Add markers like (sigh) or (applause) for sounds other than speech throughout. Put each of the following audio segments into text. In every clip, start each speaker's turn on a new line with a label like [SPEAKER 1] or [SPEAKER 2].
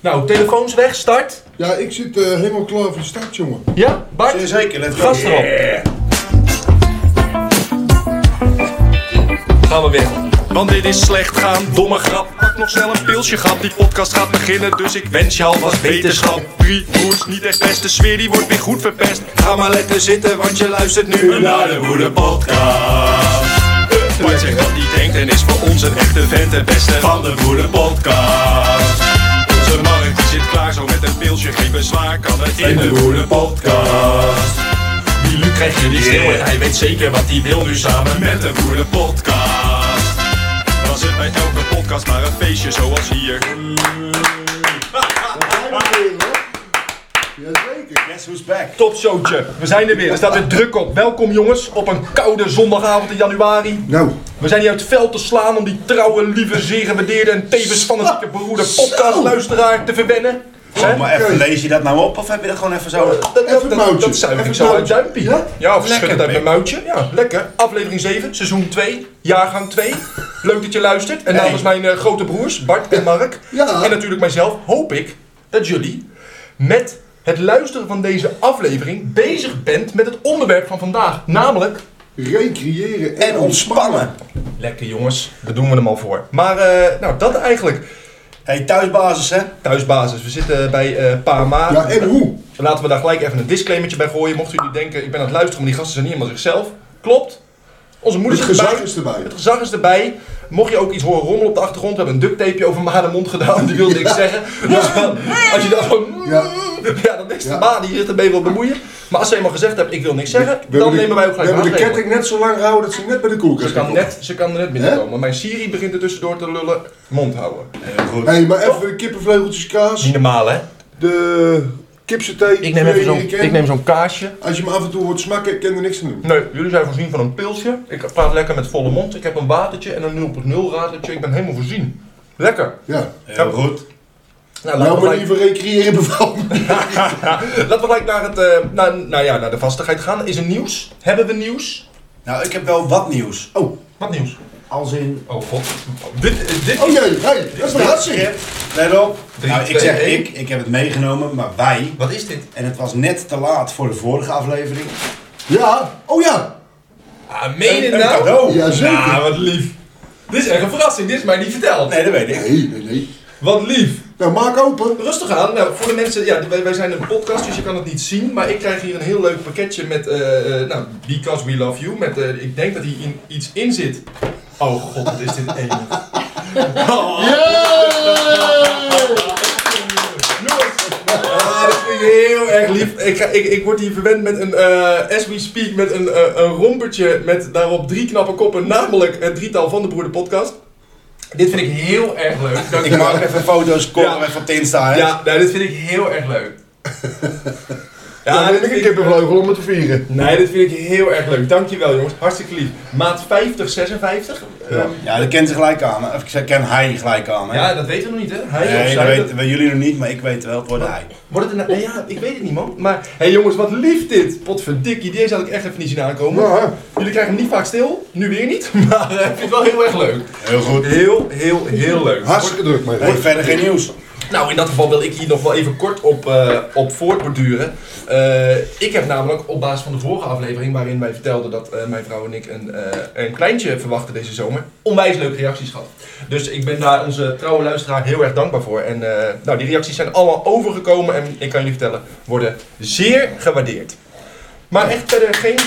[SPEAKER 1] Nou, telefoons weg, start.
[SPEAKER 2] Ja, ik zit eh, helemaal klaar voor de start, jongen.
[SPEAKER 1] Ja, Bart,
[SPEAKER 3] Zeker, let's go.
[SPEAKER 1] gas erop. Gaan we weer.
[SPEAKER 4] Want dit is slecht gaan, domme grap. Pak nog snel een pilsje, gat. Die podcast gaat beginnen, dus ik wens je alvast wetenschap. Drie broers, niet echt best. De sfeer die wordt weer goed verpest. Ga maar lekker zitten, want je luistert nu naar de Woede Podcast. Bart zegt wat hij denkt en is voor ons een echte vent. De beste van de Woede Podcast. Onze markt die zit klaar, zo met een pilsje. Geen bezwaar, kan het in de Woede Podcast. Die Luc krijgt je niet stil en hij weet zeker wat hij wil nu samen met de Woede Podcast. Was het bij elke podcast maar een feestje zoals hier?
[SPEAKER 2] Jazeker.
[SPEAKER 3] Guess who's back?
[SPEAKER 1] Topshowtje. We zijn er weer. Er staat weer druk op. Welkom jongens op een koude zondagavond in januari.
[SPEAKER 2] Nou,
[SPEAKER 1] We zijn hier uit het veld te slaan om die trouwe, lieve, zeer gewaardeerde en tevens fanatieke beroerde podcastluisteraar te verwennen. Hè?
[SPEAKER 3] Oh, maar even, lees je dat nou op of heb je dat gewoon even zo?
[SPEAKER 1] Dat, dat,
[SPEAKER 2] Even
[SPEAKER 1] dat, dat,
[SPEAKER 2] mouwtje.
[SPEAKER 1] zuig ik
[SPEAKER 2] Even
[SPEAKER 1] zo uit
[SPEAKER 2] mouwtje.
[SPEAKER 1] duimpje. Ja,
[SPEAKER 2] Ja?
[SPEAKER 1] of schud het uit mijn muiltje. Ja, lekker. Aflevering 7, seizoen 2, jaargang 2. Leuk dat je luistert. En namens mijn eh, grote broers, Bart en Mark.
[SPEAKER 2] Ja.
[SPEAKER 1] En natuurlijk mijzelf, hoop ik dat jullie met het luisteren van deze aflevering bezig bent met het onderwerp van vandaag. Namelijk
[SPEAKER 2] recreëren en,
[SPEAKER 3] En ontspannen.
[SPEAKER 1] Lekker jongens, daar doen we hem al voor. Maar eh, nou, dat eigenlijk.
[SPEAKER 3] hey, thuisbasis hè?
[SPEAKER 1] Thuisbasis, we zitten bij eh Pa Ma. Eh,
[SPEAKER 2] Ja, en hoe?
[SPEAKER 1] Laten we daar gelijk even een disclaimertje bij gooien. Mochten jullie denken, ik ben aan het luisteren, maar die gasten zijn niet helemaal zichzelf. Klopt. Onze
[SPEAKER 2] Het
[SPEAKER 1] moeder is
[SPEAKER 2] gezag
[SPEAKER 1] erbij.
[SPEAKER 2] is erbij.
[SPEAKER 1] Het gezag is erbij. Mocht je ook iets horen rommelen op de achtergrond, we hebben een ducttapeje over Ma de mond gedaan. Die wilde ik zeggen. Dus dan, als je dacht van... mm,
[SPEAKER 2] Ja.
[SPEAKER 1] Ja, dan is de
[SPEAKER 2] Ja.
[SPEAKER 1] Ma die zich ermee wil bemoeien. Maar als ze eenmaal gezegd hebt, ik wil niks zeggen,
[SPEAKER 2] We
[SPEAKER 1] dan
[SPEAKER 2] hebben de-
[SPEAKER 1] nemen wij ook
[SPEAKER 2] We
[SPEAKER 1] gelijk
[SPEAKER 2] hebben de
[SPEAKER 1] maatregelen.
[SPEAKER 2] ketting net zo lang gehouden dat ze net bij de koelkast
[SPEAKER 1] Ze kan,
[SPEAKER 2] komt.
[SPEAKER 1] net, ze kan er net binnenkomen. Mijn Siri begint er tussendoor te lullen. Mond houden.
[SPEAKER 3] Heel goed.
[SPEAKER 2] Hé, hey, maar even de kippenvleugeltjes kaas.
[SPEAKER 1] Niet normaal, hè?
[SPEAKER 2] De kipsaté.
[SPEAKER 1] Ik neem even zo'n,
[SPEAKER 2] die je kent.
[SPEAKER 1] ik neem zo'n kaasje.
[SPEAKER 2] Als je hem af en toe hoort smakken, ik ken er niks aan doen.
[SPEAKER 1] Nee, jullie zijn voorzien van een pilsje. Ik praat lekker met volle mond. Ik heb een watertje en een 0.0 radertje. Ik ben helemaal voorzien. Lekker.
[SPEAKER 2] Ja.
[SPEAKER 3] Heel goed.
[SPEAKER 1] Nou, laten,
[SPEAKER 2] Nou,
[SPEAKER 1] we
[SPEAKER 2] maar die
[SPEAKER 1] gelijk,
[SPEAKER 2] van recreëren (laughs) bevalt me.
[SPEAKER 1] laten we gelijk naar, het, eh, naar, nou ja, naar de vastigheid gaan. Is er nieuws? Hebben we nieuws?
[SPEAKER 3] Nou, ik heb wel wat nieuws.
[SPEAKER 2] Oh,
[SPEAKER 1] Wat nieuws?
[SPEAKER 3] Als in.
[SPEAKER 1] Oh god. Dit, eh, dit
[SPEAKER 2] oh jee, hey, dat is een verrassing.
[SPEAKER 3] Let op.
[SPEAKER 1] Drie,
[SPEAKER 3] nou, ik
[SPEAKER 1] twee,
[SPEAKER 3] zeg
[SPEAKER 1] één.
[SPEAKER 3] ik, ik heb het meegenomen, maar wij.
[SPEAKER 1] Wat is dit?
[SPEAKER 3] En het was net te laat voor de vorige aflevering.
[SPEAKER 2] Ja, oh ja.
[SPEAKER 1] Ah, meen je
[SPEAKER 3] Een
[SPEAKER 1] nou?
[SPEAKER 3] cadeau. Ah,
[SPEAKER 2] Jazeker.
[SPEAKER 1] Nou, wat lief. Dit is echt een verrassing. Dit is mij niet verteld.
[SPEAKER 3] Nee, dat weet ik.
[SPEAKER 2] Nee, nee, nee.
[SPEAKER 1] Wat lief.
[SPEAKER 2] Nou, maak open.
[SPEAKER 1] Rustig aan. Nou, voor de mensen, ja, wij, wij zijn een podcast, dus je kan het niet zien. Maar ik krijg hier een heel leuk pakketje met, eh, eh, nou, Because We Love You. Met, eh, ik denk dat hier in, iets in zit. Oh god, wat is dit Oh. enig. Jongens, ah, dat vind ik heel erg lief. Ik, ga, ik, ik word hier verwend met een, eh, as we speak, met een, eh, een rompertje met daarop drie knappe koppen. Namelijk het drietal van de Broeder Podcast. Dit vind ik heel erg leuk. Dank je
[SPEAKER 3] Ik
[SPEAKER 1] wel.
[SPEAKER 3] maak even foto's, kom
[SPEAKER 1] Ja.
[SPEAKER 3] even op de Insta. Hè?
[SPEAKER 1] Ja, nou, dit vind ik heel erg leuk.
[SPEAKER 2] Ja, dan
[SPEAKER 1] dit
[SPEAKER 2] heb ik een
[SPEAKER 1] vind ik-
[SPEAKER 2] kippenvleugel om het te vieren.
[SPEAKER 1] Nee, dit vind ik heel erg leuk. Dankjewel jongens, hartstikke lief. Maat 50, 56? Ehm, Ja,
[SPEAKER 3] Ja, dat kent ze gelijk aan. hè. Of ik zeg, ken hij gelijk aan. Hè?
[SPEAKER 1] dat weten we nog niet hè. Hij of
[SPEAKER 3] nee, dat
[SPEAKER 1] zij, dat-
[SPEAKER 3] weten we- jullie nog niet, maar ik weet wel, het wordt hij.
[SPEAKER 1] Wordt het een... nee, Ja, ik weet het niet man. Maar, hé hey, jongens, wat lief dit. Potverdikkie, deze had ik echt even niet zien aankomen.
[SPEAKER 2] Ja.
[SPEAKER 1] Jullie krijgen hem niet vaak stil, nu weer niet. (laughs) Maar eh, ik vind het wel heel erg leuk.
[SPEAKER 3] Heel goed.
[SPEAKER 1] Heel, heel, heel leuk.
[SPEAKER 2] Hartstikke druk, mijn
[SPEAKER 3] Hey,
[SPEAKER 2] vriend.
[SPEAKER 3] verder geen nieuws.
[SPEAKER 1] Nou, in dat geval wil ik hier nog wel even kort op, eh, op voortborduren. Eh, ik heb namelijk op basis van de vorige aflevering, waarin wij vertelden dat eh, mijn vrouw en ik een, eh, een kleintje verwachten deze zomer, onwijs leuke reacties gehad. Dus ik ben daar onze trouwe luisteraar heel erg dankbaar voor. En eh, nou, die reacties zijn allemaal overgekomen en ik kan jullie vertellen, worden zeer gewaardeerd. Maar echt verder geen...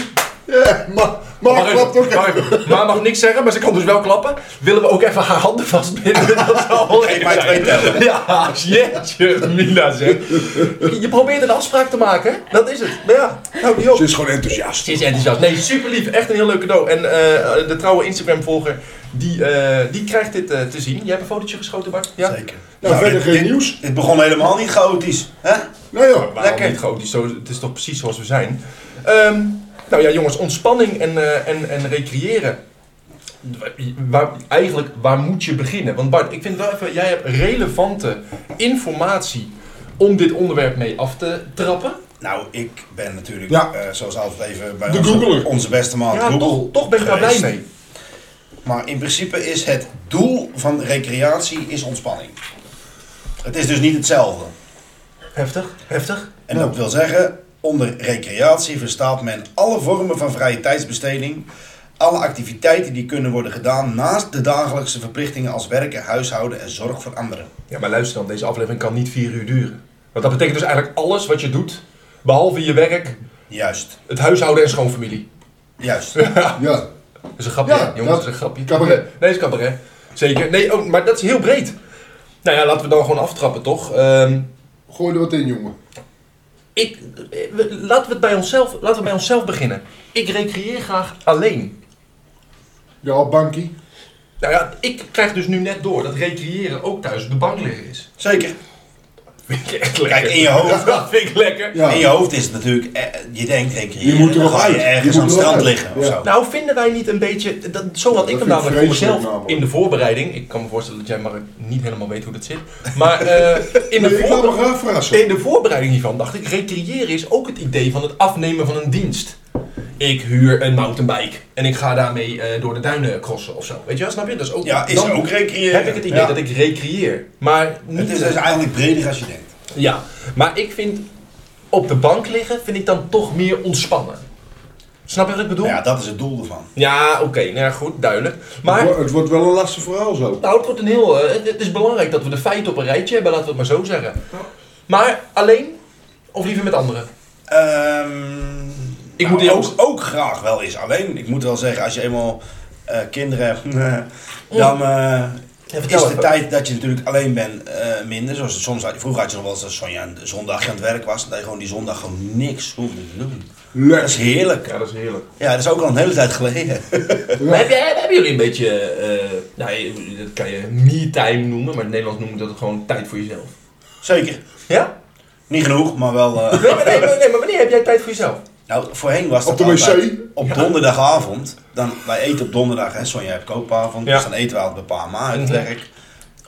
[SPEAKER 2] Ja, maar, maar,
[SPEAKER 1] Mark,
[SPEAKER 2] klapt ook.
[SPEAKER 1] Mark, maar mag niks zeggen, maar ze kan dus wel klappen. Willen we ook even haar handen
[SPEAKER 3] (laughs)
[SPEAKER 1] vastbinden? Dat zou wel
[SPEAKER 3] Geef
[SPEAKER 1] even
[SPEAKER 3] mij
[SPEAKER 1] zijn.
[SPEAKER 3] twee tellen.
[SPEAKER 1] Ja, jeetje, Mina zeg. Je probeert een afspraak te maken, hè? dat is het. Maar ja, nou die ook.
[SPEAKER 2] Ze is gewoon enthousiast.
[SPEAKER 1] Ze is enthousiast. Nee, super lief. Echt een heel leuk cadeau. En eh, de trouwe Instagram-volger, die, eh, die krijgt dit eh, te zien. Jij hebt een fotootje geschoten, Bart? Ja?
[SPEAKER 3] Zeker.
[SPEAKER 2] Nou, verder
[SPEAKER 3] dit-
[SPEAKER 2] geen
[SPEAKER 3] dit-
[SPEAKER 2] nieuws.
[SPEAKER 3] Het begon helemaal niet chaotisch. Hè?
[SPEAKER 2] Nou ja.
[SPEAKER 1] Waarom
[SPEAKER 3] Lekker.
[SPEAKER 1] niet groot? Zo- Het is toch precies zoals we zijn. Ehm, nou ja, jongens, ontspanning en, eh, en, en recreëren. Waar- Waar, eigenlijk, waar moet je beginnen? Want Bart, ik vind wel even, jij hebt relevante informatie om dit onderwerp mee af te trappen.
[SPEAKER 3] Nou, ik ben natuurlijk,
[SPEAKER 2] Ja.
[SPEAKER 3] eh, zoals altijd even bij
[SPEAKER 2] De
[SPEAKER 3] onze,
[SPEAKER 2] Googler.
[SPEAKER 3] onze beste man
[SPEAKER 1] ja,
[SPEAKER 3] Google
[SPEAKER 1] toch, toch ben ik daar blij
[SPEAKER 3] geweest.
[SPEAKER 1] mee.
[SPEAKER 3] Maar in principe is het doel van recreatie is ontspanning. Het is dus niet hetzelfde.
[SPEAKER 1] Heftig, heftig.
[SPEAKER 3] En dat wil zeggen, onder recreatie verstaat men alle vormen van vrije tijdsbesteding, alle activiteiten die kunnen worden gedaan naast de dagelijkse verplichtingen als werken, huishouden en zorg voor anderen.
[SPEAKER 1] Ja, maar luister dan, deze aflevering kan niet vier uur duren. Want dat betekent dus eigenlijk alles wat je doet, behalve je werk,
[SPEAKER 3] Juist,
[SPEAKER 1] het huishouden en schoonfamilie.
[SPEAKER 3] juist.
[SPEAKER 2] (laughs) Ja.
[SPEAKER 1] Dat is een grapje,
[SPEAKER 2] Ja,
[SPEAKER 1] hè, jongens, dat
[SPEAKER 2] dat-
[SPEAKER 1] is een grapje.
[SPEAKER 2] cabaret.
[SPEAKER 1] Nee, dat is cabaret. Zeker. Nee, oh, maar dat is heel breed. Nou ja, laten we dan gewoon aftrappen, toch? Ehm,
[SPEAKER 2] Gooi er wat in, jongen.
[SPEAKER 1] ik, eh, we- laten, we het bij onszelf, laten we bij onszelf beginnen. Ik recreëer graag alleen.
[SPEAKER 2] Ja, bankie.
[SPEAKER 1] Nou ja, ik krijg dus nu net door dat recreëren ook thuis op de bank liggen is.
[SPEAKER 3] Zeker.
[SPEAKER 1] Vind ik echt
[SPEAKER 3] Kijk,
[SPEAKER 1] lekker.
[SPEAKER 3] in je
[SPEAKER 1] (laughs)
[SPEAKER 3] hoofd.
[SPEAKER 1] Dat vind ik lekker.
[SPEAKER 2] Ja.
[SPEAKER 3] In je hoofd is het natuurlijk, eh, je denkt recreëren,
[SPEAKER 2] Je moet er
[SPEAKER 3] dan
[SPEAKER 2] nog
[SPEAKER 3] ga je
[SPEAKER 2] uit. Je
[SPEAKER 3] ergens
[SPEAKER 2] moet
[SPEAKER 3] aan
[SPEAKER 2] er
[SPEAKER 3] het
[SPEAKER 2] nog
[SPEAKER 3] strand
[SPEAKER 2] uit.
[SPEAKER 3] liggen of
[SPEAKER 2] Ja.
[SPEAKER 3] zo.
[SPEAKER 1] Nou, vinden wij niet een beetje. Dat, zo had
[SPEAKER 2] Ja,
[SPEAKER 1] ik hem
[SPEAKER 2] dat vind ik
[SPEAKER 1] namelijk voor
[SPEAKER 2] vreselijk
[SPEAKER 1] mezelf
[SPEAKER 2] namelijk.
[SPEAKER 1] in de voorbereiding. Ik kan me voorstellen dat jij maar niet helemaal weet hoe dat zit. Maar eh, in, de
[SPEAKER 2] Nee, ik laat me
[SPEAKER 1] voor-
[SPEAKER 2] graag verrassen.
[SPEAKER 1] in de voorbereiding hiervan dacht ik: recreëren is ook het idee van het afnemen van een dienst. Ik huur een mountainbike en ik ga daarmee eh, door de duinen crossen of zo. Weet je wel, snap je? Dat is ook.
[SPEAKER 3] Ja, is
[SPEAKER 1] dan
[SPEAKER 3] ook recreëren.
[SPEAKER 1] Heb ik het idee
[SPEAKER 3] Ja.
[SPEAKER 1] dat ik recreëer. Maar niet.
[SPEAKER 3] Het is dus eigenlijk breder als je denkt.
[SPEAKER 1] Ja, maar ik vind op de bank liggen vind ik dan toch meer ontspannen. Snap je wat ik bedoel?
[SPEAKER 3] Ja, dat is het doel ervan.
[SPEAKER 1] Ja, oké, nou ja, goed, duidelijk. Maar
[SPEAKER 2] Het wo- Het wordt wel een lastig verhaal zo.
[SPEAKER 1] nou, het, wordt een heel, eh, het, het is belangrijk dat we de feiten op een rijtje hebben, laten we het maar zo zeggen. Maar alleen of liever met anderen?
[SPEAKER 3] Ehm,
[SPEAKER 1] Ik
[SPEAKER 3] nou,
[SPEAKER 1] moet die
[SPEAKER 3] ook,
[SPEAKER 1] ook-
[SPEAKER 3] ook graag wel eens. Alleen, ik moet wel zeggen, als je eenmaal eh, kinderen hebt, (laughs) dan eh,
[SPEAKER 1] Ja,
[SPEAKER 3] is
[SPEAKER 1] vertel
[SPEAKER 3] de
[SPEAKER 1] even.
[SPEAKER 3] tijd dat je natuurlijk alleen bent eh, minder. Zoals het soms, vroeger had je nog wel eens als Sonja een zondagje aan het werk was, dat je gewoon die zondag gewoon niks hoefde te doen. Dat is
[SPEAKER 2] Lekker.
[SPEAKER 3] heerlijk.
[SPEAKER 1] dat is heerlijk.
[SPEAKER 3] Ja, dat is ook al een hele tijd geleden. (laughs)
[SPEAKER 1] Maar heb jij, hebben jullie een beetje, eh nou, je- dat kan je me-time noemen, maar in het Nederlands noemen we dat gewoon tijd voor jezelf.
[SPEAKER 3] Zeker.
[SPEAKER 1] Ja?
[SPEAKER 3] Niet genoeg, maar wel. eh,
[SPEAKER 1] Nee, maar, nee, maar- nee, maar wanneer heb jij tijd voor jezelf?
[SPEAKER 3] Nou, voorheen was dat
[SPEAKER 2] Op de wc?
[SPEAKER 3] altijd op donderdagavond. Dan, wij eten op donderdag, hè, Sonja heeft koopavond.
[SPEAKER 1] Ja.
[SPEAKER 3] Dus dan eten we altijd bij pa en ma uit het
[SPEAKER 1] Mhm.
[SPEAKER 3] werk.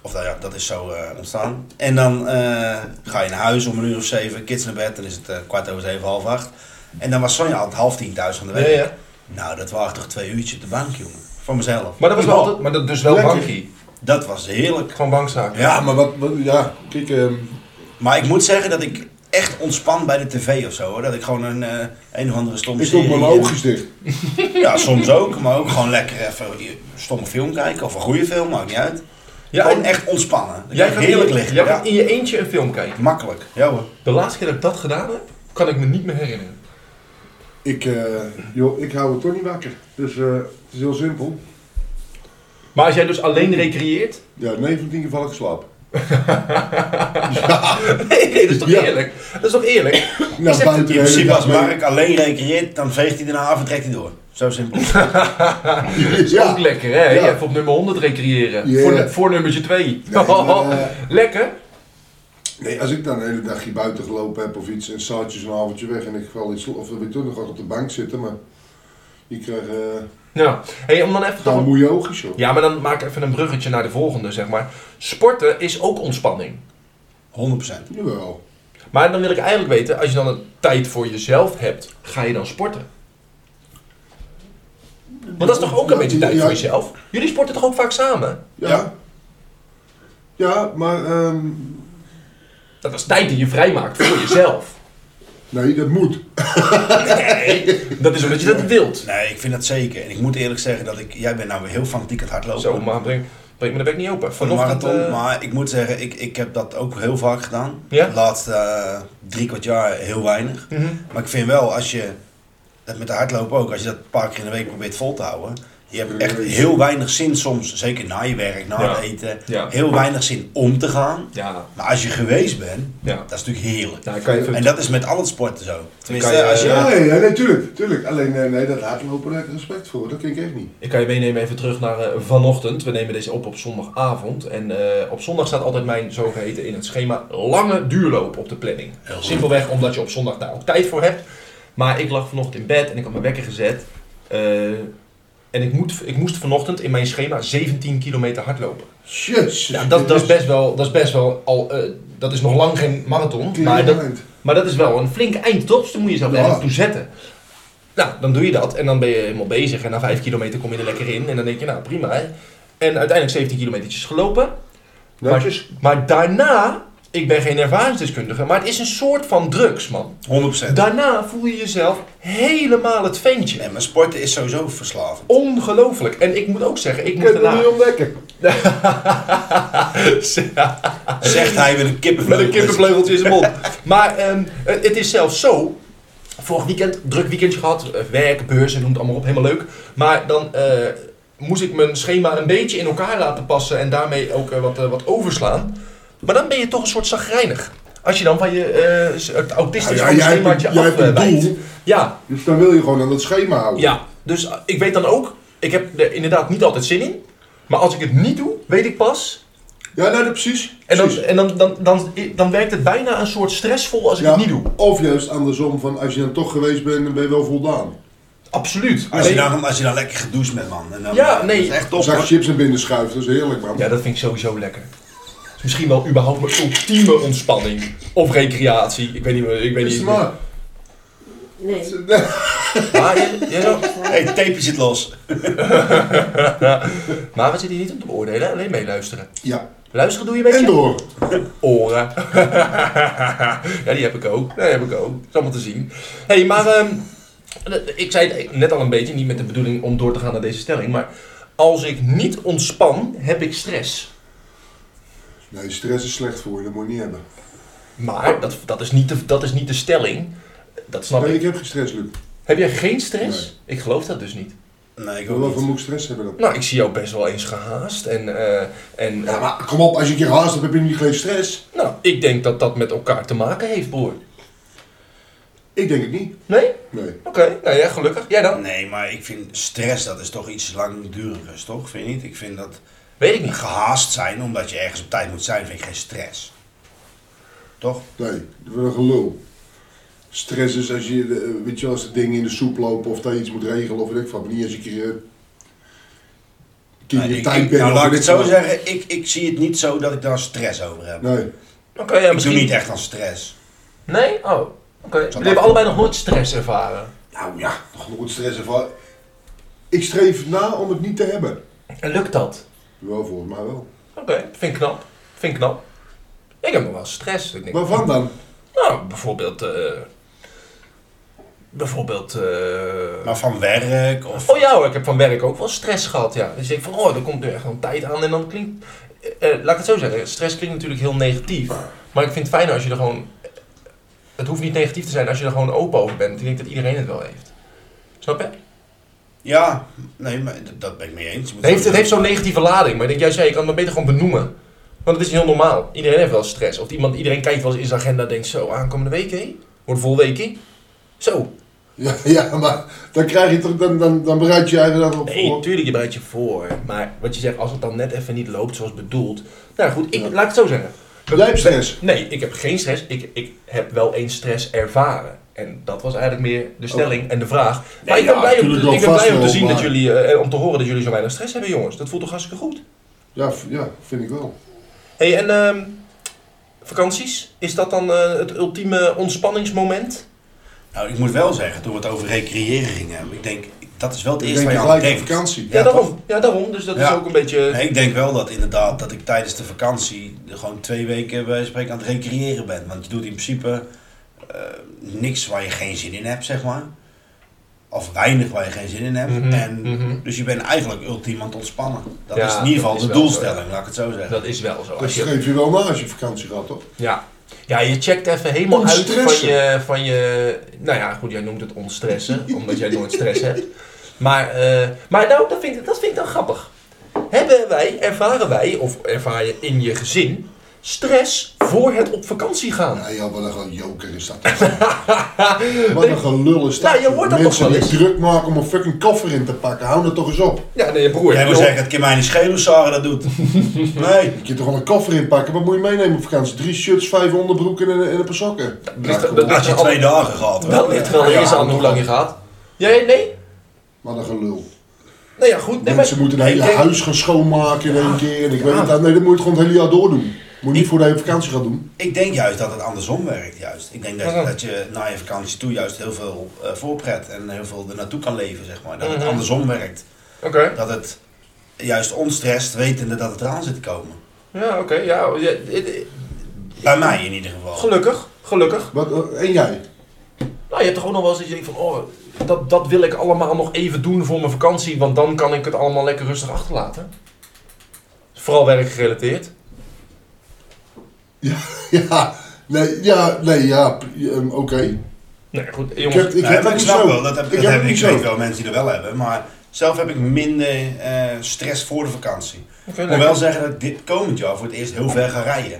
[SPEAKER 3] Of nou ja, dat is zo eh, ontstaan. En dan eh, ga je naar huis om een uur of zeven, kids naar bed. Dan is het eh, kwart over zeven, half acht. En dan was Sonja altijd half tien thuis van de werk. Nou, dat waren toch twee uurtjes op de bank, jongen. Voor mezelf.
[SPEAKER 1] Maar dat was wel
[SPEAKER 2] Ja.
[SPEAKER 1] altijd, maar dat dus wel
[SPEAKER 2] Lekker.
[SPEAKER 1] bankie.
[SPEAKER 3] Dat was heerlijk.
[SPEAKER 1] Gewoon bankzaak.
[SPEAKER 2] Ja, maar wat, wat- ja, kijk, ehm,
[SPEAKER 3] Maar ik moet zeggen dat ik echt ontspan bij de tv of zo. Hoor. Dat ik gewoon een, eh, een of andere stomme
[SPEAKER 2] ik doe
[SPEAKER 3] serie-
[SPEAKER 2] mijn oogjes dicht.
[SPEAKER 3] Ja, soms ook, maar ook gewoon lekker even een stomme film kijken of een goede film, maakt niet uit.
[SPEAKER 1] Ja,
[SPEAKER 3] gewoon
[SPEAKER 1] en-
[SPEAKER 3] echt ontspannen. Dan
[SPEAKER 1] Jij
[SPEAKER 3] kan
[SPEAKER 1] gaat,
[SPEAKER 3] ik heerlijk
[SPEAKER 1] in,
[SPEAKER 3] liggen.
[SPEAKER 1] jij
[SPEAKER 3] ja.
[SPEAKER 1] gaat in je eentje een film kijken.
[SPEAKER 3] Makkelijk. Ja hoor.
[SPEAKER 1] De laatste keer dat ik dat gedaan heb, kan ik me niet meer herinneren.
[SPEAKER 2] Ik, eh, joh, ik hou het toch niet wakker. Dus eh, het is heel simpel.
[SPEAKER 1] Maar als jij dus alleen recreëert.
[SPEAKER 2] Ja, 9 van 10 keer val ik in slaap.
[SPEAKER 1] (laughs) Nee, nee, dat is toch
[SPEAKER 2] Ja.
[SPEAKER 1] eerlijk? Dat is toch eerlijk?
[SPEAKER 2] Nou,
[SPEAKER 1] het
[SPEAKER 2] buiten
[SPEAKER 3] In
[SPEAKER 2] de hele
[SPEAKER 3] principe
[SPEAKER 2] dag
[SPEAKER 3] als
[SPEAKER 2] mee.
[SPEAKER 3] Mark alleen recreëert, dan veegt hij daarna af en trekt hij door. Zo simpel.
[SPEAKER 1] Dat is
[SPEAKER 2] (laughs) Ja.
[SPEAKER 1] ook lekker, hè?
[SPEAKER 2] Ja.
[SPEAKER 1] Even op nummer 100 recreëren.
[SPEAKER 2] Ja.
[SPEAKER 1] Voor, nu- voor nummertje 2. (laughs)
[SPEAKER 2] Nee, maar, eh,
[SPEAKER 1] lekker?
[SPEAKER 2] Nee, als ik dan een hele dagje buiten gelopen heb of iets en saartjes een avondje weg en ik val iets, of dan wil ik toch nog wat op de bank zitten, maar je krijgt eh
[SPEAKER 1] Ja. Hey, om dan even
[SPEAKER 2] gewoon
[SPEAKER 1] toch...
[SPEAKER 2] moeie oogjes joh.
[SPEAKER 1] Ja, maar dan maak ik even een bruggetje naar de volgende, zeg maar. Sporten is ook ontspanning.
[SPEAKER 3] 100%.
[SPEAKER 2] Jawel.
[SPEAKER 1] Maar dan wil ik eigenlijk weten, als je dan een tijd voor jezelf hebt, ga je dan sporten? Want dat is toch ook een
[SPEAKER 2] Ja,
[SPEAKER 1] beetje
[SPEAKER 2] ja,
[SPEAKER 1] tijd voor
[SPEAKER 2] ja.
[SPEAKER 1] jezelf? Jullie sporten toch ook vaak samen?
[SPEAKER 2] Ja.
[SPEAKER 3] Ja.
[SPEAKER 2] Ja, maar ehm,
[SPEAKER 1] Dat is tijd die je vrijmaakt voor jezelf.
[SPEAKER 2] (laughs) nee, dat moet.
[SPEAKER 1] Nee, dat is omdat je dat wilt.
[SPEAKER 3] Nee, ik vind dat zeker. En ik moet eerlijk zeggen dat ik, jij bent nou weer heel fanatiek aan het hardlopen.
[SPEAKER 1] Zo, maar breng, breng me de bek niet open.
[SPEAKER 3] Voor de marathon,
[SPEAKER 1] eh,
[SPEAKER 3] maar ik moet zeggen, ik, ik heb dat ook heel vaak gedaan.
[SPEAKER 1] Ja?
[SPEAKER 3] De laatste eh, drie kwart jaar heel weinig.
[SPEAKER 1] mhm.
[SPEAKER 3] Maar ik vind wel, als je dat met de hardlopen ook, als je dat een paar keer in de week probeert vol te houden. Je hebt echt heel weinig zin soms, zeker na je werk, na
[SPEAKER 1] Ja.
[SPEAKER 3] het eten.
[SPEAKER 1] Ja.
[SPEAKER 3] Heel weinig zin om te gaan.
[SPEAKER 1] Ja,
[SPEAKER 3] Maar als je geweest bent,
[SPEAKER 1] ja.
[SPEAKER 3] dat is natuurlijk heerlijk.
[SPEAKER 1] Nou, ik kan je even-
[SPEAKER 3] En dat is met al het sporten zo. Tenminste,
[SPEAKER 1] kan je-
[SPEAKER 3] als je...
[SPEAKER 2] Ja, nee, nee, nee, tuurlijk, tuurlijk. Alleen nee, nee, dat hardlopen daar heb ik respect voor, dat ken ik echt niet.
[SPEAKER 1] Ik kan je meenemen even terug naar eh, vanochtend. We nemen deze op op zondagavond. En eh, op zondag staat altijd mijn zogeheten in het schema lange duurloop op de planning.
[SPEAKER 3] goed.
[SPEAKER 1] Simpelweg omdat je op zondag daar ook tijd voor hebt. Maar ik lag vanochtend in bed en ik had mijn wekker gezet. Eh, en ik, moet, ik moest vanochtend in mijn schema 17 kilometer hardlopen.
[SPEAKER 2] Jezus.
[SPEAKER 3] Dus
[SPEAKER 1] Ja, dat, dat, is best wel, dat is best wel al. eh, dat is nog lang geen marathon. Maar dat, maar dat is wel een flink eind, toch? Dus dan moet je jezelf
[SPEAKER 2] Ja.
[SPEAKER 1] ergens toe zetten. Nou, dan doe je dat en dan ben je helemaal bezig. En na 5 kilometer kom je er lekker in. En dan denk je, nou prima. Hè? En uiteindelijk 17 kilometertjes gelopen. Maar,
[SPEAKER 2] Netjes.
[SPEAKER 1] maar daarna ik ben geen ervaringsdeskundige, maar het is een soort van drugs, man.
[SPEAKER 3] 100%.
[SPEAKER 1] Daarna voel je jezelf helemaal het ventje.
[SPEAKER 3] Nee, maar sporten is sowieso verslavend.
[SPEAKER 1] Ongelooflijk. En ik moet ook zeggen, ik
[SPEAKER 2] Ik kan
[SPEAKER 1] moest
[SPEAKER 2] het nog niet
[SPEAKER 1] daarna...
[SPEAKER 2] ontdekken.
[SPEAKER 1] (laughs)
[SPEAKER 3] Zegt hij met een
[SPEAKER 1] Met
[SPEAKER 3] kippenvleugel.
[SPEAKER 1] een kippenvleugeltje in zijn mond. (laughs) Maar ehm, het het is zelfs zo. Vorig weekend, druk weekendje gehad. eh, Werk, beurs en noem het allemaal op. Helemaal leuk. Maar dan eh, moest ik mijn schema een beetje in elkaar laten passen. En daarmee ook eh, wat, eh, wat overslaan. Maar dan ben je toch een soort zagrijnig. Als je dan van je eh, s- het
[SPEAKER 2] Ja,
[SPEAKER 1] autistische
[SPEAKER 2] ja, jij hebt,
[SPEAKER 1] schemaatje
[SPEAKER 2] een- jij hebt een
[SPEAKER 1] afwijkt.
[SPEAKER 2] doel,
[SPEAKER 1] Ja,
[SPEAKER 2] dus dan wil je gewoon aan dat schema houden.
[SPEAKER 1] Ja, dus eh, ik weet dan ook, ik heb er inderdaad niet altijd zin in. Maar als ik het niet doe, weet ik pas.
[SPEAKER 2] Ja, nee, dat- precies.
[SPEAKER 1] En dan,
[SPEAKER 2] precies.
[SPEAKER 1] en dan, dan, dan, dan werkt het bijna een soort stressvol als ik
[SPEAKER 2] Ja,
[SPEAKER 1] het niet doe.
[SPEAKER 2] Of juist andersom, van als je dan toch geweest bent, dan ben je wel voldaan. Dus
[SPEAKER 1] Absoluut.
[SPEAKER 3] Als je,
[SPEAKER 1] Nee.
[SPEAKER 2] nou-
[SPEAKER 3] dan, als je dan lekker gedoucht bent, man. En dan,
[SPEAKER 1] Ja, nee.
[SPEAKER 3] Dat is echt
[SPEAKER 2] Een
[SPEAKER 3] top,
[SPEAKER 2] zak
[SPEAKER 3] hoor.
[SPEAKER 2] chips naar binnen schuift, dat is heerlijk man.
[SPEAKER 1] Ja, dat vind ik sowieso lekker. Dat is misschien wel überhaupt mijn ultieme ontspanning. Of recreatie. Ik weet niet meer. Ik weet
[SPEAKER 2] Is
[SPEAKER 1] niet
[SPEAKER 2] het maar.
[SPEAKER 5] Nee.
[SPEAKER 1] Maar, je- je zo-
[SPEAKER 3] hey, het tapeje zit los.
[SPEAKER 1] maar we zitten hier niet om te beoordelen, hè? alleen meeluisteren.
[SPEAKER 2] Ja,
[SPEAKER 1] Luisteren doe je met
[SPEAKER 2] en
[SPEAKER 1] je
[SPEAKER 2] door.
[SPEAKER 1] oren. (laughs) ja, die heb ik ook. Die heb ik ook. Dat is allemaal te zien. Hé, hey, maar ehm, ik zei het net al een beetje, niet met de bedoeling om door te gaan naar deze stelling, maar als ik niet ontspan, heb ik stress.
[SPEAKER 2] Nee, stress is slecht voor je, dat moet je niet hebben.
[SPEAKER 1] Maar dat, dat, is, niet de, dat is niet de stelling. Dat snap
[SPEAKER 2] Nee,
[SPEAKER 1] ik.
[SPEAKER 2] ik heb geen stress, Luc.
[SPEAKER 1] Heb jij geen stress? Ik geloof dat dus niet.
[SPEAKER 3] Nee, ik ook
[SPEAKER 2] Waarvoor
[SPEAKER 3] niet.
[SPEAKER 2] moet ik stress hebben dan?
[SPEAKER 1] Nou, ik zie jou best wel eens gehaast en... eh, en
[SPEAKER 2] Ja, maar kom op, als je een keer haast hebt, heb je niet geen stress.
[SPEAKER 1] Nou, ik denk dat dat met elkaar te maken heeft, broer.
[SPEAKER 2] Ik denk het niet.
[SPEAKER 1] Nee?
[SPEAKER 2] Nee.
[SPEAKER 1] Oké, nou ja, gelukkig. Jij dan?
[SPEAKER 3] Nee, maar ik vind stress, dat is toch iets langdurigers, toch? Vind je niet? Ik vind dat
[SPEAKER 1] Weet ik niet.
[SPEAKER 3] gehaast zijn, omdat je ergens op tijd moet zijn, vind ik geen stress. Toch?
[SPEAKER 2] Nee, dat is wel een gelul. Stress is als je, eh, weet je, wel, als de dingen in de soep lopen of dat je iets moet regelen of weet ik wat. Maar niet als je een keer, eh, een keer
[SPEAKER 3] Nou,
[SPEAKER 2] in je
[SPEAKER 3] ik-
[SPEAKER 2] tijd
[SPEAKER 3] ik-
[SPEAKER 2] bent.
[SPEAKER 3] nou,
[SPEAKER 2] of
[SPEAKER 3] laat ik
[SPEAKER 2] weet
[SPEAKER 3] het zo
[SPEAKER 2] wat.
[SPEAKER 3] zeggen. Ik, ik zie het niet zo dat ik daar stress over heb.
[SPEAKER 2] Nee.
[SPEAKER 1] Oké, ja,
[SPEAKER 3] ik doe
[SPEAKER 1] misschien
[SPEAKER 3] niet echt aan stress.
[SPEAKER 1] Nee? Oh, oké. Jullie
[SPEAKER 3] dat-
[SPEAKER 1] hebben allebei nog nooit stress ervaren.
[SPEAKER 2] Nou ja, nog nooit stress ervaren. Ik streef na om het niet te hebben.
[SPEAKER 1] En lukt dat?
[SPEAKER 2] Wel, volgens mij wel.
[SPEAKER 1] Oké, vind ik knap. Vind ik knap. Ik heb nog wel stress. Ik denk,
[SPEAKER 2] Waarvan dan? (laughs)
[SPEAKER 1] Nou, bijvoorbeeld... eh, bijvoorbeeld... eh,
[SPEAKER 3] Maar van werk of...
[SPEAKER 1] Oh ja hoor, ik heb van werk ook wel stress gehad, ja. Dus ik denk van, oh, er komt nu echt een tijd aan en dan klinkt... eh, eh, laat ik het zo zeggen, stress klinkt natuurlijk heel negatief. Maar ik vind het fijn als je er gewoon... Het hoeft niet negatief te zijn als je er gewoon open over bent. Ik denk dat iedereen het wel heeft. Snap je?
[SPEAKER 3] Ja, nee, maar dat- dat ben ik mee eens. Je
[SPEAKER 1] Het
[SPEAKER 3] moet
[SPEAKER 1] heeft, het
[SPEAKER 3] gewoon-
[SPEAKER 1] heeft zo'n negatieve lading, maar ik denk juist, ja, je kan het maar beter gewoon benoemen. Want het is heel normaal. Iedereen heeft wel stress. Of iemand, iedereen kijkt wel eens in zijn agenda en denkt, zo, aankomende week, hé? Wordt vol weekie. Zo.
[SPEAKER 2] Ja, ja, maar dan krijg je toch, dan, dan, dan bereid je je eigen dag op
[SPEAKER 1] Nee,
[SPEAKER 2] voor.
[SPEAKER 1] natuurlijk, je bereidt je voor. Maar wat je zegt, als het dan net even niet loopt zoals bedoeld. Nou goed, ik,
[SPEAKER 2] Ja.
[SPEAKER 1] laat ik het zo zeggen.
[SPEAKER 2] Jij hebt stress.
[SPEAKER 1] Nee, ik heb geen stress. Ik, ik heb wel eens stress ervaren. En dat was eigenlijk meer de
[SPEAKER 3] Oh.
[SPEAKER 1] stelling en de vraag. Maar ik ben
[SPEAKER 2] ja,
[SPEAKER 1] blij om,
[SPEAKER 2] natuurlijk
[SPEAKER 1] te-
[SPEAKER 2] wel
[SPEAKER 1] ik ben blij
[SPEAKER 2] vast
[SPEAKER 1] om te
[SPEAKER 2] wel,
[SPEAKER 1] zien dat
[SPEAKER 2] maar-
[SPEAKER 1] jullie, eh, eh, om te horen dat jullie zo weinig stress hebben, jongens. Dat voelt toch hartstikke goed.
[SPEAKER 2] Ja, v- ja, vind ik wel.
[SPEAKER 1] Hey, en ehm, vakanties? Is dat dan eh, het ultieme ontspanningsmoment?
[SPEAKER 3] Nou, ik moet wel zeggen, toen we het over recreëren gingen hebben, ik denk, dat is wel het
[SPEAKER 2] Ik
[SPEAKER 3] eerste
[SPEAKER 2] denk
[SPEAKER 3] waar je aan
[SPEAKER 2] gelijk aan
[SPEAKER 3] denkt.
[SPEAKER 2] vakantie.
[SPEAKER 1] Ja,
[SPEAKER 3] Ja,
[SPEAKER 1] daarom. Ja, daarom. Dus dat is
[SPEAKER 3] Ja.
[SPEAKER 1] ook een beetje...
[SPEAKER 3] Nee, ik denk wel dat inderdaad, dat ik tijdens de vakantie gewoon twee weken bij wijze van spreken aan het recreëren ben. Want je doet in principe eh, niks waar je geen zin in hebt, zeg maar. Of weinig waar je geen zin in hebt.
[SPEAKER 1] Mhm,
[SPEAKER 3] en,
[SPEAKER 1] mhm.
[SPEAKER 3] Dus je bent eigenlijk ultiem aan het ontspannen. Dat
[SPEAKER 1] Ja,
[SPEAKER 3] is in ieder
[SPEAKER 1] dat
[SPEAKER 3] geval
[SPEAKER 1] is
[SPEAKER 3] de
[SPEAKER 1] wel zo,
[SPEAKER 3] doelstelling, laat ik het zo zeggen.
[SPEAKER 1] Dat is wel zo.
[SPEAKER 2] Dat
[SPEAKER 1] Als je,
[SPEAKER 2] streef je wel na als je vakantie gaat, toch?
[SPEAKER 1] ja. ja, je checkt even helemaal uit van
[SPEAKER 2] Ontstressen.
[SPEAKER 1] je, van je... Nou ja, goed, jij noemt het onstressen. omdat jij nooit stress hebt. Maar, eh, maar nou, dat vind, ik, dat vind ik dan grappig. Hebben wij, ervaren wij, of ervaar je in je gezin... stress voor het op vakantie
[SPEAKER 2] (laughs)
[SPEAKER 1] gaan?
[SPEAKER 2] Nee, joh, wat een gewoon joker is dat. (laughs) wat een gelul is dat.
[SPEAKER 1] Ja, je hoort dat
[SPEAKER 2] Mensen
[SPEAKER 1] toch wel
[SPEAKER 2] die
[SPEAKER 1] eens?
[SPEAKER 2] druk maken om een fucking koffer in te pakken, hou dat toch eens op.
[SPEAKER 1] Ja, nee, broer.
[SPEAKER 3] Jij wil
[SPEAKER 1] joh.
[SPEAKER 3] zeggen, het kan mij niet schelen hoe Sarah dat
[SPEAKER 1] (laughs)
[SPEAKER 3] doet. nee.
[SPEAKER 2] Je kunt toch wel een koffer inpakken, wat moet je meenemen op vakantie? Drie shirts, vijf onderbroeken en, en een paar sokken. Ja,
[SPEAKER 1] ligt-
[SPEAKER 2] kom
[SPEAKER 1] dat
[SPEAKER 2] op.
[SPEAKER 1] ligt-
[SPEAKER 3] Als je twee dagen gehad hoor.
[SPEAKER 1] Dat ligt wel eens aan hoe lang je gaat. Jij, nee?
[SPEAKER 2] Wat een gelul.
[SPEAKER 1] Nou ja, goed. Nee,
[SPEAKER 2] Mensen
[SPEAKER 1] maar,
[SPEAKER 2] moeten het hele
[SPEAKER 1] Ik denk-
[SPEAKER 2] huis gaan schoonmaken in één keer. En ik weet het, nee, dat moet je het gewoon het hele jaar door doen. Moet je niet voor de hele vakantie gaan doen.
[SPEAKER 3] Ik denk juist dat het andersom werkt. Juist. Ik denk dat,
[SPEAKER 1] Waarom?
[SPEAKER 3] dat je na je vakantie toe juist heel veel eh, voorpret en heel veel er naartoe kan leven. Zeg maar. Dat
[SPEAKER 1] Mhm.
[SPEAKER 3] het andersom werkt.
[SPEAKER 1] Oké.
[SPEAKER 3] Dat het juist onstrest, wetende dat het eraan zit te komen.
[SPEAKER 1] Ja, oké. ja, ja, het- het-
[SPEAKER 3] Bij mij in ieder geval.
[SPEAKER 1] eh, Gelukkig, gelukkig.
[SPEAKER 2] Wat, eh, en jij? (laughs)
[SPEAKER 1] Nou, je hebt toch ook nog wel eens dat je denkt van, oh, dat, dat wil ik allemaal nog even doen voor mijn vakantie, want dan kan ik het allemaal lekker rustig achterlaten. Vooral werkgerelateerd.
[SPEAKER 2] Ja, nee, ja, nee, ja, p- ehm, oké.
[SPEAKER 1] Nee, goed,
[SPEAKER 2] Ik
[SPEAKER 1] Eh, jongens.
[SPEAKER 2] heb, ik
[SPEAKER 3] Nee,
[SPEAKER 2] heb
[SPEAKER 3] maar
[SPEAKER 2] het
[SPEAKER 3] ik
[SPEAKER 2] niet
[SPEAKER 3] snap
[SPEAKER 2] zo.
[SPEAKER 3] wel, Nou, dat heb,
[SPEAKER 2] ik
[SPEAKER 3] dat heb,
[SPEAKER 2] het
[SPEAKER 3] ik
[SPEAKER 2] niet
[SPEAKER 3] weet
[SPEAKER 2] zo.
[SPEAKER 3] wel mensen die dat wel hebben, maar zelf heb ik minder eh, stress voor de vakantie.
[SPEAKER 1] Oké,
[SPEAKER 3] Ik
[SPEAKER 1] lekker.
[SPEAKER 3] wil wel zeggen dat ik dit komend jaar voor het eerst heel ver ga rijden.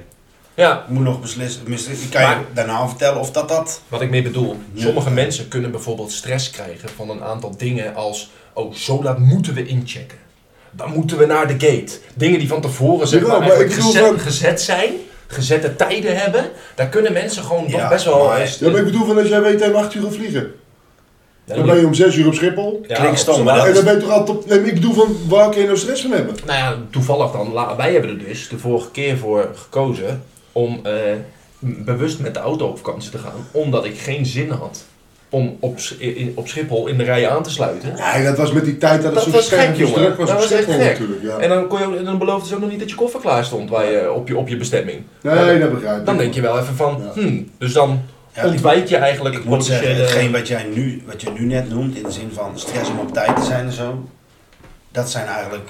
[SPEAKER 1] Ja,
[SPEAKER 3] Ik moet nog beslissen, misschien- ik kan je
[SPEAKER 1] Maar-
[SPEAKER 3] daarna vertellen of dat dat...
[SPEAKER 1] wat ik mee bedoel.
[SPEAKER 3] Ja.
[SPEAKER 1] Sommige mensen kunnen bijvoorbeeld stress krijgen van een aantal dingen als, oh, zo laat moeten we inchecken. Dan moeten we naar de gate. Dingen die van tevoren zeg
[SPEAKER 2] Jawel,
[SPEAKER 1] maar,
[SPEAKER 2] maar ik
[SPEAKER 1] eigenlijk
[SPEAKER 2] bedoel
[SPEAKER 1] gezet,
[SPEAKER 2] van-
[SPEAKER 1] gezet zijn, gezette tijden hebben. Daar kunnen mensen gewoon
[SPEAKER 3] Ja,
[SPEAKER 1] toch best wel...
[SPEAKER 3] maar-
[SPEAKER 1] eh,
[SPEAKER 2] Ja, maar ik bedoel van als jij weet dat je om 8 uur gaat vliegen. Dan ben je om 6 uur op Schiphol.
[SPEAKER 1] Ja,
[SPEAKER 3] Klinkt stom,
[SPEAKER 1] op-
[SPEAKER 3] maar dat
[SPEAKER 2] En
[SPEAKER 3] is-
[SPEAKER 2] dan ben je toch altijd op... Nee, maar ik bedoel van waar kun je nou stress van hebben?
[SPEAKER 1] Nou ja, toevallig dan. la- Wij hebben er dus de vorige keer voor gekozen om eh, m- bewust met de auto op vakantie te gaan. Omdat ik geen zin had om op, Sch- in, op Schiphol in de rij aan te sluiten.
[SPEAKER 2] Nee, dat was met die tijd dat het
[SPEAKER 1] Dat
[SPEAKER 2] zo
[SPEAKER 1] was gek,
[SPEAKER 2] scherp was
[SPEAKER 1] jongen.
[SPEAKER 2] druk was
[SPEAKER 1] Dat
[SPEAKER 2] op
[SPEAKER 1] was echt
[SPEAKER 2] Schiphol
[SPEAKER 1] gek.
[SPEAKER 2] natuurlijk. Ja.
[SPEAKER 1] En dan, kon je, ook- en dan beloofden ze ook nog niet dat je koffer klaar stond waar je, op, je, op je bestemming.
[SPEAKER 2] Nee, dat begrijp ik.
[SPEAKER 1] Dan denk je wel even van,
[SPEAKER 2] Ja.
[SPEAKER 1] hmm, dus dan
[SPEAKER 3] Ja, ik-
[SPEAKER 1] ontwijk je eigenlijk
[SPEAKER 3] Ik moet zeggen,
[SPEAKER 1] potentiële-
[SPEAKER 3] hetgeen wat, jij nu, wat je nu net noemt, in de zin van stress om op tijd te zijn en zo, dat zijn eigenlijk,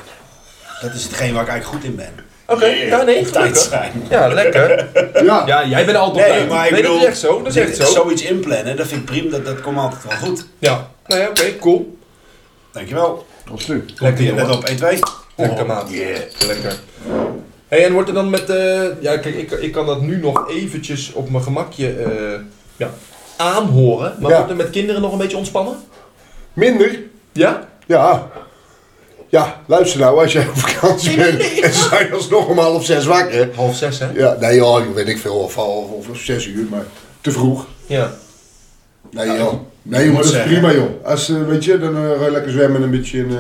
[SPEAKER 3] dat is hetgeen waar ik eigenlijk goed in ben.
[SPEAKER 1] Oké, ja, nee,
[SPEAKER 3] op tijd
[SPEAKER 1] gelukkig.
[SPEAKER 3] zijn.
[SPEAKER 1] Ja, lekker.
[SPEAKER 2] Ja,
[SPEAKER 1] Ja, jij bent altijd
[SPEAKER 3] Nee,
[SPEAKER 1] op
[SPEAKER 3] maar
[SPEAKER 1] tijd.
[SPEAKER 3] ik
[SPEAKER 1] Nee,
[SPEAKER 3] bedoel,
[SPEAKER 1] dat is echt zo. Dat is echt
[SPEAKER 3] dit-
[SPEAKER 1] zo.
[SPEAKER 3] zoiets inplannen, dat vind ik prima, dat, dat komt altijd wel goed.
[SPEAKER 1] Ja, nou ja, oké, cool.
[SPEAKER 3] Dankjewel.
[SPEAKER 2] absoluut.
[SPEAKER 1] Lekker, jongen.
[SPEAKER 3] Let op, 1, 2.
[SPEAKER 1] Lekker maat. Lekker. Hey, en wordt er dan met... eh, ja, kijk, ik, ik kan dat nu nog eventjes op mijn gemakje eh, ja, aanhoren. Maar
[SPEAKER 2] Ja.
[SPEAKER 1] wordt er met kinderen nog een beetje ontspannen?
[SPEAKER 2] Minder?
[SPEAKER 1] Ja?
[SPEAKER 2] Ja. Ja, luister nou, als jij op vakantie bent en ze zijn alsnog om half zes wakker.
[SPEAKER 1] Half zes, hè?
[SPEAKER 2] Ja, nee joh, weet ik veel, of half of, zes uur, maar te vroeg.
[SPEAKER 1] Ja.
[SPEAKER 2] Nee joh, nee, joh, maar dat is
[SPEAKER 3] zeggen.
[SPEAKER 2] prima joh. Als, eh, weet je, dan eh, ga je lekker zwemmen en een beetje in... eh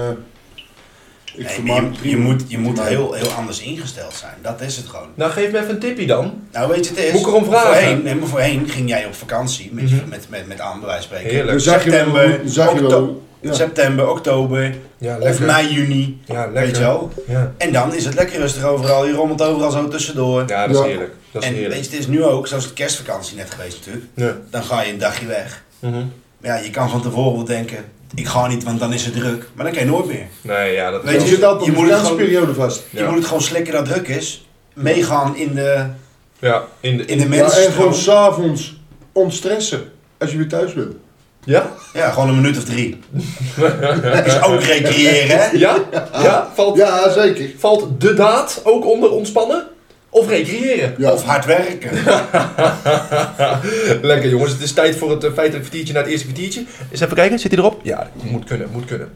[SPEAKER 2] ik
[SPEAKER 3] Nee,
[SPEAKER 2] vermaak me
[SPEAKER 3] maar je, je
[SPEAKER 2] prima.
[SPEAKER 3] moet, je moet
[SPEAKER 2] Maar-
[SPEAKER 3] heel, heel anders ingesteld zijn. Dat is het gewoon.
[SPEAKER 1] Nou, geef me even een tipje dan.
[SPEAKER 3] Nou, weet je, het is.
[SPEAKER 1] Moet ik erom vragen?
[SPEAKER 3] Voorheen, nee, maar voorheen ging jij op vakantie met,
[SPEAKER 1] Mhm.
[SPEAKER 3] met, met, met aan, bij wijze van spreken.
[SPEAKER 1] Heerlijk.
[SPEAKER 2] Dan zag je wel-
[SPEAKER 3] September,
[SPEAKER 2] dan zag je wel-
[SPEAKER 3] okto-
[SPEAKER 2] ja.
[SPEAKER 3] september, oktober
[SPEAKER 1] Ja,
[SPEAKER 3] of mei, juni.
[SPEAKER 1] Ja, lekker.
[SPEAKER 3] Weet je wel?
[SPEAKER 1] Ja.
[SPEAKER 3] En dan is het lekker rustig overal. Je rommelt overal zo tussendoor.
[SPEAKER 1] ja, dat is
[SPEAKER 2] Ja.
[SPEAKER 1] heerlijk. Dat is
[SPEAKER 3] en
[SPEAKER 1] heerlijk.
[SPEAKER 3] weet je, het is nu ook, zoals de kerstvakantie net geweest natuurlijk.
[SPEAKER 1] Ja.
[SPEAKER 3] Dan ga je een dagje weg.
[SPEAKER 1] Mhm.
[SPEAKER 3] Maar ja, je kan van tevoren wel denken, ik ga niet, want dan is het druk. Maar dan kan je nooit meer.
[SPEAKER 1] Nee, ja, dat
[SPEAKER 3] Weet
[SPEAKER 2] Je
[SPEAKER 1] is...
[SPEAKER 2] zit altijd
[SPEAKER 3] je
[SPEAKER 2] op
[SPEAKER 3] moet
[SPEAKER 2] de
[SPEAKER 3] het
[SPEAKER 2] vakantieperiode vast.
[SPEAKER 1] Ja.
[SPEAKER 3] Je moet het gewoon slikken dat druk is. Meegaan in de,
[SPEAKER 1] Ja, in de...
[SPEAKER 3] in de
[SPEAKER 2] Ja,
[SPEAKER 3] mensen.
[SPEAKER 2] en gewoon s'avonds ontstressen, als je weer thuis bent.
[SPEAKER 1] Ja?
[SPEAKER 3] Ja, gewoon een minuut of drie. is ook recreëren, hè?
[SPEAKER 1] Ja? Ja? Valt,
[SPEAKER 2] Ja, zeker.
[SPEAKER 1] valt de daad ook onder ontspannen? Of recreëren?
[SPEAKER 2] Ja.
[SPEAKER 3] Of hard werken.
[SPEAKER 1] (laughs) Lekker jongens, het is tijd voor het eh, feitelijk kwartiertje naar het eerste kwartiertje. Eens even kijken, zit hij erop? Ja, moet kunnen, moet kunnen.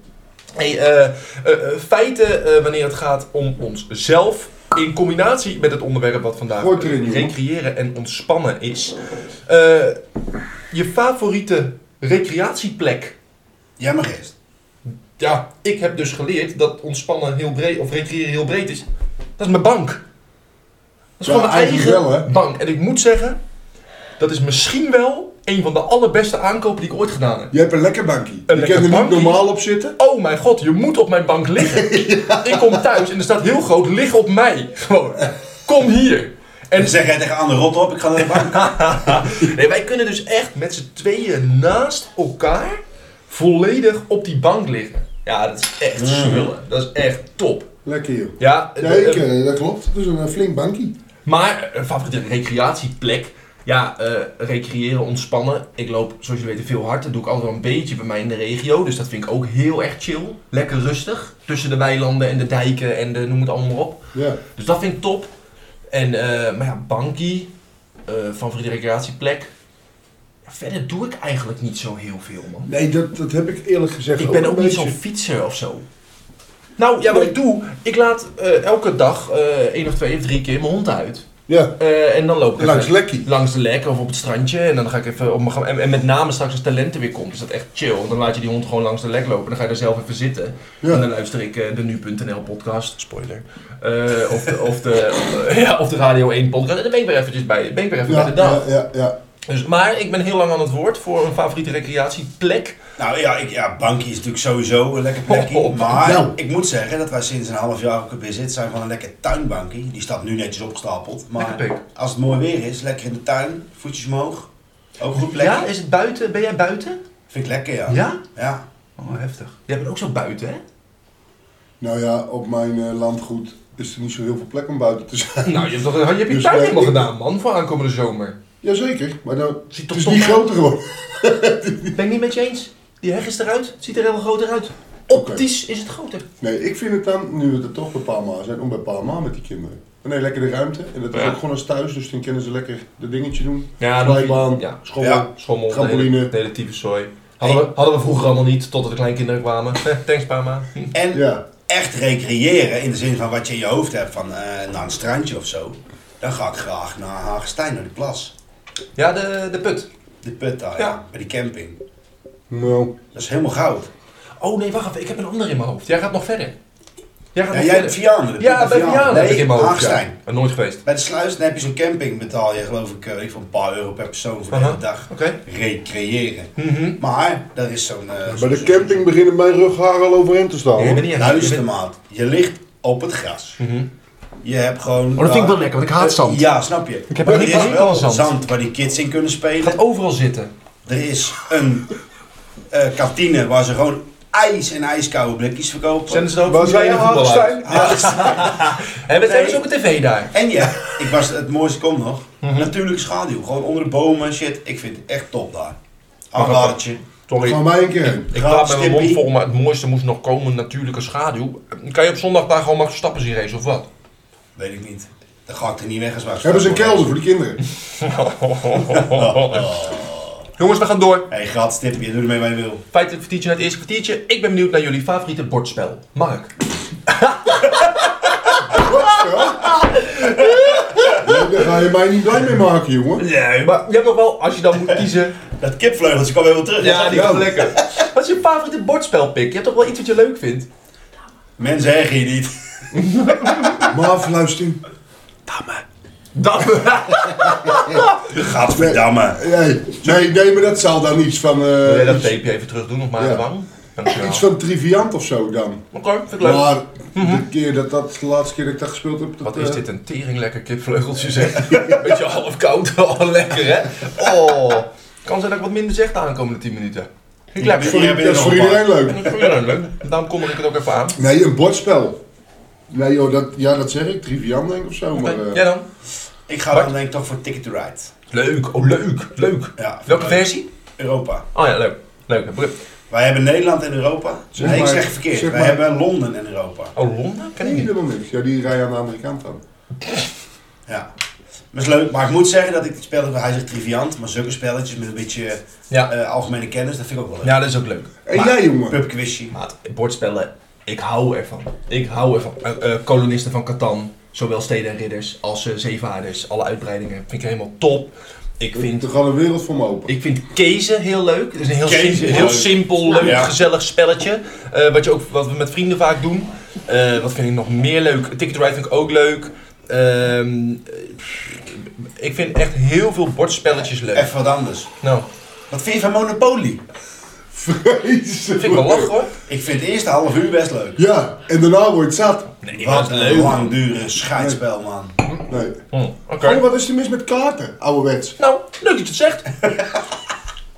[SPEAKER 1] Hey, eh, eh, eh, feiten eh, wanneer het gaat om onszelf. In combinatie met het onderwerp wat vandaag
[SPEAKER 2] Hoort erin,
[SPEAKER 1] eh,
[SPEAKER 2] jongen.
[SPEAKER 1] recreëren en ontspannen is. Eh, je favoriete recreatieplek.
[SPEAKER 3] Jij mag eerst.
[SPEAKER 1] Ja, ik heb dus geleerd dat ontspannen heel breed of recreëren heel breed is. Dat is mijn bank. Dat is
[SPEAKER 2] Ja,
[SPEAKER 1] gewoon mijn eigen
[SPEAKER 2] eigenlijk wel, hè?
[SPEAKER 1] bank. En ik moet zeggen, dat is misschien wel een van de allerbeste aankopen die ik ooit gedaan heb.
[SPEAKER 2] Je hebt een lekker bankje.
[SPEAKER 1] Een
[SPEAKER 2] je
[SPEAKER 1] lekker
[SPEAKER 2] kan er niet
[SPEAKER 1] bankje.
[SPEAKER 2] normaal op zitten.
[SPEAKER 1] Oh mijn god, je moet op mijn bank
[SPEAKER 2] (laughs)
[SPEAKER 1] liggen. Ik kom thuis en er staat heel groot, lig op mij. Gewoon, kom hier.
[SPEAKER 2] (laughs)
[SPEAKER 3] En zeg jij tegen Anne, rot op, ik ga naar de bank.
[SPEAKER 1] Nee, wij kunnen dus echt met z'n tweeën naast elkaar volledig op die bank liggen. Ja, dat is echt smullen. Dat is echt top.
[SPEAKER 2] Lekker joh.
[SPEAKER 1] Ja,
[SPEAKER 2] Mhm. Ja,
[SPEAKER 1] eh,
[SPEAKER 2] ik, eh, dat klopt. Het is een eh, flink bankje.
[SPEAKER 1] Maar een favoriete recreatieplek. Ja, eh, recreëren, ontspannen. Ik loop, zoals je weet, veel hard. Dat doe ik altijd wel een beetje bij mij in de regio. Dus dat vind ik ook heel erg chill. Lekker rustig. Tussen de weilanden en de dijken en de, noem het allemaal maar op.
[SPEAKER 2] Ja.
[SPEAKER 1] Dus dat vind ik top. En, eh, maar ja, bankie. eh, favoriete recreatieplek. Ja, verder doe ik eigenlijk niet zo heel veel, man.
[SPEAKER 2] Nee, dat, dat heb ik eerlijk gezegd
[SPEAKER 1] Ik ben
[SPEAKER 2] een
[SPEAKER 1] ook niet zo'n
[SPEAKER 2] beetje.
[SPEAKER 1] fietser of zo. Nou, ja, wat ik doe, ik laat eh, elke dag eh, één of twee of drie keer mijn hond uit.
[SPEAKER 2] Ja,
[SPEAKER 1] Eh, en dan loop ik even-
[SPEAKER 2] langs lekkie.
[SPEAKER 1] langs de lek of op het strandje. En dan ga ik even op mijn gang- en, en met name straks als talenten weer komt, is dat echt chill. Want dan laat je die hond gewoon langs de lek lopen. En dan ga je daar zelf even zitten. En dan
[SPEAKER 2] Ja.
[SPEAKER 1] luister ik eh, de nu.nl podcast. Spoiler. Eh, (laughs) of, de, of, de, of de- ja, of de Radio 1 podcast. En dan ben ik weer eventjes bij, ben ik weer even
[SPEAKER 2] Ja,
[SPEAKER 1] bij de dag.
[SPEAKER 2] ja, ja, ja.
[SPEAKER 1] Dus, maar ik ben heel lang aan het woord voor een favoriete recreatieplek.
[SPEAKER 3] Nou ja, ik, ja, bankje is natuurlijk sowieso een lekker plekje.
[SPEAKER 1] Oh, oh,
[SPEAKER 3] maar
[SPEAKER 2] nou.
[SPEAKER 3] ik moet zeggen dat wij sinds een half jaar ook weer zitten zijn van een lekker tuinbankje. Die staat nu netjes opgestapeld. Maar
[SPEAKER 1] Lekker pik.
[SPEAKER 3] als het mooi weer is, lekker in de tuin, voetjes omhoog. Ook een goed plekje.
[SPEAKER 1] Ja, is het buiten? Ben jij buiten?
[SPEAKER 3] Vind ik lekker, ja.
[SPEAKER 1] Ja?
[SPEAKER 3] Ja.
[SPEAKER 1] Oh, heftig. Jij bent ook zo buiten, hè?
[SPEAKER 2] Nou ja, op mijn eh, landgoed is er niet zo heel veel plek om buiten te zijn. (laughs)
[SPEAKER 1] Nou, je hebt, toch, je, hebt je
[SPEAKER 2] Dus,
[SPEAKER 1] tuin
[SPEAKER 2] eh,
[SPEAKER 1] helemaal
[SPEAKER 2] ik-
[SPEAKER 1] gedaan, man, voor aankomende zomer.
[SPEAKER 2] Jazeker, maar nou,
[SPEAKER 1] Ziet
[SPEAKER 2] het
[SPEAKER 1] toch
[SPEAKER 2] is
[SPEAKER 1] toch
[SPEAKER 2] niet
[SPEAKER 1] wel-
[SPEAKER 2] groter geworden.
[SPEAKER 1] Ben ik niet met je eens? Die heg is eruit. Het ziet er helemaal groter uit. Optisch is het groter.
[SPEAKER 2] Nee, ik vind het dan, nu we er toch bij Palma zijn, om bij Palma met die kinderen. Maar nee, lekker de ruimte. En dat is
[SPEAKER 1] Ja.
[SPEAKER 2] ook gewoon als thuis, dus dan kunnen ze lekker dat dingetje doen.
[SPEAKER 1] Ja,
[SPEAKER 2] Glijbaan,
[SPEAKER 1] Ja,
[SPEAKER 2] school.
[SPEAKER 3] Ja.
[SPEAKER 1] schommel,
[SPEAKER 2] Trampoline.
[SPEAKER 1] de hele, de hele tyfuszooi. Hadden, we, hadden we vroeger allemaal niet, totdat de kleinkinderen kwamen. (laughs) Thanks, Pama.
[SPEAKER 3] En
[SPEAKER 2] Ja.
[SPEAKER 3] echt recreëren in de zin van wat je in je hoofd hebt van eh, naar een strandje of zo. Dan ga ik graag naar Hagestein, naar die plas.
[SPEAKER 1] Ja, de, de put.
[SPEAKER 3] De put daar,
[SPEAKER 1] Ja.
[SPEAKER 3] ja. bij die camping.
[SPEAKER 2] Nou,
[SPEAKER 3] Dat is helemaal goud.
[SPEAKER 1] Oh nee, wacht even. Ik heb een ander in mijn hoofd. Jij gaat nog verder. Jij gaat
[SPEAKER 3] Ja,
[SPEAKER 1] nog
[SPEAKER 3] jij hebt
[SPEAKER 1] verder.
[SPEAKER 3] Vianen. de put
[SPEAKER 1] Ja,
[SPEAKER 3] naar
[SPEAKER 1] bij Vianen heb
[SPEAKER 3] Nee,
[SPEAKER 1] ik in mijn hoofd.
[SPEAKER 3] Hagestein.
[SPEAKER 1] Ja. Maar nooit geweest.
[SPEAKER 3] Bij de sluis dan heb je zo'n camping, betaal je geloof ik, eh, weet ik veel, een paar euro per persoon voor de
[SPEAKER 1] Aha.
[SPEAKER 3] hele dag.
[SPEAKER 1] Oké. Mhm.
[SPEAKER 3] Recreëren. Maar daar is zo'n. eh,
[SPEAKER 2] bij
[SPEAKER 3] zo'n-
[SPEAKER 2] de
[SPEAKER 3] zo'n-
[SPEAKER 2] camping beginnen mijn rughaar al overheen te staan.
[SPEAKER 1] Nee, ik ben Mhm.
[SPEAKER 2] hoor.
[SPEAKER 1] niet aan- ik
[SPEAKER 3] Luister
[SPEAKER 1] ben-
[SPEAKER 3] maat, je ligt op het gras. Je hebt gewoon. eh,
[SPEAKER 6] Oh, dat vind ik wel lekker, want ik haat zand.
[SPEAKER 3] Ja, snap je.
[SPEAKER 6] heb
[SPEAKER 3] Maar
[SPEAKER 6] er
[SPEAKER 3] er
[SPEAKER 6] niet
[SPEAKER 3] is
[SPEAKER 6] aan
[SPEAKER 3] wel
[SPEAKER 6] aan zand.
[SPEAKER 3] zand waar die kids in kunnen spelen.
[SPEAKER 1] gaat overal zitten.
[SPEAKER 3] Er is een eh, kantine waar ze gewoon ijs en ijskoude blikjes verkopen.
[SPEAKER 1] Zenden ze dan ook
[SPEAKER 2] Waar zijn je
[SPEAKER 1] Formule 1 voetbal uit?
[SPEAKER 2] Hagenstein?
[SPEAKER 3] (laughs)
[SPEAKER 1] Hebben hebben ze ook een tv daar?
[SPEAKER 3] En ja, ik was het mooiste komt nog.
[SPEAKER 1] Mhm.
[SPEAKER 3] Natuurlijk schaduw, gewoon onder de bomen en shit. Ik vind het echt top daar. Aanradertje.
[SPEAKER 1] Sorry.
[SPEAKER 2] Gaan wij een keer heen.
[SPEAKER 1] Ik
[SPEAKER 3] Raad
[SPEAKER 1] praat met mijn mond
[SPEAKER 3] Stippie.
[SPEAKER 1] vol, maar het mooiste moest nog komen, natuurlijke schaduw. Kan je op zondag daar gewoon Max Verstappen zien race of wat?
[SPEAKER 3] Weet ik niet. Dan ga ik er niet weg als waar.
[SPEAKER 2] Hebben ze een kelder voor die kinderen?
[SPEAKER 1] Jongens, we gaan door.
[SPEAKER 3] Hé, hey, gratis tip, je doet ermee wat je wil.
[SPEAKER 1] Feitelijk kwartiertje naar het eerste kwartiertje. Ik ben benieuwd naar jullie favoriete bordspel. Mark.
[SPEAKER 2] Nee, daar ga je mij niet blij mee maken, jongen.
[SPEAKER 1] Nee, maar je hebt nog wel, als je dan moet kiezen.
[SPEAKER 3] Dat kipvleugeltje kwam weer wel terug.
[SPEAKER 1] ja, die gaat lekker. Wat is je favoriete bordspel, Pik? Je hebt toch wel iets wat je leuk vindt?
[SPEAKER 3] Mensen zeggen je niet. (laughs)
[SPEAKER 2] Maar afluistering.
[SPEAKER 1] Dat.
[SPEAKER 3] Gadverdamme.
[SPEAKER 2] Nee, nee, nee, maar dat zal dan iets van... eh,
[SPEAKER 1] Wil jij dat
[SPEAKER 2] iets-
[SPEAKER 1] tapeje even terug doen, nog maar aan de
[SPEAKER 2] Ja.
[SPEAKER 1] wang? Dankjewel.
[SPEAKER 2] Iets van triviant of zo dan.
[SPEAKER 1] Oké, vind ik leuk.
[SPEAKER 2] Maar de, keer dat, dat, de laatste keer dat ik dat gespeeld heb... Dat,
[SPEAKER 1] Mhm. Wat
[SPEAKER 2] eh,
[SPEAKER 1] is dit een tering lekker kipvleugeltje zeg. (laughs) Beetje half koud, (laughs) al lekker hè. Oh, kan zijn dat ik wat minder zeg de aankomende 10 minuten. Vind ik lekker.
[SPEAKER 3] Hier
[SPEAKER 2] voor-
[SPEAKER 3] heb je
[SPEAKER 2] dat
[SPEAKER 3] er
[SPEAKER 2] is
[SPEAKER 3] nog
[SPEAKER 2] voor
[SPEAKER 3] een
[SPEAKER 2] iedereen leuk.
[SPEAKER 1] En ik vind het leuk. Daarom kondig ik het ook even aan.
[SPEAKER 2] Nee, een bordspel. Nee joh, dat, ja, dat zeg ik. Triviant denk ik of zo. Maar, eh,
[SPEAKER 1] Jij dan?
[SPEAKER 3] Ik ga dan denk ik toch voor Ticket to Ride.
[SPEAKER 1] Leuk, oh leuk, leuk.
[SPEAKER 3] Ja,
[SPEAKER 1] Welke
[SPEAKER 3] leuk.
[SPEAKER 1] versie?
[SPEAKER 3] Europa.
[SPEAKER 1] Oh ja, leuk. Leuk. Brug.
[SPEAKER 3] Wij hebben Nederland en Europa.
[SPEAKER 2] Zeg
[SPEAKER 3] nee, ik
[SPEAKER 2] maar-
[SPEAKER 3] zeg het verkeerd.
[SPEAKER 2] zeg
[SPEAKER 3] Wij
[SPEAKER 2] maar-
[SPEAKER 3] hebben Londen en Europa.
[SPEAKER 1] Oh, Londen? Ken ik
[SPEAKER 2] nee,
[SPEAKER 1] niet.
[SPEAKER 2] helemaal niks. Ja, die rijden aan de andere kant dan.
[SPEAKER 3] Ja. Maar is leuk. Maar ik moet zeggen dat ik het spel, hij zegt triviant, maar zulke spelletjes met een beetje
[SPEAKER 1] Ja.
[SPEAKER 3] eh, algemene kennis, dat vind ik ook wel leuk.
[SPEAKER 1] Ja, dat is ook leuk.
[SPEAKER 2] En
[SPEAKER 3] Maar-
[SPEAKER 2] jij jongen?
[SPEAKER 3] Pubquizje.
[SPEAKER 1] Maat, bordspellen, ik hou ervan. Ik hou ervan. Eh, eh, kolonisten van Catan, zowel steden en ridders als eh, zeevaarders, alle uitbreidingen, vind ik helemaal top. Ik vind
[SPEAKER 2] Er gaat een wereld voor me open.
[SPEAKER 1] Ik vind kezen heel leuk. Het is een heel,
[SPEAKER 3] Kezen
[SPEAKER 1] simpel,
[SPEAKER 3] is
[SPEAKER 1] heel
[SPEAKER 3] leuk.
[SPEAKER 1] simpel, leuk,
[SPEAKER 3] Ja.
[SPEAKER 1] gezellig spelletje. Eh, wat, je ook, wat we met vrienden vaak doen. Eh, wat vind ik nog meer leuk? Ticket to Ride vind ik ook leuk. Ehm, eh, ik vind echt heel veel bordspelletjes leuk.
[SPEAKER 3] Even wat anders.
[SPEAKER 1] Nou,
[SPEAKER 3] Wat vind je van Monopoly?
[SPEAKER 2] (laughs) Vreselijk.
[SPEAKER 1] vind ik wel lachen hoor.
[SPEAKER 3] Ik vind het eerste half uur best leuk.
[SPEAKER 2] Ja, en daarna wordt het zat.
[SPEAKER 1] Nee,
[SPEAKER 3] Wat een langdure scheidspel, man.
[SPEAKER 2] Nee.
[SPEAKER 1] Hmm, Oké.
[SPEAKER 2] Oh, wat is er mis met kaarten, ouderwets?
[SPEAKER 1] Nou, leuk dat je het zegt.
[SPEAKER 3] (laughs)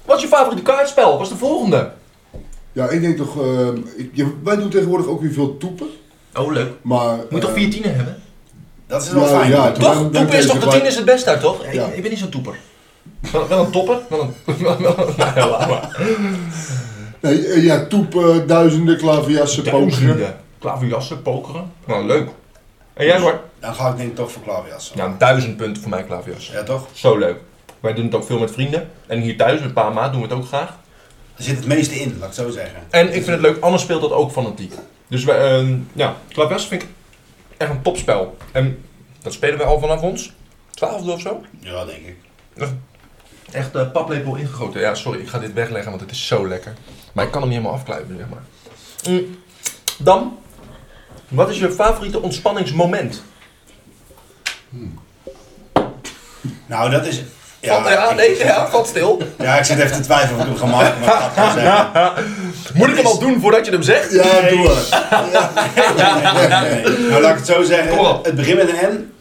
[SPEAKER 1] wat is je favoriete kaartspel? Wat is de volgende?
[SPEAKER 2] Ja, ik denk toch... ehm, ik, je- wij doen tegenwoordig ook weer veel toepen.
[SPEAKER 1] Oh, leuk.
[SPEAKER 2] Maar...
[SPEAKER 1] Moet toch
[SPEAKER 2] eh,
[SPEAKER 1] vier tienen hebben?
[SPEAKER 3] Dat is wel
[SPEAKER 2] Ja,
[SPEAKER 3] fijn.
[SPEAKER 2] ja,
[SPEAKER 1] Nou Toch?
[SPEAKER 2] dan- dan
[SPEAKER 1] toepen
[SPEAKER 2] kun
[SPEAKER 1] is
[SPEAKER 2] je
[SPEAKER 1] toch de
[SPEAKER 2] ze
[SPEAKER 1] tien
[SPEAKER 2] gelijk-
[SPEAKER 1] is het beste uit, toch?
[SPEAKER 2] Ja.
[SPEAKER 1] Ik, ik ben niet zo'n toeper. Wel, wel een topper? Wel een... (laughs) wel- wel- nou, laat maar.
[SPEAKER 2] Nee, eh, ja, toepen, duizenden, klaviassen, pokeren.
[SPEAKER 1] Duizenden. Klaverjassen, pokeren. Nou, leuk. En jij hoor?
[SPEAKER 3] Dan ga ik denk ik toch voor klaverjassen.
[SPEAKER 1] Ja, duizend punten voor mij klaverjassen.
[SPEAKER 3] Ja, toch?
[SPEAKER 1] Zo leuk. Wij doen het ook veel met vrienden. En hier thuis met pa en ma doen we het ook graag.
[SPEAKER 3] Er zit het meeste in, laat ik zo zeggen.
[SPEAKER 1] En ik vind het leuk, Anne speelt dat ook fanatiek. Dus wij, ehm, ja, klaverjassen vind ik echt een topspel. En dat spelen wij al vanaf ons. Twaalfde of zo.
[SPEAKER 3] Ja, denk ik.
[SPEAKER 1] Echt eh, paplepel ingegoten. Ja, sorry, ik ga dit wegleggen, want het is zo lekker. Maar ik kan hem niet helemaal afkluipen, zeg maar. Mm. Dan, wat is je favoriete ontspanningsmoment?
[SPEAKER 3] Nou, dat is.
[SPEAKER 1] Ja,
[SPEAKER 3] Ja,
[SPEAKER 1] ja,
[SPEAKER 3] ik-
[SPEAKER 1] nee, ja, valt (laughs) stil.
[SPEAKER 3] Ja, ik zit even te twijfelen of ik hem ga maken, maar ik ga het gewoon zeggen.
[SPEAKER 1] Moet ik hem al doen voordat je hem zegt?
[SPEAKER 2] Ja, doe maar.
[SPEAKER 3] Nee, nee. Nou, laat ik het zo zeggen.
[SPEAKER 1] Kom op.
[SPEAKER 3] Het begint met een N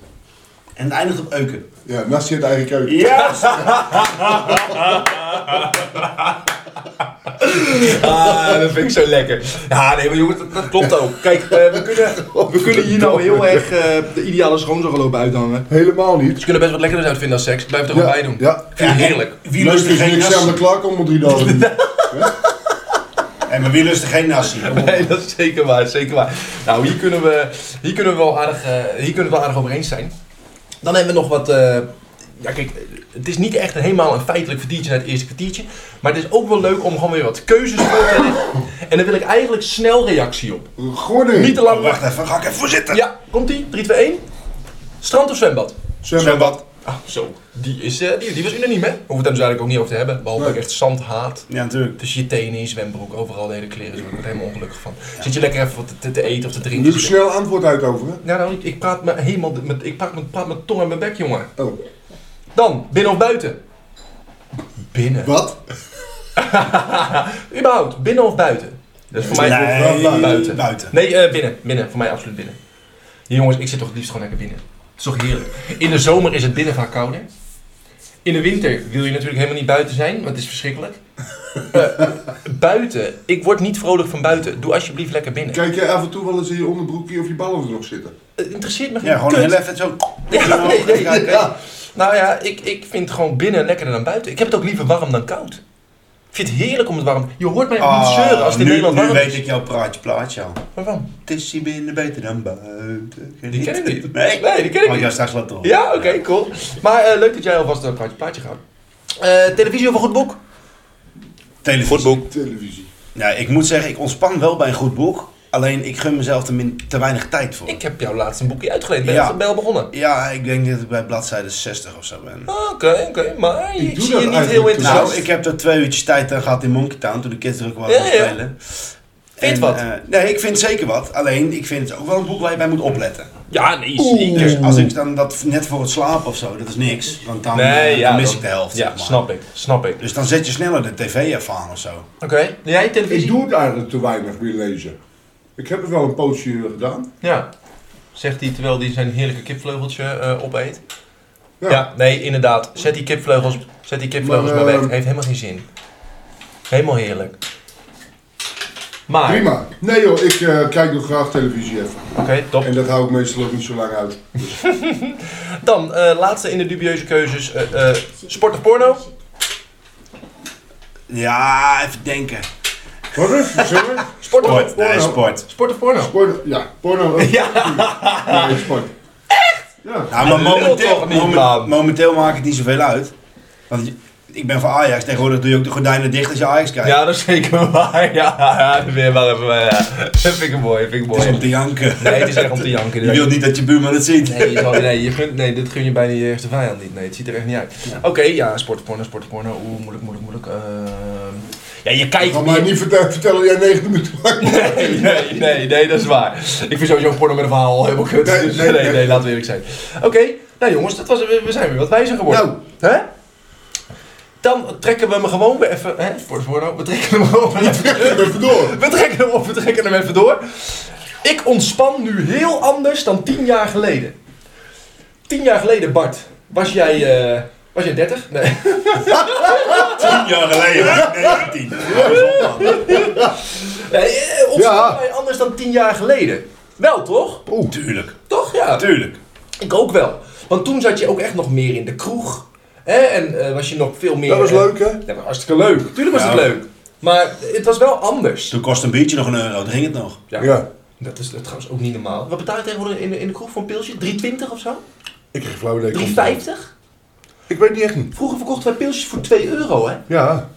[SPEAKER 3] en het eindigt op Euken.
[SPEAKER 2] Ja, naast je het eigenlijk uit.
[SPEAKER 3] Ja!
[SPEAKER 1] Ah, dat vind ik zo lekker. Ja, nee, maar jongen, dat, dat klopt ook. Kijk, eh, we, kunnen, we kunnen hier nou heel erg eh, de ideale schoonzogerloop uithangen.
[SPEAKER 2] Helemaal niet.
[SPEAKER 1] Ze kunnen best wat lekkerder uitvinden als seks. Blijf er
[SPEAKER 2] Ja,
[SPEAKER 1] gewoon bij doen.
[SPEAKER 2] ja.
[SPEAKER 1] Vind ik heerlijk. (laughs)
[SPEAKER 3] Wie lust
[SPEAKER 2] Leuk
[SPEAKER 3] er
[SPEAKER 2] is
[SPEAKER 3] geen
[SPEAKER 2] niks aan de
[SPEAKER 3] nassie?
[SPEAKER 2] klak om drie dagen.
[SPEAKER 3] En maar wie lust er geen nassie?
[SPEAKER 1] (laughs) Nee, dat is zeker waar, zeker waar. Nou, hier kunnen we, hier kunnen we wel aardig, eh, hier kunnen we wel aardig over eens zijn. Dan hebben we nog wat. eh, ja, kijk, het is niet echt een, helemaal een feitelijk verdiertje naar het eerste kwartiertje. Maar het is ook wel leuk om gewoon weer wat keuzes voor te leggen. En daar wil ik eigenlijk snel reactie op.
[SPEAKER 2] Gooi erin.
[SPEAKER 1] Niet te lang wachten.
[SPEAKER 3] Oh, Wacht even, ga ik even voor zitten.
[SPEAKER 1] Ja, komt ie? 3, 2, 1. Strand of zwembad?
[SPEAKER 3] Zwembad.
[SPEAKER 1] Ah, zo. Die, is, eh, die, die was unaniem, hè? Hoef het hem dus eigenlijk ook niet over te hebben. Behalve dat ik echt zand haat.
[SPEAKER 3] Ja, natuurlijk.
[SPEAKER 1] Dus je tenen, je zwembroek, overal de hele kleren. zo. Ik word helemaal ongelukkig van. Zit je lekker even wat te, te eten of te drinken?
[SPEAKER 2] Nu snel antwoord uit over, hè?
[SPEAKER 1] Ja, nou, ik, ik praat me helemaal. Met, ik praat, met, praat mijn tong en mijn bek, jongen.
[SPEAKER 2] Oh,
[SPEAKER 1] Dan, binnen of buiten? Binnen.
[SPEAKER 2] wat?
[SPEAKER 1] (laughs) Überhaupt, binnen of buiten? Dat is voor mij
[SPEAKER 3] Nee,
[SPEAKER 1] wel buiten.
[SPEAKER 3] buiten.
[SPEAKER 1] Nee, eh, binnen. Binnen, voor mij absoluut binnen. Hier, jongens, ik zit toch het liefst gewoon lekker binnen. Het is toch heerlijk. In de zomer is het binnen vaak kouder. In de winter wil je natuurlijk helemaal niet buiten zijn, want het is verschrikkelijk. Eh, buiten, ik word niet vrolijk van buiten. Doe alsjeblieft lekker binnen.
[SPEAKER 2] Kijk jij af en toe wel eens in je onderbroekje of je ballen er nog zitten?
[SPEAKER 1] Het interesseert me geen
[SPEAKER 3] Ja, gewoon
[SPEAKER 1] kut.
[SPEAKER 3] heel even zo.
[SPEAKER 1] Ja, nee, nee,
[SPEAKER 3] Ja,
[SPEAKER 1] nee.
[SPEAKER 3] ja.
[SPEAKER 1] Nou ja, ik, ik vind gewoon binnen lekkerder dan buiten. Ik heb het ook liever warm dan koud. Ik vind het heerlijk om het warm. Je hoort mij ook niet zeuren als het in
[SPEAKER 3] Ah, nu,
[SPEAKER 1] Nederland
[SPEAKER 3] Oh, nu
[SPEAKER 1] warm
[SPEAKER 3] weet
[SPEAKER 1] is.
[SPEAKER 3] ik jouw praatje plaatje al.
[SPEAKER 1] Waarom?
[SPEAKER 3] Het is hier binnen beter dan buiten.
[SPEAKER 1] Die ken ik niet.
[SPEAKER 3] Nee,
[SPEAKER 1] Nee, die ken ik
[SPEAKER 3] Oh, ja,
[SPEAKER 1] niet.
[SPEAKER 3] straks laat toch.
[SPEAKER 1] Ja, oké, cool. Maar eh, leuk dat jij alvast een plaatje, plaatje gaat. Eh, televisie of een goed boek?
[SPEAKER 3] Televisie.
[SPEAKER 2] Televisie.
[SPEAKER 3] Ja, ik moet zeggen, ik ontspan wel bij een goed boek. Alleen ik gun mezelf er min, te weinig tijd voor.
[SPEAKER 1] Ik heb jou laatst een boekje uitgeleend. Ben
[SPEAKER 3] Ja.
[SPEAKER 1] je bij al begonnen?
[SPEAKER 3] Ja, ik denk dat ik bij bladzijde 60 of zo ben.
[SPEAKER 1] Oké, oké, maar ik,
[SPEAKER 2] doe
[SPEAKER 1] zie
[SPEAKER 2] dat
[SPEAKER 1] je niet heel
[SPEAKER 2] eigenlijk
[SPEAKER 1] interessant.
[SPEAKER 3] Nou, ik heb er twee uurtjes tijd aan gehad in Monkey Town toen de kids er ook wel
[SPEAKER 1] Ja,
[SPEAKER 3] aan
[SPEAKER 1] ja.
[SPEAKER 3] spelen.
[SPEAKER 1] Vind je
[SPEAKER 3] En,
[SPEAKER 1] wat?
[SPEAKER 3] eh, nee, ik vind zeker wat. Alleen, ik vind het ook wel een boek waar je bij moet opletten.
[SPEAKER 1] Ja, nee, zeker.
[SPEAKER 3] Dus als ik dan dat net voor het slapen of zo, dat is niks. Want dan, eh,
[SPEAKER 1] Nee,
[SPEAKER 3] dan
[SPEAKER 1] ja,
[SPEAKER 3] mis
[SPEAKER 1] dan-
[SPEAKER 3] ik de helft.
[SPEAKER 1] Ja,
[SPEAKER 3] zeg maar.
[SPEAKER 1] snap ik, snap ik.
[SPEAKER 3] Dus dan zet je sneller de tv even aan of zo.
[SPEAKER 1] Oké, jij televisie?
[SPEAKER 2] Ik doe het eigenlijk te weinig meer lezen. Ik heb het wel een poosje gedaan.
[SPEAKER 1] Ja, zegt hij terwijl hij zijn heerlijke kipvleugeltje eh, opeet. Ja.
[SPEAKER 2] Ja.
[SPEAKER 1] nee, inderdaad. Zet die kipvleugels, zet die kipvleugels maar,
[SPEAKER 2] Maar,
[SPEAKER 1] weg.
[SPEAKER 2] eh,
[SPEAKER 1] Heeft helemaal geen zin. Helemaal heerlijk. Maar, oké,
[SPEAKER 2] Prima. Nee joh, ik eh, kijk nog graag televisie even.
[SPEAKER 1] top.
[SPEAKER 2] En dat hou ik meestal ook niet zo lang uit.
[SPEAKER 1] Dan, eh, laatste in de dubieuze keuzes. eh, eh, sport of porno?
[SPEAKER 3] Ja, even denken.
[SPEAKER 2] Wat is het?
[SPEAKER 1] Sport of,
[SPEAKER 3] Sport, nee, sport.
[SPEAKER 1] sport of porno?
[SPEAKER 2] Porno. Ja, porno.
[SPEAKER 1] Ja.
[SPEAKER 2] Nee, sport. Echt? Ja.
[SPEAKER 3] Nou, maar
[SPEAKER 1] Hij lult
[SPEAKER 3] momenteel,
[SPEAKER 1] toch niet,
[SPEAKER 3] momen-
[SPEAKER 1] man.
[SPEAKER 3] momenteel maakt het niet zoveel uit. Want je- ik ben van Ajax. Tegenwoordig doe je ook de gordijnen dicht als je Ajax kijkt.
[SPEAKER 1] Ja, dat is zeker waar. Ja, ja, dat vind ik wel even, ja. Dat vind ik een mooi, vind ik
[SPEAKER 3] Het is om
[SPEAKER 1] mooi.
[SPEAKER 3] te janken.
[SPEAKER 1] Nee, het is echt om te janken.
[SPEAKER 3] Je wilt niet dat je buurman het ziet.
[SPEAKER 1] Nee, je zal- nee, je gunt, nee, dit gun je bijna je eerste vijand niet. Nee, het ziet er echt niet uit. Oké, ja, sportporno, sportporno. Oeh, moeilijk, moeilijk, moeilijk. Ehm, Ja, je
[SPEAKER 2] Ik
[SPEAKER 1] kijkt
[SPEAKER 2] ga mij niet vertel- vertellen dat jij 9 minuten lang (laughs) bent.
[SPEAKER 1] Nee, nee, nee, nee, dat is waar. Ik vind sowieso porno met een verhaal al helemaal kut.
[SPEAKER 2] Nee,
[SPEAKER 1] dus, nee,
[SPEAKER 2] nee,
[SPEAKER 1] nee,
[SPEAKER 2] nee.
[SPEAKER 1] laten we eerlijk zijn. Oké, nou jongens, dat was, we we zijn weer wat wijzer geworden. Hè? Dan trekken we hem gewoon weer even... Hè, sportporno, we trekken hem gewoon weer even...
[SPEAKER 2] Even door.
[SPEAKER 1] We trekken hem op, we trekken hem even door. Ik ontspan nu heel anders dan tien jaar geleden. Tien jaar geleden, Bart, was jij, eh, was jij 30? Nee.
[SPEAKER 3] Tien jaar geleden was
[SPEAKER 1] (laughs)
[SPEAKER 3] ik 19. Ja, dat is ontspannen.
[SPEAKER 1] nee eh, ontspan
[SPEAKER 2] Ja.
[SPEAKER 1] mij anders dan tien jaar geleden. Wel, toch?
[SPEAKER 3] Tuurlijk,
[SPEAKER 1] Toch, ja.
[SPEAKER 3] tuurlijk.
[SPEAKER 1] Ik ook wel. Want toen zat je ook echt nog meer in de kroeg. Hè? En eh, was je nog veel meer...
[SPEAKER 2] Dat was
[SPEAKER 1] eh,
[SPEAKER 2] leuk Nou. hè?
[SPEAKER 1] Dat was hartstikke leuk. Tuurlijk was
[SPEAKER 3] Ja.
[SPEAKER 1] het leuk. Maar het was wel anders.
[SPEAKER 3] Toen kost een biertje nog een euro, dan ging het nog.
[SPEAKER 2] Ja.
[SPEAKER 1] Dat is trouwens ook niet normaal. Wat betaal je tegenwoordig in de, in de kroeg voor een pilsje? 3,20 of zo?
[SPEAKER 2] Ik kreeg flauw idee.
[SPEAKER 1] 3,50?
[SPEAKER 2] Ik weet niet echt niet.
[SPEAKER 1] Vroeger verkochten wij pilsjes voor 2 euro, hè?
[SPEAKER 2] Ja.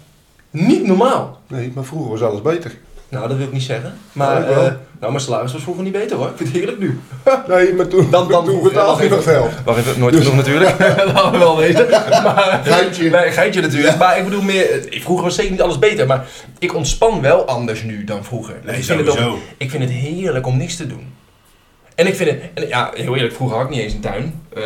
[SPEAKER 1] Niet normaal.
[SPEAKER 2] Nee, maar vroeger was alles beter.
[SPEAKER 1] Nou, dat wil ik niet zeggen. Maar,
[SPEAKER 2] Ja, ik wel.
[SPEAKER 1] eh, nou, mijn salaris was vroeger niet beter, hoor. Ik vind het heerlijk nu.
[SPEAKER 2] Nee, maar toen,
[SPEAKER 1] Dan- dan-
[SPEAKER 2] toen betaalde
[SPEAKER 1] ja,
[SPEAKER 2] je nog geld.
[SPEAKER 1] Wacht even, nooit
[SPEAKER 3] Dus-
[SPEAKER 1] genoeg
[SPEAKER 3] (laughs)
[SPEAKER 1] natuurlijk. Laten we wel weten. Maar,
[SPEAKER 2] Geintje.
[SPEAKER 1] Nee, geintje natuurlijk. Maar ik bedoel meer, eh, vroeger was zeker niet alles beter. Maar ik ontspan wel anders nu dan vroeger. Want
[SPEAKER 3] Nee,
[SPEAKER 1] ik, vind het
[SPEAKER 3] sowieso.
[SPEAKER 1] ook- ik vind het heerlijk om niks te doen. En ik vind het, en ja, heel eerlijk, vroeger had ik niet eens een tuin. Eh,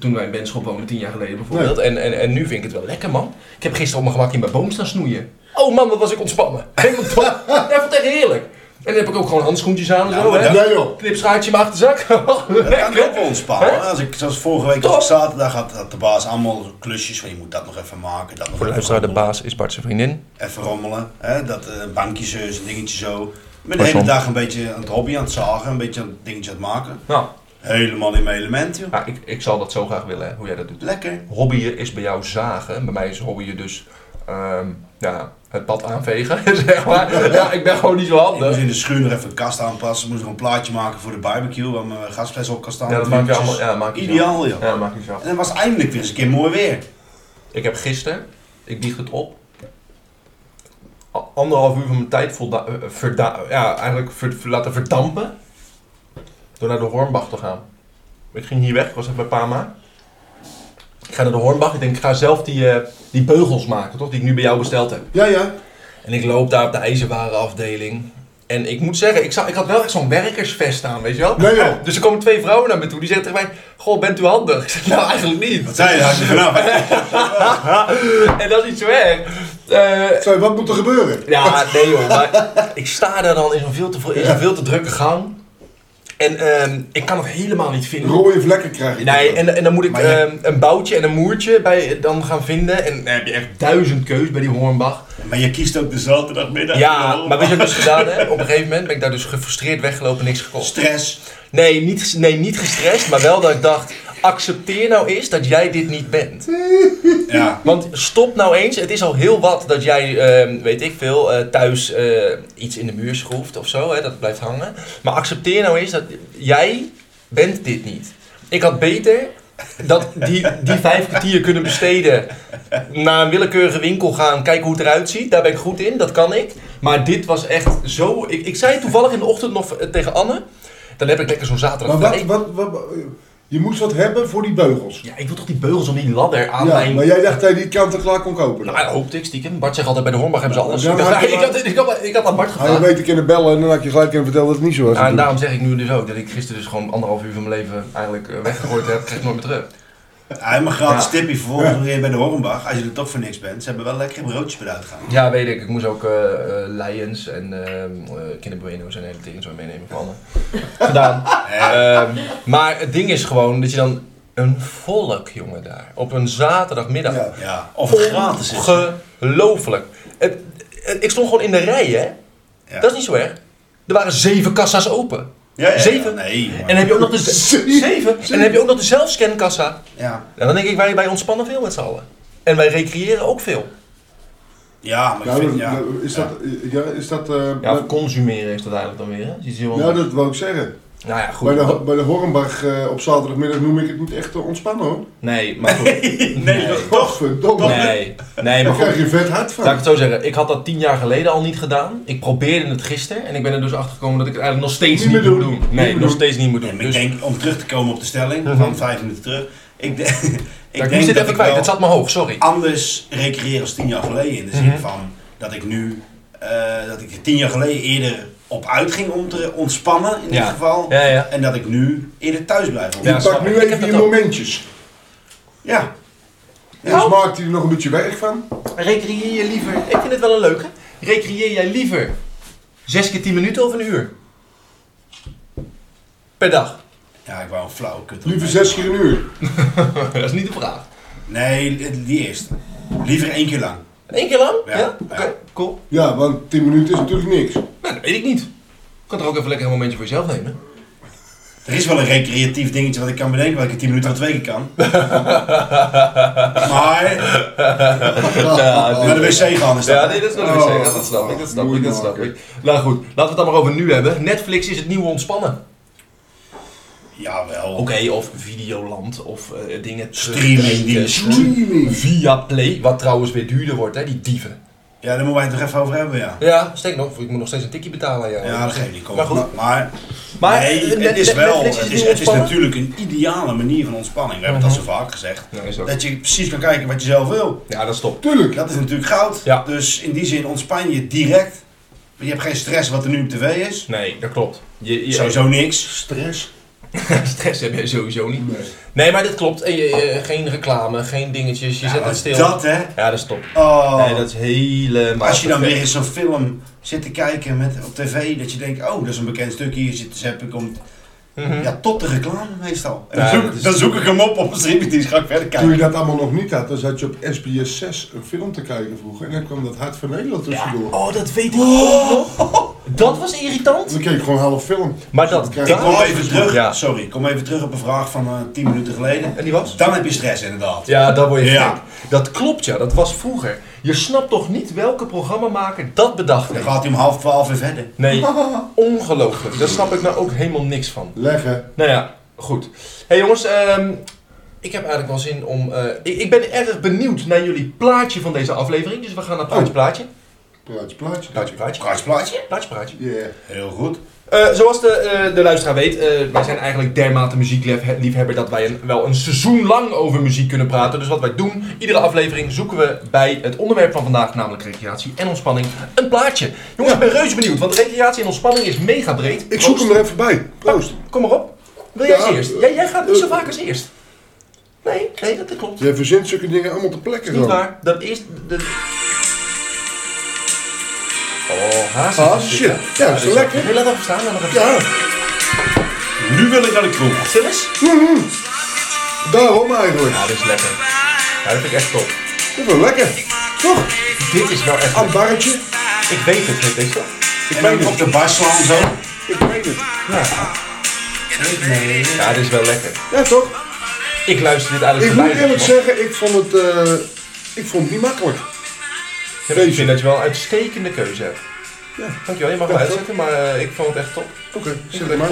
[SPEAKER 1] toen wij in Benschop woonden, tien jaar geleden bijvoorbeeld. En, en, en nu vind ik het wel lekker, man. Ik heb gisteren op mijn gemak in mijn boom staan snoeien. Oh man, wat was ik ontspannen. Helemaal top.
[SPEAKER 3] (laughs)
[SPEAKER 1] Ja, ik vond het echt heerlijk. En dan heb ik ook gewoon handschoentjes aan en
[SPEAKER 3] Ja,
[SPEAKER 1] zo,
[SPEAKER 3] maar
[SPEAKER 1] hè.
[SPEAKER 3] dat-
[SPEAKER 2] Ja joh.
[SPEAKER 1] Knipschaartje in mijn (laughs) achterzak.
[SPEAKER 3] Dat kan ik ook wel
[SPEAKER 1] Hè?
[SPEAKER 3] ontspannen. Als ik, zoals vorige week, als
[SPEAKER 1] Top.
[SPEAKER 3] ik zaterdag had, had de baas allemaal klusjes van je moet dat nog even maken. Dat nog
[SPEAKER 1] Voor de
[SPEAKER 3] even
[SPEAKER 1] luisteraar, de
[SPEAKER 3] rommelen.
[SPEAKER 1] baas is Bart zijn vriendin.
[SPEAKER 3] Even rommelen. Hè? Dat eh bankje zo, een dingetje zo. Ik ben de
[SPEAKER 1] Pas
[SPEAKER 3] hele
[SPEAKER 1] om.
[SPEAKER 3] dag een beetje aan het hobby aan het zagen, een beetje aan het dingetje aan het maken.
[SPEAKER 1] Nou,
[SPEAKER 3] Helemaal in mijn element, joh.
[SPEAKER 1] ja, ik, ik zou dat zo graag willen, hè, hoe jij dat doet.
[SPEAKER 3] Lekker.
[SPEAKER 1] hobbyen is bij jou zagen. Bij mij is hobbyen dus ehm, ja, het pad aanvegen, (laughs) zeg maar. Ja, ik ben gewoon niet zo
[SPEAKER 3] Ik moest
[SPEAKER 1] handig.
[SPEAKER 3] in de schuur nog even een kast aanpassen. Moest nog een plaatje maken voor de barbecue waar mijn gasfles op kan staan.
[SPEAKER 1] Ja, dat maak je
[SPEAKER 3] Dingetjes.
[SPEAKER 1] allemaal. Ja, dat maak je zelf.
[SPEAKER 3] Ideaal, joh.
[SPEAKER 1] Ja, dat maak je zelf.
[SPEAKER 3] En het was eindelijk weer eens een keer mooi weer.
[SPEAKER 1] Ik heb gisteren, ik biecht het op, a- anderhalf uur van mijn tijd volda- eh, verda- ja, eigenlijk ver- ver- laten verdampen door naar de Hornbach te gaan. Ik ging hier weg, ik was even bij Pama. Ik ga naar de Hornbach, ik denk ik ga zelf die, eh, die beugels maken, toch? Die ik nu bij jou besteld heb.
[SPEAKER 2] Ja, ja.
[SPEAKER 1] En ik loop daar op de ijzerwarenafdeling. En ik moet zeggen, ik, zag, ik had wel echt zo'n werkersvest aan, weet je wel?
[SPEAKER 2] Nee, joh.
[SPEAKER 1] Dus er komen twee vrouwen naar me toe, die zeggen tegen mij... Goh, bent u handig? (laughs) Ik zeg, nou, eigenlijk
[SPEAKER 3] Wat
[SPEAKER 1] niet.
[SPEAKER 3] zei je daar vanaf?
[SPEAKER 1] en dat is niet zo erg. Eh,
[SPEAKER 2] Zei, wat moet er gebeuren?
[SPEAKER 3] (laughs)
[SPEAKER 1] ja, nee joh, maar ik sta daar dan in zo'n veel, te vo- in zo'n veel te drukke gang. En ehm, ik kan het helemaal niet vinden.
[SPEAKER 2] Rode vlekken krijg je.
[SPEAKER 1] Nee, en, en dan moet ik
[SPEAKER 3] Maar je-
[SPEAKER 1] ehm, een boutje en een moertje bij, dan gaan vinden. En dan heb je echt duizend keus bij die Hornbach.
[SPEAKER 3] (laughs) Maar je kiest ook de zaterdagmiddag.
[SPEAKER 1] Ja, maar weet je wat ik dus gedaan heb? Op een gegeven moment ben ik daar dus gefrustreerd weggelopen, niks gekocht.
[SPEAKER 3] Stress.
[SPEAKER 1] Nee niet, ges- nee, niet gestrest, maar wel dat ik dacht: accepteer nou eens dat jij dit niet bent.
[SPEAKER 3] Ja.
[SPEAKER 1] Want stop nou eens, het is al heel wat dat jij, ehm, weet ik veel, eh, thuis eh, iets in de muur schroeft of zo, hè, dat blijft hangen. Maar accepteer nou eens dat jij bent dit niet. Ik had beter dat die, die vijf kwartier kunnen besteden, naar een willekeurige winkel gaan, kijken hoe het eruit ziet. Daar ben ik goed in, dat kan ik. Maar dit was echt zo. Ik, ik zei toevallig in de ochtend nog eh, tegen Anne. Dan heb ik lekker zo'n zaterdag
[SPEAKER 2] Maar wat,
[SPEAKER 1] vrij.
[SPEAKER 2] wat, wat, wat- je moest wat hebben voor die beugels.
[SPEAKER 1] Ja, ik wil toch die beugels om die ladder aan
[SPEAKER 2] Ja,
[SPEAKER 1] mijn...
[SPEAKER 2] maar jij dacht dat je die kant en klaar kon kopen.
[SPEAKER 1] Nou, dat hoopte ik stiekem. Bart zegt altijd bij de Hornbach hebben ze alles.
[SPEAKER 2] Ja,
[SPEAKER 1] (laughs)
[SPEAKER 2] Ah,
[SPEAKER 1] ik, dacht,
[SPEAKER 2] maar-
[SPEAKER 1] ik, had, ik, had, ik had aan Bart
[SPEAKER 2] Hij had
[SPEAKER 1] gevraagd.
[SPEAKER 2] beter kunnen bellen en Nou, dan had je gelijk kunnen vertellen dat het niet zo was.
[SPEAKER 1] Ja, en daarom zeg ik nu dus ook dat ik gisteren dus gewoon anderhalf uur van mijn leven eigenlijk eh, weggegooid heb. Ik krijg het nooit meer terug.
[SPEAKER 3] Hij mag gratis
[SPEAKER 1] Ja.
[SPEAKER 3] tipje vervolgens weer bij de Hornbach. Als je er toch voor niks bent. Ze hebben wel lekkere broodjes bij de uitgaan.
[SPEAKER 1] Ja, weet ik. Ik moest ook eh eh, Lions en eh eh, kinderbueno's en hele dingen zo meenemen van Anne. (laughs) Gedaan. Ehm, maar het ding is gewoon dat je dan een volk, jongen, daar op een zaterdagmiddag.
[SPEAKER 2] Ja.
[SPEAKER 3] Ja. Of het gratis is.
[SPEAKER 1] Ongelooflijk. Het- het- Ik stond gewoon in de rij, hè?
[SPEAKER 3] Ja.
[SPEAKER 1] Dat is niet zo erg. Er waren zeven kassa's open.
[SPEAKER 3] Ja, ja, ja.
[SPEAKER 1] Zeven.
[SPEAKER 3] Nee, maar-
[SPEAKER 1] En dan heb je ook nog de
[SPEAKER 2] Zeven?
[SPEAKER 1] (laughs) zeven. En dan heb je ook nog de zelfscankassa.
[SPEAKER 3] Ja.
[SPEAKER 1] En dan denk ik, wij, wij ontspannen veel met z'n allen. En wij recreëren ook veel.
[SPEAKER 3] Ja, maar ik
[SPEAKER 2] Nou,
[SPEAKER 3] vind...
[SPEAKER 2] dat-
[SPEAKER 3] Ja.
[SPEAKER 2] dat- is dat... eh, Ja, is dat... eh,
[SPEAKER 1] Ja,
[SPEAKER 2] nou,
[SPEAKER 1] consumeren is dat eigenlijk dan weer. Hè? Is heel
[SPEAKER 2] nou, dat wou ik zeggen.
[SPEAKER 1] nou ja, goed.
[SPEAKER 2] Bij de, bij de Hornbach eh, op zaterdagmiddag noem ik het niet echt eh, ontspannen hoor.
[SPEAKER 1] (laughs) Nee, maar goed.
[SPEAKER 3] (laughs) Nee, nee. dat-
[SPEAKER 2] Godverdomme.
[SPEAKER 1] Nee, nee, maar
[SPEAKER 2] (laughs) Daar
[SPEAKER 1] goed.
[SPEAKER 2] krijg je vet hard
[SPEAKER 1] Laat ik
[SPEAKER 2] van.
[SPEAKER 1] het zo zeggen, ik had dat tien jaar geleden al niet gedaan. Ik probeerde het gisteren en ik ben er dus achter gekomen dat ik het eigenlijk nog steeds
[SPEAKER 2] Niet
[SPEAKER 1] niet,
[SPEAKER 2] meer
[SPEAKER 1] moet
[SPEAKER 2] doen.
[SPEAKER 1] doen.
[SPEAKER 2] Niet
[SPEAKER 1] Nee,
[SPEAKER 2] meer
[SPEAKER 1] nog
[SPEAKER 2] doen.
[SPEAKER 1] steeds niet moet
[SPEAKER 3] Nee,
[SPEAKER 1] doen.
[SPEAKER 3] maar
[SPEAKER 1] Dus,
[SPEAKER 3] ik denk, om terug te komen op de stelling
[SPEAKER 1] Mhm.
[SPEAKER 3] van vijf minuten terug. Ik, de- (laughs) ik
[SPEAKER 1] ik
[SPEAKER 3] denk
[SPEAKER 1] moest dit
[SPEAKER 3] dat
[SPEAKER 1] even
[SPEAKER 3] ik
[SPEAKER 1] kwijt,
[SPEAKER 3] wel
[SPEAKER 1] het zat me hoog, sorry.
[SPEAKER 3] anders recreëren als tien jaar geleden. In de zin
[SPEAKER 1] Mhm.
[SPEAKER 3] van dat ik nu, eh, dat ik er tien jaar geleden eerder op uitging om te ontspannen in
[SPEAKER 1] Ja.
[SPEAKER 3] dit geval.
[SPEAKER 1] Ja, ja.
[SPEAKER 3] En dat ik nu eerder thuis blijf.
[SPEAKER 1] Ja,
[SPEAKER 2] Je
[SPEAKER 1] snap
[SPEAKER 2] pakt
[SPEAKER 1] ik.
[SPEAKER 2] nu
[SPEAKER 1] Ik heb
[SPEAKER 2] even
[SPEAKER 1] dat
[SPEAKER 2] je
[SPEAKER 1] ook.
[SPEAKER 2] momentjes.
[SPEAKER 3] ja.
[SPEAKER 2] En
[SPEAKER 1] Nou.
[SPEAKER 2] smaakt hij er nog een beetje werk van?
[SPEAKER 1] Recreëer je liever, ik vind het wel een leuke. Recreëer jij liever zes keer tien minuten of een uur? Per (laughs) dag.
[SPEAKER 3] Ja, ik wou een flauwe kut.
[SPEAKER 2] Liever zes keer een uur.
[SPEAKER 1] dat is niet de vraag.
[SPEAKER 3] Nee, die eerste. Liever één keer lang.
[SPEAKER 1] Eén keer lang? Ja.
[SPEAKER 3] Ja.
[SPEAKER 1] Oké,
[SPEAKER 3] Ja.
[SPEAKER 1] cool.
[SPEAKER 2] Ja, want 10 minuten is natuurlijk niks.
[SPEAKER 1] Nou, dat weet ik niet. Kan toch ook even lekker een momentje voor jezelf nemen?
[SPEAKER 3] Er is wel een recreatief dingetje wat ik kan bedenken, wat ik in 10 minuten of twee
[SPEAKER 1] (laughs)
[SPEAKER 3] keer kan. maar
[SPEAKER 1] eh,
[SPEAKER 2] (laughs)
[SPEAKER 3] naar de wc gaan is dat.
[SPEAKER 1] Ja, nee, dat is wel een
[SPEAKER 2] Oh.
[SPEAKER 1] wc. Ja, dat snap ik, dat snap ik, dat snap
[SPEAKER 2] Moeilijk.
[SPEAKER 1] ik. Nou goed, laten we het dan maar over nu hebben. Netflix is het nieuwe ontspannen.
[SPEAKER 3] Jawel.
[SPEAKER 1] Oké, of Videoland, of eh, dingen...
[SPEAKER 3] Streamingdienst.
[SPEAKER 2] Streaming.
[SPEAKER 1] Via Play, wat trouwens weer duurder wordt, hè, die dieven.
[SPEAKER 3] Ja, daar moeten wij het nog even over hebben, ja.
[SPEAKER 1] Ja, steek nog, ik moet nog steeds een tikje betalen aan jou.
[SPEAKER 3] Ja, dat geeft niet. Kom.
[SPEAKER 1] Maar
[SPEAKER 3] Maar,
[SPEAKER 1] goed.
[SPEAKER 3] maar,
[SPEAKER 1] Maar,
[SPEAKER 3] nee,
[SPEAKER 1] eh,
[SPEAKER 3] het is
[SPEAKER 1] Net-
[SPEAKER 3] wel,
[SPEAKER 1] Netflix is
[SPEAKER 3] het
[SPEAKER 1] nieuw
[SPEAKER 3] is, het is
[SPEAKER 1] ontspannen?
[SPEAKER 3] natuurlijk een ideale manier van ontspanning. We hebben het al zo vaak gezegd.
[SPEAKER 1] Ja, is ook-
[SPEAKER 3] Dat je precies kan kijken wat je zelf wil.
[SPEAKER 1] Ja, dat is top.
[SPEAKER 2] Tuurlijk.
[SPEAKER 3] Dat is natuurlijk goud.
[SPEAKER 1] Ja.
[SPEAKER 3] Dus in die zin ontspan je direct. Je hebt geen stress wat er nu op tv is.
[SPEAKER 1] (laughs) Nee, dat klopt. Je, je-
[SPEAKER 3] Sowieso niks.
[SPEAKER 2] Stress.
[SPEAKER 1] Stress heb je sowieso niet.
[SPEAKER 2] Nee.
[SPEAKER 1] Nee, maar dit klopt. En je, je- geen reclame, geen dingetjes. Je
[SPEAKER 3] Ja,
[SPEAKER 1] zet
[SPEAKER 3] maar
[SPEAKER 1] het stil.
[SPEAKER 3] Dat hè.
[SPEAKER 1] Ja, dat is top.
[SPEAKER 3] Oh.
[SPEAKER 1] Nee, dat is helemaal.
[SPEAKER 3] Als je dan weer
[SPEAKER 1] perfect.
[SPEAKER 3] eens zo'n film zit te kijken met, op tv, dat je denkt, oh, dat is een bekend stukje, hier zit dus te zappen, komt
[SPEAKER 1] Mhm.
[SPEAKER 3] ja, tot de reclame meestal. En dan,
[SPEAKER 1] Ja,
[SPEAKER 3] zoek,
[SPEAKER 1] dat is-
[SPEAKER 3] dan zoek ik hem op op een striptease, ga ik verder
[SPEAKER 2] Toen je
[SPEAKER 3] kijken.
[SPEAKER 2] dat allemaal nog niet had, dan zat je op SBS 6 een film te kijken vroeger. En dan kwam dat Hart van Nederland tussendoor.
[SPEAKER 1] Oh, dat weet ik ook nog. Dat was irritant.
[SPEAKER 2] Dan keek ik gewoon half film.
[SPEAKER 1] Maar dat,
[SPEAKER 2] Kijk,
[SPEAKER 3] Ik
[SPEAKER 1] dat
[SPEAKER 3] kom even terug,
[SPEAKER 1] Ja.
[SPEAKER 3] sorry, ik kom even terug op een vraag van eh 10 minuten geleden.
[SPEAKER 1] En die was?
[SPEAKER 3] Dan heb je stress inderdaad.
[SPEAKER 1] Ja, daar word je
[SPEAKER 3] Ja.
[SPEAKER 1] gek. Dat klopt, ja. Dat was vroeger. Je snapt toch niet welke programmamaker dat bedacht
[SPEAKER 3] Dan
[SPEAKER 1] heeft?
[SPEAKER 3] gaat hij om half twaalf weer verder.
[SPEAKER 1] (laughs) Nee, ongelooflijk. Daar snap ik nou ook helemaal niks van.
[SPEAKER 2] Leggen.
[SPEAKER 1] Nou ja, goed. hey jongens, ehm, ik heb eigenlijk wel zin om... eh, ik, ik ben erg benieuwd naar jullie plaatje van deze aflevering. Dus we gaan naar plaatje, plaatje.
[SPEAKER 2] Plaatje, plaatje.
[SPEAKER 1] Plaatje, plaatje.
[SPEAKER 3] Kruisplaatje?
[SPEAKER 1] Plaatje, plaatje.
[SPEAKER 2] Yeah.
[SPEAKER 3] Heel goed.
[SPEAKER 1] Eh, zoals de, eh, de luisteraar weet, eh, wij zijn eigenlijk dermate muziekliefhebber dat wij een, wel een seizoen lang over muziek kunnen praten. Dus wat wij doen, iedere aflevering zoeken we bij het onderwerp van vandaag, namelijk recreatie en ontspanning, een plaatje. Jongens, ik ben reuze benieuwd, want recreatie en ontspanning is mega breed.
[SPEAKER 2] Ik zoek
[SPEAKER 1] Proost.
[SPEAKER 2] hem er even bij. Proost.
[SPEAKER 1] Kom maar op. Wil jij
[SPEAKER 2] Ja,
[SPEAKER 1] als eerst?
[SPEAKER 2] eh,
[SPEAKER 1] Jij, jij gaat niet zo
[SPEAKER 2] eh,
[SPEAKER 1] vaak als eerst. Nee, nee, dat klopt.
[SPEAKER 2] Jij verzint zulke dingen allemaal te plekken
[SPEAKER 1] Niet
[SPEAKER 2] gewoon.
[SPEAKER 1] waar. Dat is... De... Oh, haast.
[SPEAKER 2] Ah, shit. Ja, dat is lekker.
[SPEAKER 1] Wil je dat even staan? Laat dat even
[SPEAKER 2] Ja,
[SPEAKER 1] staan.
[SPEAKER 3] Nu wil ik naar de kroeg.
[SPEAKER 1] Stil eens.
[SPEAKER 2] daarom eigenlijk.
[SPEAKER 1] Ja, dit is lekker. Ja, dat vind ik echt top.
[SPEAKER 2] Dat is wel lekker. Toch?
[SPEAKER 1] Dit is wel echt
[SPEAKER 2] Aan het barretje.
[SPEAKER 1] Ik weet het, weet je wel.
[SPEAKER 2] Ik
[SPEAKER 3] En
[SPEAKER 2] meen
[SPEAKER 3] dan op
[SPEAKER 2] het.
[SPEAKER 3] de bar slaan zo.
[SPEAKER 2] Ik meen het.
[SPEAKER 3] Nee.
[SPEAKER 1] Ja, dit is wel lekker.
[SPEAKER 2] Ja, toch?
[SPEAKER 1] Ik luister dit
[SPEAKER 2] Ik
[SPEAKER 1] eigenlijk
[SPEAKER 2] moet
[SPEAKER 1] bijna,
[SPEAKER 2] eerlijk
[SPEAKER 1] man.
[SPEAKER 2] zeggen, ik vond het, eh, ik vond het niet makkelijk.
[SPEAKER 1] Ik vind dat je wel een uitstekende keuze hebt.
[SPEAKER 2] Ja.
[SPEAKER 1] Dankjewel, je mag
[SPEAKER 2] Ja,
[SPEAKER 1] wel uitzetten, maar eh, ik vond het echt top.
[SPEAKER 2] Oké, zet hem maar.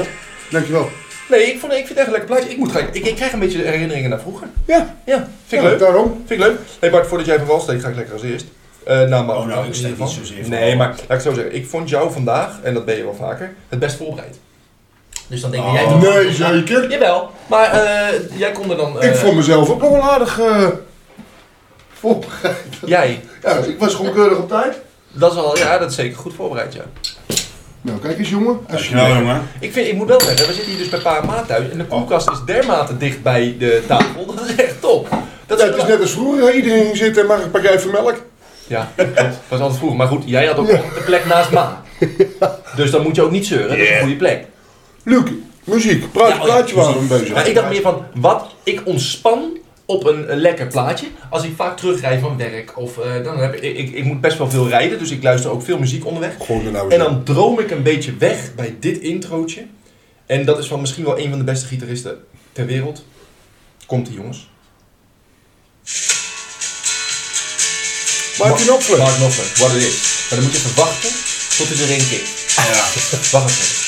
[SPEAKER 2] Dankjewel.
[SPEAKER 1] Nee, ik, vond, ik vind het echt een lekker plaatje. Ik, moet, gelijk- ik, ik krijg een beetje herinneringen naar vroeger.
[SPEAKER 2] Ja,
[SPEAKER 1] Ja, vind ik
[SPEAKER 2] ja,
[SPEAKER 1] leuk.
[SPEAKER 2] daarom.
[SPEAKER 1] Vind ik leuk. Hey Bart, voordat jij van wal steekt, ga ik lekker als eerst. Eh nou, maar
[SPEAKER 3] Oh, nou,
[SPEAKER 1] in
[SPEAKER 3] ik
[SPEAKER 1] ieder
[SPEAKER 3] steek
[SPEAKER 1] geval.
[SPEAKER 3] niet zozeer van
[SPEAKER 1] Nee,
[SPEAKER 3] wal.
[SPEAKER 1] maar laat ik het zo zeggen. Ik vond jou vandaag, en dat ben je wel vaker, het best voorbereid. Dus dan denk ik,
[SPEAKER 3] Oh.
[SPEAKER 1] jij...
[SPEAKER 2] Nee, zeker.
[SPEAKER 1] Jawel, maar eh, jij kon er dan... eh,
[SPEAKER 2] Ik vond mezelf ook nog wel aardig eh voorbereid.
[SPEAKER 1] Jij,
[SPEAKER 2] Ja, dus ik was gewoon keurig op tijd.
[SPEAKER 1] dat is wel, ja, dat is zeker goed voorbereid, ja.
[SPEAKER 2] Nou, kijk eens jongen. Als je
[SPEAKER 3] Dankjewel jongen.
[SPEAKER 1] Ik, vind, ik moet wel zeggen, we zitten hier dus bij Pa en Ma thuis
[SPEAKER 2] Oh.
[SPEAKER 1] en de koelkast is dermate dicht bij de tafel. Dat is echt top. Dat
[SPEAKER 2] Ja, het is net als vroeger, hè. iedereen ging zitten en mag een pakket van melk.
[SPEAKER 1] Ja, dat was altijd vroeger. Maar goed, jij had ook de plek naast
[SPEAKER 2] (laughs)
[SPEAKER 1] Ma. Dus dan moet je ook niet zeuren, dat is een goede plek.
[SPEAKER 2] Luc, muziek, praatje,
[SPEAKER 1] Ja, oh ja,
[SPEAKER 2] plaatje waren we bezig.
[SPEAKER 1] Maar ik dacht meer van, wat ik ontspan op een eh, lekker plaatje. Als ik vaak terugrij van werk of eh, dan heb ik, ik, ik moet best wel veel rijden, dus ik luister ook veel muziek onderweg.
[SPEAKER 2] Gewoon er nou
[SPEAKER 1] En
[SPEAKER 2] eens
[SPEAKER 1] dan droom ik een beetje weg bij dit introotje. En dat is van misschien wel een van de beste gitaristen ter wereld. Komt die jongens.
[SPEAKER 2] op. Martin Opfler.
[SPEAKER 1] Mark Knopfler, wat het is. Maar dan moet je even wachten tot hij erin kikt.
[SPEAKER 3] Ja.
[SPEAKER 1] (laughs) Wacht even.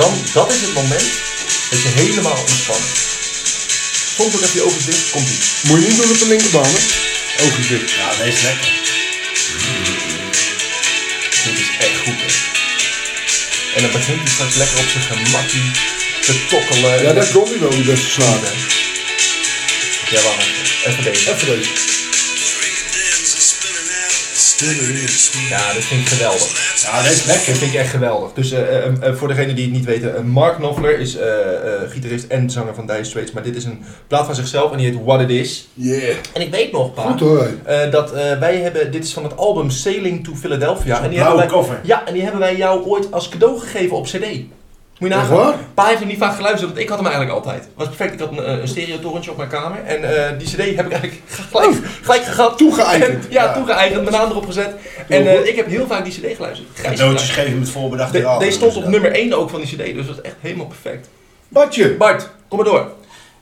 [SPEAKER 1] Dan, dat is het moment dat je helemaal ontspant. Soms ook heb je ogen dicht, komt die.
[SPEAKER 2] Moet je niet doen op de linkerbaan, hè? Ogen dicht.
[SPEAKER 3] Ja, deze is lekker.
[SPEAKER 1] Dit is echt goed, hè. En dan begint hij straks lekker op zijn gemakkie te tokkelen.
[SPEAKER 2] Ja, daar komt hij wel, die beste slager.
[SPEAKER 1] Ja, wacht even. Even deze.
[SPEAKER 2] Even deze.
[SPEAKER 1] Ja, dat vind ik geweldig.
[SPEAKER 3] Ja, deze is lekker.
[SPEAKER 1] Dat vind ik echt geweldig. Dus eh, eh, eh, voor degenen die het niet weten, eh, Mark Knopfler is eh, eh, gitarist en zanger van Dire Straits. Maar dit is een plaat van zichzelf en die heet What It Is.
[SPEAKER 2] Yeah.
[SPEAKER 1] En ik weet nog, pa,
[SPEAKER 2] Goed hoor, hè.
[SPEAKER 1] eh, dat eh, wij hebben, dit is van het album Sailing to Philadelphia. En die,
[SPEAKER 3] blauwe
[SPEAKER 1] hebben wij,
[SPEAKER 3] koffer.
[SPEAKER 1] ja, en die hebben wij jou ooit als cadeau gegeven op cd. Moet je
[SPEAKER 2] Echt
[SPEAKER 1] nagaan.
[SPEAKER 2] waar?
[SPEAKER 1] Pa heeft hem niet vaak geluisterd, want ik had hem eigenlijk altijd. Het was perfect, ik had een, eh, een stereotorentje op mijn kamer. En eh, die cd heb ik eigenlijk (laughs) gelijk, gelijk gehad.
[SPEAKER 2] Toegeëigend.
[SPEAKER 1] Ja, Oh. toegeëigend, mijn naam erop gezet. En eh, ik heb heel vaak die cd geluisterd.
[SPEAKER 3] Cadeautjes geven met voorbedachte
[SPEAKER 1] De-
[SPEAKER 3] raden.
[SPEAKER 1] deze stond op
[SPEAKER 3] Dus,
[SPEAKER 1] nummer 1 ook van die cd, dus dat is echt helemaal perfect.
[SPEAKER 2] Badje.
[SPEAKER 1] Bart, kom maar door.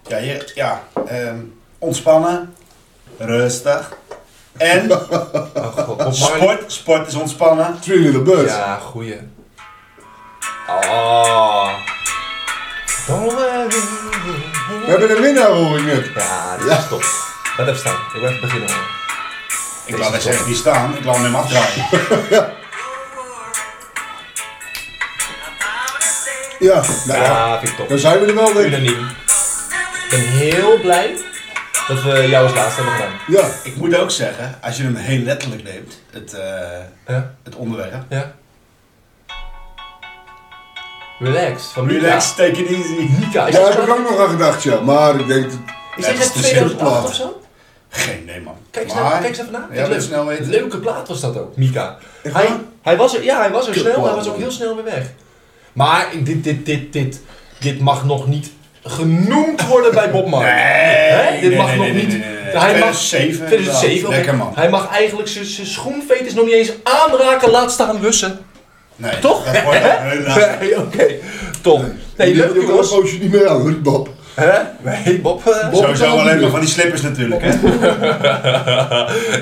[SPEAKER 3] Ja, hier, ja ehm, ontspannen, rustig
[SPEAKER 6] (laughs)
[SPEAKER 3] en
[SPEAKER 1] Oh god, Bob Marley.
[SPEAKER 3] sport. Sport is ontspannen.
[SPEAKER 2] Three Little Birds.
[SPEAKER 1] Ja, goeie. Ah. Don't worry.
[SPEAKER 2] We hebben een winnaar, hoor ik net.
[SPEAKER 1] Ja, dat is top. Laat even staan, ik wil even beginnen. hoor.
[SPEAKER 3] Ik laat deze echt niet staan, ik laat hem
[SPEAKER 6] (laughs)
[SPEAKER 3] afdraaien.
[SPEAKER 2] Ja, nou ja.
[SPEAKER 1] Ja, vind ik top.
[SPEAKER 2] Dan zijn we er wel, denk ik.
[SPEAKER 1] Unaniem. Ik ben heel blij dat we jou als laatste hebben gedaan.
[SPEAKER 2] Ja.
[SPEAKER 3] Ik moet ook zeggen, als je hem heel letterlijk neemt, het, eh,
[SPEAKER 1] Ja,
[SPEAKER 3] het onderwerp,
[SPEAKER 1] ja. Relaxed. Van Mika.
[SPEAKER 6] Relax, take it easy.
[SPEAKER 1] Mika. Is
[SPEAKER 2] Daar
[SPEAKER 1] dat
[SPEAKER 2] heb ik ook nog aan gedacht, ja. Maar ik denk, dat-
[SPEAKER 5] Is
[SPEAKER 3] Ja, het
[SPEAKER 5] dit
[SPEAKER 3] is
[SPEAKER 5] uit
[SPEAKER 3] de
[SPEAKER 5] 2008
[SPEAKER 2] zendplaat.
[SPEAKER 5] of zo?
[SPEAKER 3] Geen, nee man.
[SPEAKER 1] Kijk eens,
[SPEAKER 3] Maar-
[SPEAKER 1] naar, kijk eens even na.
[SPEAKER 3] Ja,
[SPEAKER 1] Leuk.
[SPEAKER 3] met snelheid.
[SPEAKER 1] Leuke plaat was dat ook, Mika.
[SPEAKER 2] waar?
[SPEAKER 1] Hij, hij was er, ja, hij was er
[SPEAKER 2] Kutplaat,
[SPEAKER 1] snel, hij was ook
[SPEAKER 2] man.
[SPEAKER 1] heel snel weer weg. Maar ik- dit, dit, dit, dit, dit mag nog niet genoemd worden bij Bob Marley. Hè?
[SPEAKER 3] Nee,
[SPEAKER 1] dit
[SPEAKER 3] nee,
[SPEAKER 1] mag
[SPEAKER 3] nee,
[SPEAKER 1] nog
[SPEAKER 3] nee,
[SPEAKER 1] niet.
[SPEAKER 3] nee, nee, nee.
[SPEAKER 1] Hij mag
[SPEAKER 3] 2007.
[SPEAKER 1] 2007.
[SPEAKER 3] Lekker man.
[SPEAKER 1] Hij mag eigenlijk zijn zijn schoenveters nog niet eens aanraken, laat staan lussen.
[SPEAKER 3] Nee,
[SPEAKER 1] Toch?
[SPEAKER 3] Dat wordt ook helaas.
[SPEAKER 1] (laughs) Nee, oké. Tom. Nee,
[SPEAKER 2] die
[SPEAKER 1] leuk
[SPEAKER 2] doet ook een
[SPEAKER 1] jongens.
[SPEAKER 2] poosje niet meer aan, hoor, Bob.
[SPEAKER 1] Hè? Nee, Bob. eh,
[SPEAKER 2] Bob is
[SPEAKER 3] Sowieso
[SPEAKER 2] al
[SPEAKER 3] alleen
[SPEAKER 2] niet
[SPEAKER 3] maar
[SPEAKER 2] meer.
[SPEAKER 3] van die slippers
[SPEAKER 1] (laughs)
[SPEAKER 3] natuurlijk. Hè?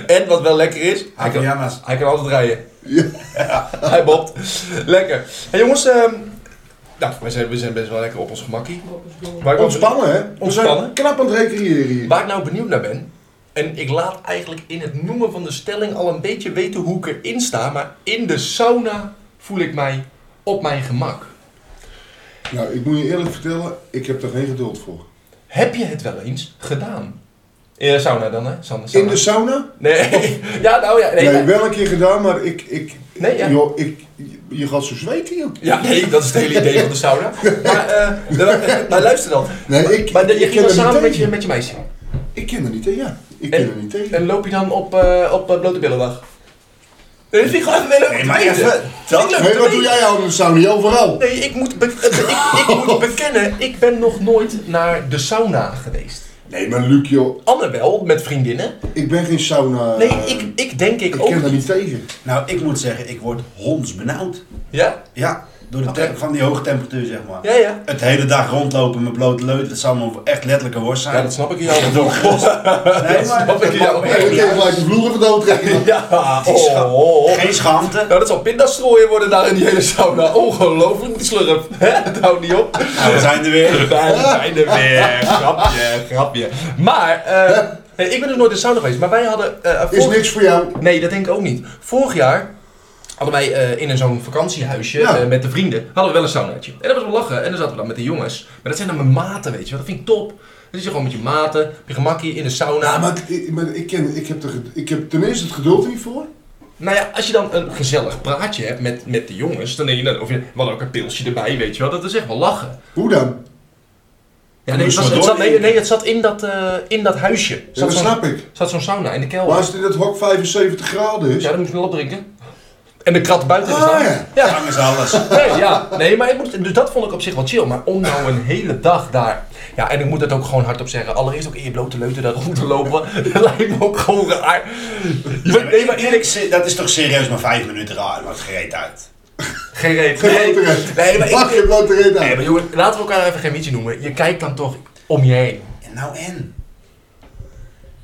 [SPEAKER 1] En wat wel lekker is, hij kan,
[SPEAKER 3] Pyjama's.
[SPEAKER 1] hij kan altijd rijden.
[SPEAKER 2] Ja.
[SPEAKER 1] (laughs) Hij bobt. Lekker. Hey jongens, ehm, nou, wij zijn, we zijn best wel lekker op ons gemakkie. Waar ik, wel-
[SPEAKER 2] Ontspannen, hè? We
[SPEAKER 1] Ontspannen.
[SPEAKER 2] zijn knap aan het recreëren hier.
[SPEAKER 1] waar ik nou benieuwd naar ben, en ik laat eigenlijk in het noemen van de stelling al een beetje weten hoe ik erin sta, maar in de sauna voel ik mij op mijn gemak.
[SPEAKER 2] Nou, ik moet je eerlijk vertellen, ik heb daar geen geduld voor.
[SPEAKER 1] Heb je het wel eens gedaan? In de sauna dan, hè? Sauna,
[SPEAKER 2] In
[SPEAKER 1] sauna.
[SPEAKER 2] de sauna?
[SPEAKER 1] Nee, (laughs) ja, nou ja. Nee,
[SPEAKER 2] Nee,
[SPEAKER 1] ja.
[SPEAKER 2] wel een keer gedaan, maar ik... ik
[SPEAKER 1] Nee, ja.
[SPEAKER 2] joh, ik, je gaat zo zweten, joh.
[SPEAKER 1] Ja, nee, dat is het hele idee van de sauna. Maar, eh, nou, maar luister dan.
[SPEAKER 2] Nee, ik,
[SPEAKER 1] Maar de-
[SPEAKER 2] ik
[SPEAKER 1] je
[SPEAKER 2] ken
[SPEAKER 1] ging dan
[SPEAKER 2] er
[SPEAKER 1] samen
[SPEAKER 2] niet
[SPEAKER 1] met je,
[SPEAKER 2] tegen.
[SPEAKER 1] met je meisje.
[SPEAKER 2] Ik ken er niet tegen, ja. Ik
[SPEAKER 1] En-
[SPEAKER 2] ken er niet tegen.
[SPEAKER 1] En loop je dan op, eh, op eh, blote billendag? Nee, dat vind ik gewoon even leuk om
[SPEAKER 3] Nee,
[SPEAKER 1] te
[SPEAKER 3] maar
[SPEAKER 1] weten.
[SPEAKER 3] even.
[SPEAKER 1] Vind ik
[SPEAKER 3] Dat,
[SPEAKER 1] leuk
[SPEAKER 2] Nee,
[SPEAKER 1] te
[SPEAKER 2] wat doe
[SPEAKER 1] weten.
[SPEAKER 2] jij al in de sauna? Niet overal.
[SPEAKER 1] Nee, ik moet, be- eh, ik, ik (laughs) moet bekennen, ik ben nog nooit naar de sauna geweest.
[SPEAKER 2] Nee, maar Luc, joh,
[SPEAKER 1] Anne wel, met vriendinnen.
[SPEAKER 2] ik ben geen sauna...
[SPEAKER 1] Nee,
[SPEAKER 2] eh,
[SPEAKER 1] ik, ik denk ik,
[SPEAKER 2] Ik
[SPEAKER 1] ook
[SPEAKER 2] ken er
[SPEAKER 1] niet.
[SPEAKER 2] niet tegen.
[SPEAKER 3] nou, ik moet zeggen, ik word hondsbenauwd.
[SPEAKER 1] Ja?
[SPEAKER 3] Ja, door de
[SPEAKER 1] Oké.
[SPEAKER 3] te- van die hoge temperatuur, zeg maar.
[SPEAKER 1] Ja, ja.
[SPEAKER 3] Het hele dag rondlopen met blote leut, dat zou me echt letterlijk een worst zijn.
[SPEAKER 1] Ja, dat snap ik jou.
[SPEAKER 3] Ja,
[SPEAKER 1] (laughs)
[SPEAKER 3] toch? Nee, maar-
[SPEAKER 1] snap ik
[SPEAKER 3] dat
[SPEAKER 1] jou.
[SPEAKER 3] maakt
[SPEAKER 2] Ik
[SPEAKER 3] me echt niet
[SPEAKER 2] kan
[SPEAKER 3] uit.
[SPEAKER 2] gelijk de vloer even doodtrekken.
[SPEAKER 1] Ja, oh, oh, oh.
[SPEAKER 3] Geen schaamte.
[SPEAKER 1] Nou, dat zal pindastrooien worden daar in die hele sauna. Ongelooflijk, die slurp. (laughs) Hè? Dat houdt niet op.
[SPEAKER 3] Nou, we zijn er weer. Eh,
[SPEAKER 1] Wij zijn er weer. Grapje, grapje. Maar, eh, nee, ik ben er nooit in de sauna geweest, maar wij hadden... eh,
[SPEAKER 2] Is
[SPEAKER 1] vorig-
[SPEAKER 2] niks voor jou.
[SPEAKER 1] Nee, dat denk ik ook niet. Vorig jaar hadden wij eh, in een zo'n vakantiehuisje
[SPEAKER 2] Ja.
[SPEAKER 1] eh, met de vrienden, hadden we wel een saunaatje. En dat was wel lachen. En dan zaten we dan met de jongens. Maar dat zijn dan mijn maten, weet je wel. Dat vind ik top. Dan zit je gewoon met je maten, op je gemakkie, in de sauna.
[SPEAKER 2] Ja, Nou, maar ik, maar ik, ken, ik, heb er, ged- ik heb ten eerste het geduld er niet voor.
[SPEAKER 1] Nou ja, als je dan een gezellig praatje hebt met, met de jongens, dan denk je, nou, of je, we hadden ook een pilsje erbij, weet je wel. Dat is echt wel lachen.
[SPEAKER 2] Hoe dan?
[SPEAKER 1] Ja, nee, het,
[SPEAKER 3] moesten
[SPEAKER 1] was,
[SPEAKER 3] we
[SPEAKER 1] het zat, nee,
[SPEAKER 3] doordenken.
[SPEAKER 1] nee, het zat in dat, eh, in dat huisje. Zat
[SPEAKER 2] Ja, dat
[SPEAKER 1] zo'n-
[SPEAKER 2] snap ik.
[SPEAKER 1] zat zo'n sauna in de kelder.
[SPEAKER 2] Maar als het in dat hok 75 graden is.
[SPEAKER 1] Ja, dan moest je wel opdrinken. En de krat buiten
[SPEAKER 2] Ah,
[SPEAKER 1] staan.
[SPEAKER 2] ja.
[SPEAKER 1] ja.
[SPEAKER 3] Gang is alles.
[SPEAKER 1] Nee, ja. nee, maar ik moest, dus dat vond ik op zich wel chill. Maar om nou een hele dag daar. Ja, en ik moet het ook gewoon hardop zeggen. Allereerst ook in je blote leuten daar rond te lopen. (laughs) Dat lijkt me ook gewoon raar. Je weet- nee, maar eerlijk.
[SPEAKER 3] Eerlijk, dat is toch serieus maar vijf minuten raar. Dat gereed uit.
[SPEAKER 1] Geen reet.
[SPEAKER 2] Geen
[SPEAKER 1] Nee,
[SPEAKER 2] blote
[SPEAKER 1] nee, maar
[SPEAKER 2] Pak
[SPEAKER 1] ik,
[SPEAKER 2] je blote reet
[SPEAKER 1] nee,
[SPEAKER 2] aan.
[SPEAKER 1] maar jongen, laten we elkaar even geen mietje noemen. Je kijkt dan toch om je heen.
[SPEAKER 3] En nou en?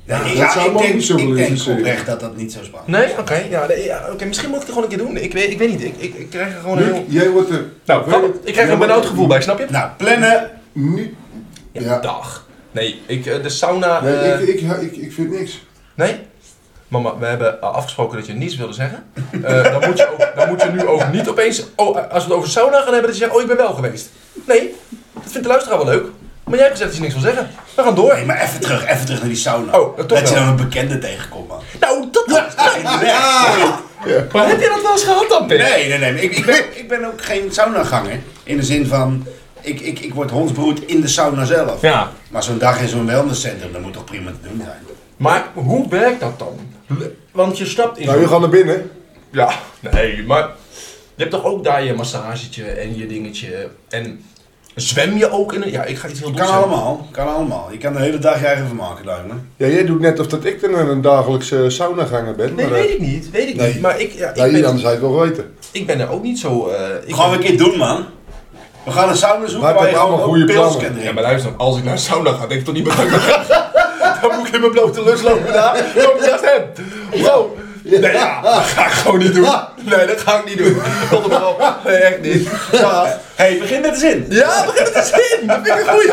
[SPEAKER 2] Ja,
[SPEAKER 3] ik-
[SPEAKER 2] dat zou me ook
[SPEAKER 3] ik
[SPEAKER 2] niet zo
[SPEAKER 3] denk, ik denk
[SPEAKER 2] interesseren.
[SPEAKER 3] oprecht dat dat niet zo spannend is.
[SPEAKER 1] Nee? Oké, ja, nee, ja, oké, misschien moet ik het gewoon een keer doen. Ik weet, ik weet niet. Ik, ik, ik krijg er gewoon een heel.
[SPEAKER 2] Luc, jij wordt er.
[SPEAKER 1] Nou,
[SPEAKER 2] weet
[SPEAKER 1] kan-
[SPEAKER 2] het-
[SPEAKER 1] ik krijg er
[SPEAKER 2] jij
[SPEAKER 1] een benauwd
[SPEAKER 2] wordt-
[SPEAKER 1] gevoel bij, snap je?
[SPEAKER 3] Nou, plannen.
[SPEAKER 2] Niet.
[SPEAKER 1] Ja,
[SPEAKER 2] Ja.
[SPEAKER 1] dag. Nee, ik, eh, de sauna.
[SPEAKER 2] Nee,
[SPEAKER 1] eh,
[SPEAKER 2] ik, ik, ik, ik vind niks.
[SPEAKER 1] Nee? Mama, we hebben afgesproken dat je niets wilde zeggen. Eh, dan, moet je ook, dan moet je nu ook niet opeens. Oh, als we het over sauna gaan hebben, dat je zegt: Oh, ik ben wel geweest. Nee, dat vindt de luisteraar wel leuk. Maar jij hebt gezegd dat je niks wil zeggen. We gaan door.
[SPEAKER 3] Nee, maar even terug, even terug naar die sauna.
[SPEAKER 1] Oh, toch
[SPEAKER 3] dat je
[SPEAKER 1] wel.
[SPEAKER 3] dan een bekende tegenkomt, man.
[SPEAKER 1] Nou, dat. Maar heb je dat wel eens gehad dan, Pim?
[SPEAKER 3] Nee, nee, nee. maar Ik, ik, ben, ik ben ook geen saunaganger. In de zin van, ik, ik, ik word hondsbroed in de sauna zelf.
[SPEAKER 1] Ja.
[SPEAKER 3] Maar zo'n dag in zo'n wellnesscentrum, dat moet toch prima te doen zijn?
[SPEAKER 1] Maar hoe werkt dat dan? Want je stapt in.
[SPEAKER 2] Nou, je gaat naar binnen.
[SPEAKER 1] Ja, nee, maar. Je hebt toch ook daar je massagetje en je dingetje. En zwem je ook in een. Ja, ik ga iets heel doms
[SPEAKER 3] Kan
[SPEAKER 1] zeggen.
[SPEAKER 3] allemaal, kan allemaal. Je kan de hele dag je eigen vermaken, lijkt me.
[SPEAKER 2] Ja, jij doet net of dat ik dan een dagelijkse saunaganger ben.
[SPEAKER 1] Nee,
[SPEAKER 2] maar, eh,
[SPEAKER 1] weet ik niet. Weet ik
[SPEAKER 2] nee.
[SPEAKER 1] niet. Maar ik, ja, ik,
[SPEAKER 2] nou, hier
[SPEAKER 1] ben,
[SPEAKER 2] anders zou je het wel weten.
[SPEAKER 1] ik ben er ook niet zo. eh, ik
[SPEAKER 3] Gewoon
[SPEAKER 1] ben-
[SPEAKER 3] een keer doen, man. We gaan een sauna zoeken
[SPEAKER 2] Maar
[SPEAKER 3] waar
[SPEAKER 2] ik
[SPEAKER 3] je
[SPEAKER 2] heb allemaal
[SPEAKER 3] gewoon
[SPEAKER 2] goede
[SPEAKER 3] ook pils
[SPEAKER 2] plannen.
[SPEAKER 3] kan
[SPEAKER 1] Ja,
[SPEAKER 3] drinken.
[SPEAKER 1] maar luister, als ik naar de sauna ga, denk ik toch niet meer dat ik (laughs) Dan moet ik in mijn blote lus lopen daar. Loop ik naast hem. Bro. Nee, ja, dat ga ik gewoon niet doen. Nee, dat ga ik niet doen. Tot hem erop. Nee, echt niet. Ja,
[SPEAKER 3] hey, begin met de zin.
[SPEAKER 1] ja begin met de zin. Dat vind ik een goeie.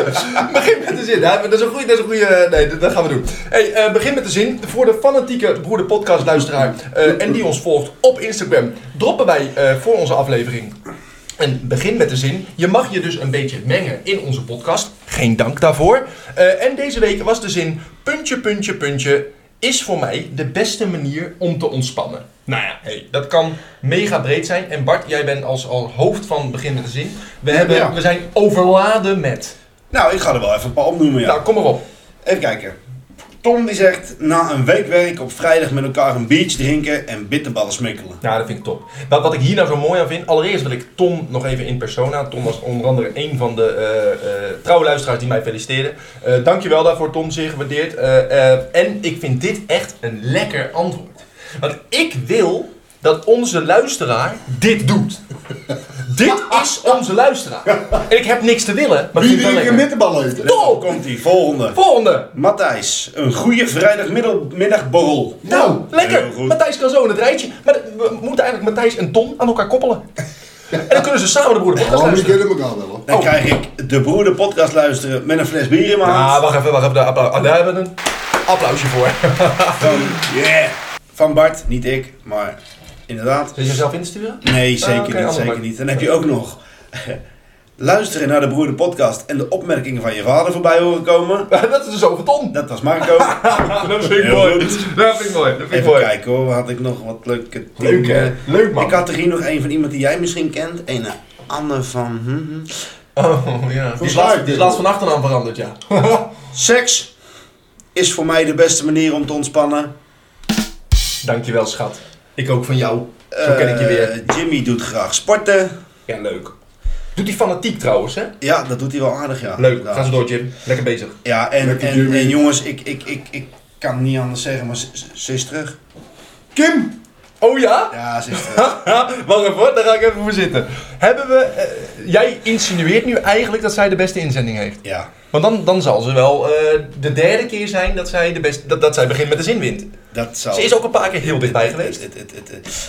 [SPEAKER 1] Begin met de zin. Ja, dat is een goeie, dat is een goeie. eh, Nee, dat, dat gaan we doen. Hey, eh, begin met de zin. Voor de fanatieke broeder podcast luisteraar eh, en die ons volgt op Instagram, droppen wij eh, voor onze aflevering En begin met de zin. Je mag je dus een beetje mengen in onze podcast. Geen dank daarvoor. Eh, en deze week was de zin puntje, puntje, puntje. is voor mij de beste manier om te ontspannen. Nou ja, hey, dat kan mega breed zijn. En Bart, jij bent als, als hoofd van Begin met de Zin. We, hebben,
[SPEAKER 3] ja.
[SPEAKER 1] we zijn overladen met.
[SPEAKER 3] Nou, ik ga er wel even een paar opnoemen. Ja.
[SPEAKER 1] Nou, kom maar op.
[SPEAKER 3] Even kijken. Tom die zegt, na een week werk op vrijdag met elkaar een biertje drinken en bitterballen smikkelen.
[SPEAKER 1] Ja, dat vind ik top. Wat, wat ik hier nou zo mooi aan vind, allereerst wil ik Tom nog even in persona. Tom was onder andere een van de eh, eh, trouwe luisteraars die mij feliciteerden. Eh dankjewel daarvoor, Tom, zeer gewaardeerd. Eh, eh, en ik vind dit echt een lekker antwoord. Want ik wil dat onze luisteraar dit doet. dit is onze luisteraar. En ik heb niks te willen, maar ik vind het
[SPEAKER 2] Wie die
[SPEAKER 1] wel
[SPEAKER 2] een
[SPEAKER 1] lekker.
[SPEAKER 2] middenbal heeft.
[SPEAKER 1] Top!
[SPEAKER 3] Komt die volgende.
[SPEAKER 1] Volgende!
[SPEAKER 3] Matthijs, een goede vrijdagmiddagborrel.
[SPEAKER 1] Nou,
[SPEAKER 3] Heel
[SPEAKER 1] lekker!
[SPEAKER 3] goed.
[SPEAKER 1] Matthijs kan zo in het rijtje. Maar we moeten eigenlijk Matthijs en Tom aan elkaar koppelen. En dan kunnen ze samen de broeder podcast
[SPEAKER 2] Oh, die
[SPEAKER 1] luisteren.
[SPEAKER 2] kennen elkaar wel. hoor.
[SPEAKER 3] Dan
[SPEAKER 1] Oh.
[SPEAKER 3] krijg ik de broeder podcast luisteren met een fles bier in mijn hand.
[SPEAKER 1] Ah, wacht even, wacht even. Daar, appla- ah, daar hebben we een applausje voor.
[SPEAKER 3] Van, yeah. van Bart, niet ik, maar inderdaad.
[SPEAKER 1] Zul je jezelf (laughs) insturen?
[SPEAKER 3] Nee, zeker
[SPEAKER 1] Ah, oké,
[SPEAKER 3] niet,
[SPEAKER 1] allemaal
[SPEAKER 3] zeker
[SPEAKER 1] maar.
[SPEAKER 3] niet. Dan heb je ook nog (laughs) luisteren naar de broeder podcast en de opmerkingen van je vader voorbij horen komen.
[SPEAKER 1] Dat is dus over Tom.
[SPEAKER 3] Dat was
[SPEAKER 1] (laughs)
[SPEAKER 3] Marco.
[SPEAKER 1] Dat vind
[SPEAKER 3] Heel
[SPEAKER 1] Dat vind ik mooi. Dat
[SPEAKER 3] Even kijken hoor, had ik nog wat leuke
[SPEAKER 1] Leuk, eh, hè?
[SPEAKER 3] dingen.
[SPEAKER 1] Leuk, man.
[SPEAKER 3] Ik had er hier nog een van iemand die jij misschien kent. Een eh, Anne van... hm, hm.
[SPEAKER 1] Oh, ja. Die is,
[SPEAKER 2] Volgens
[SPEAKER 1] laatst,
[SPEAKER 2] mij-
[SPEAKER 1] die is laatst van achternaam veranderd, ja.
[SPEAKER 3] Seks is voor mij de beste manier om te ontspannen.
[SPEAKER 1] (laughs) Dankjewel, schat. Ik ook van jou. Zo ken ik je
[SPEAKER 3] Eh,
[SPEAKER 1] weer.
[SPEAKER 3] Jimmy doet graag sporten.
[SPEAKER 1] Ja, leuk. Doet die fanatiek trouwens, hè?
[SPEAKER 3] Ja, dat doet hij wel aardig, ja.
[SPEAKER 1] Leuk.
[SPEAKER 3] Ja.
[SPEAKER 1] Gaan ze door, Jim. Lekker bezig.
[SPEAKER 3] Ja, en,
[SPEAKER 2] Lekker
[SPEAKER 3] en,
[SPEAKER 2] Jimmy.
[SPEAKER 3] en jongens, ik, ik, ik, ik kan het niet anders zeggen, maar ze- ze ze is terug.
[SPEAKER 2] Kim!
[SPEAKER 1] Oh ja? (laughs)
[SPEAKER 3] Ja, ze is terug.
[SPEAKER 1] Wacht even, hoor, daar ga ik even voor zitten. Hebben we... eh, jij insinueert nu eigenlijk dat zij de beste inzending heeft.
[SPEAKER 3] Ja,
[SPEAKER 1] Want dan, dan zal ze wel eh, de derde keer zijn dat zij, de best, dat, dat zij begint met de zin wint.
[SPEAKER 3] dat zal...
[SPEAKER 1] Ze is ook een paar keer heel dichtbij geweest.
[SPEAKER 3] Het, het, het, het,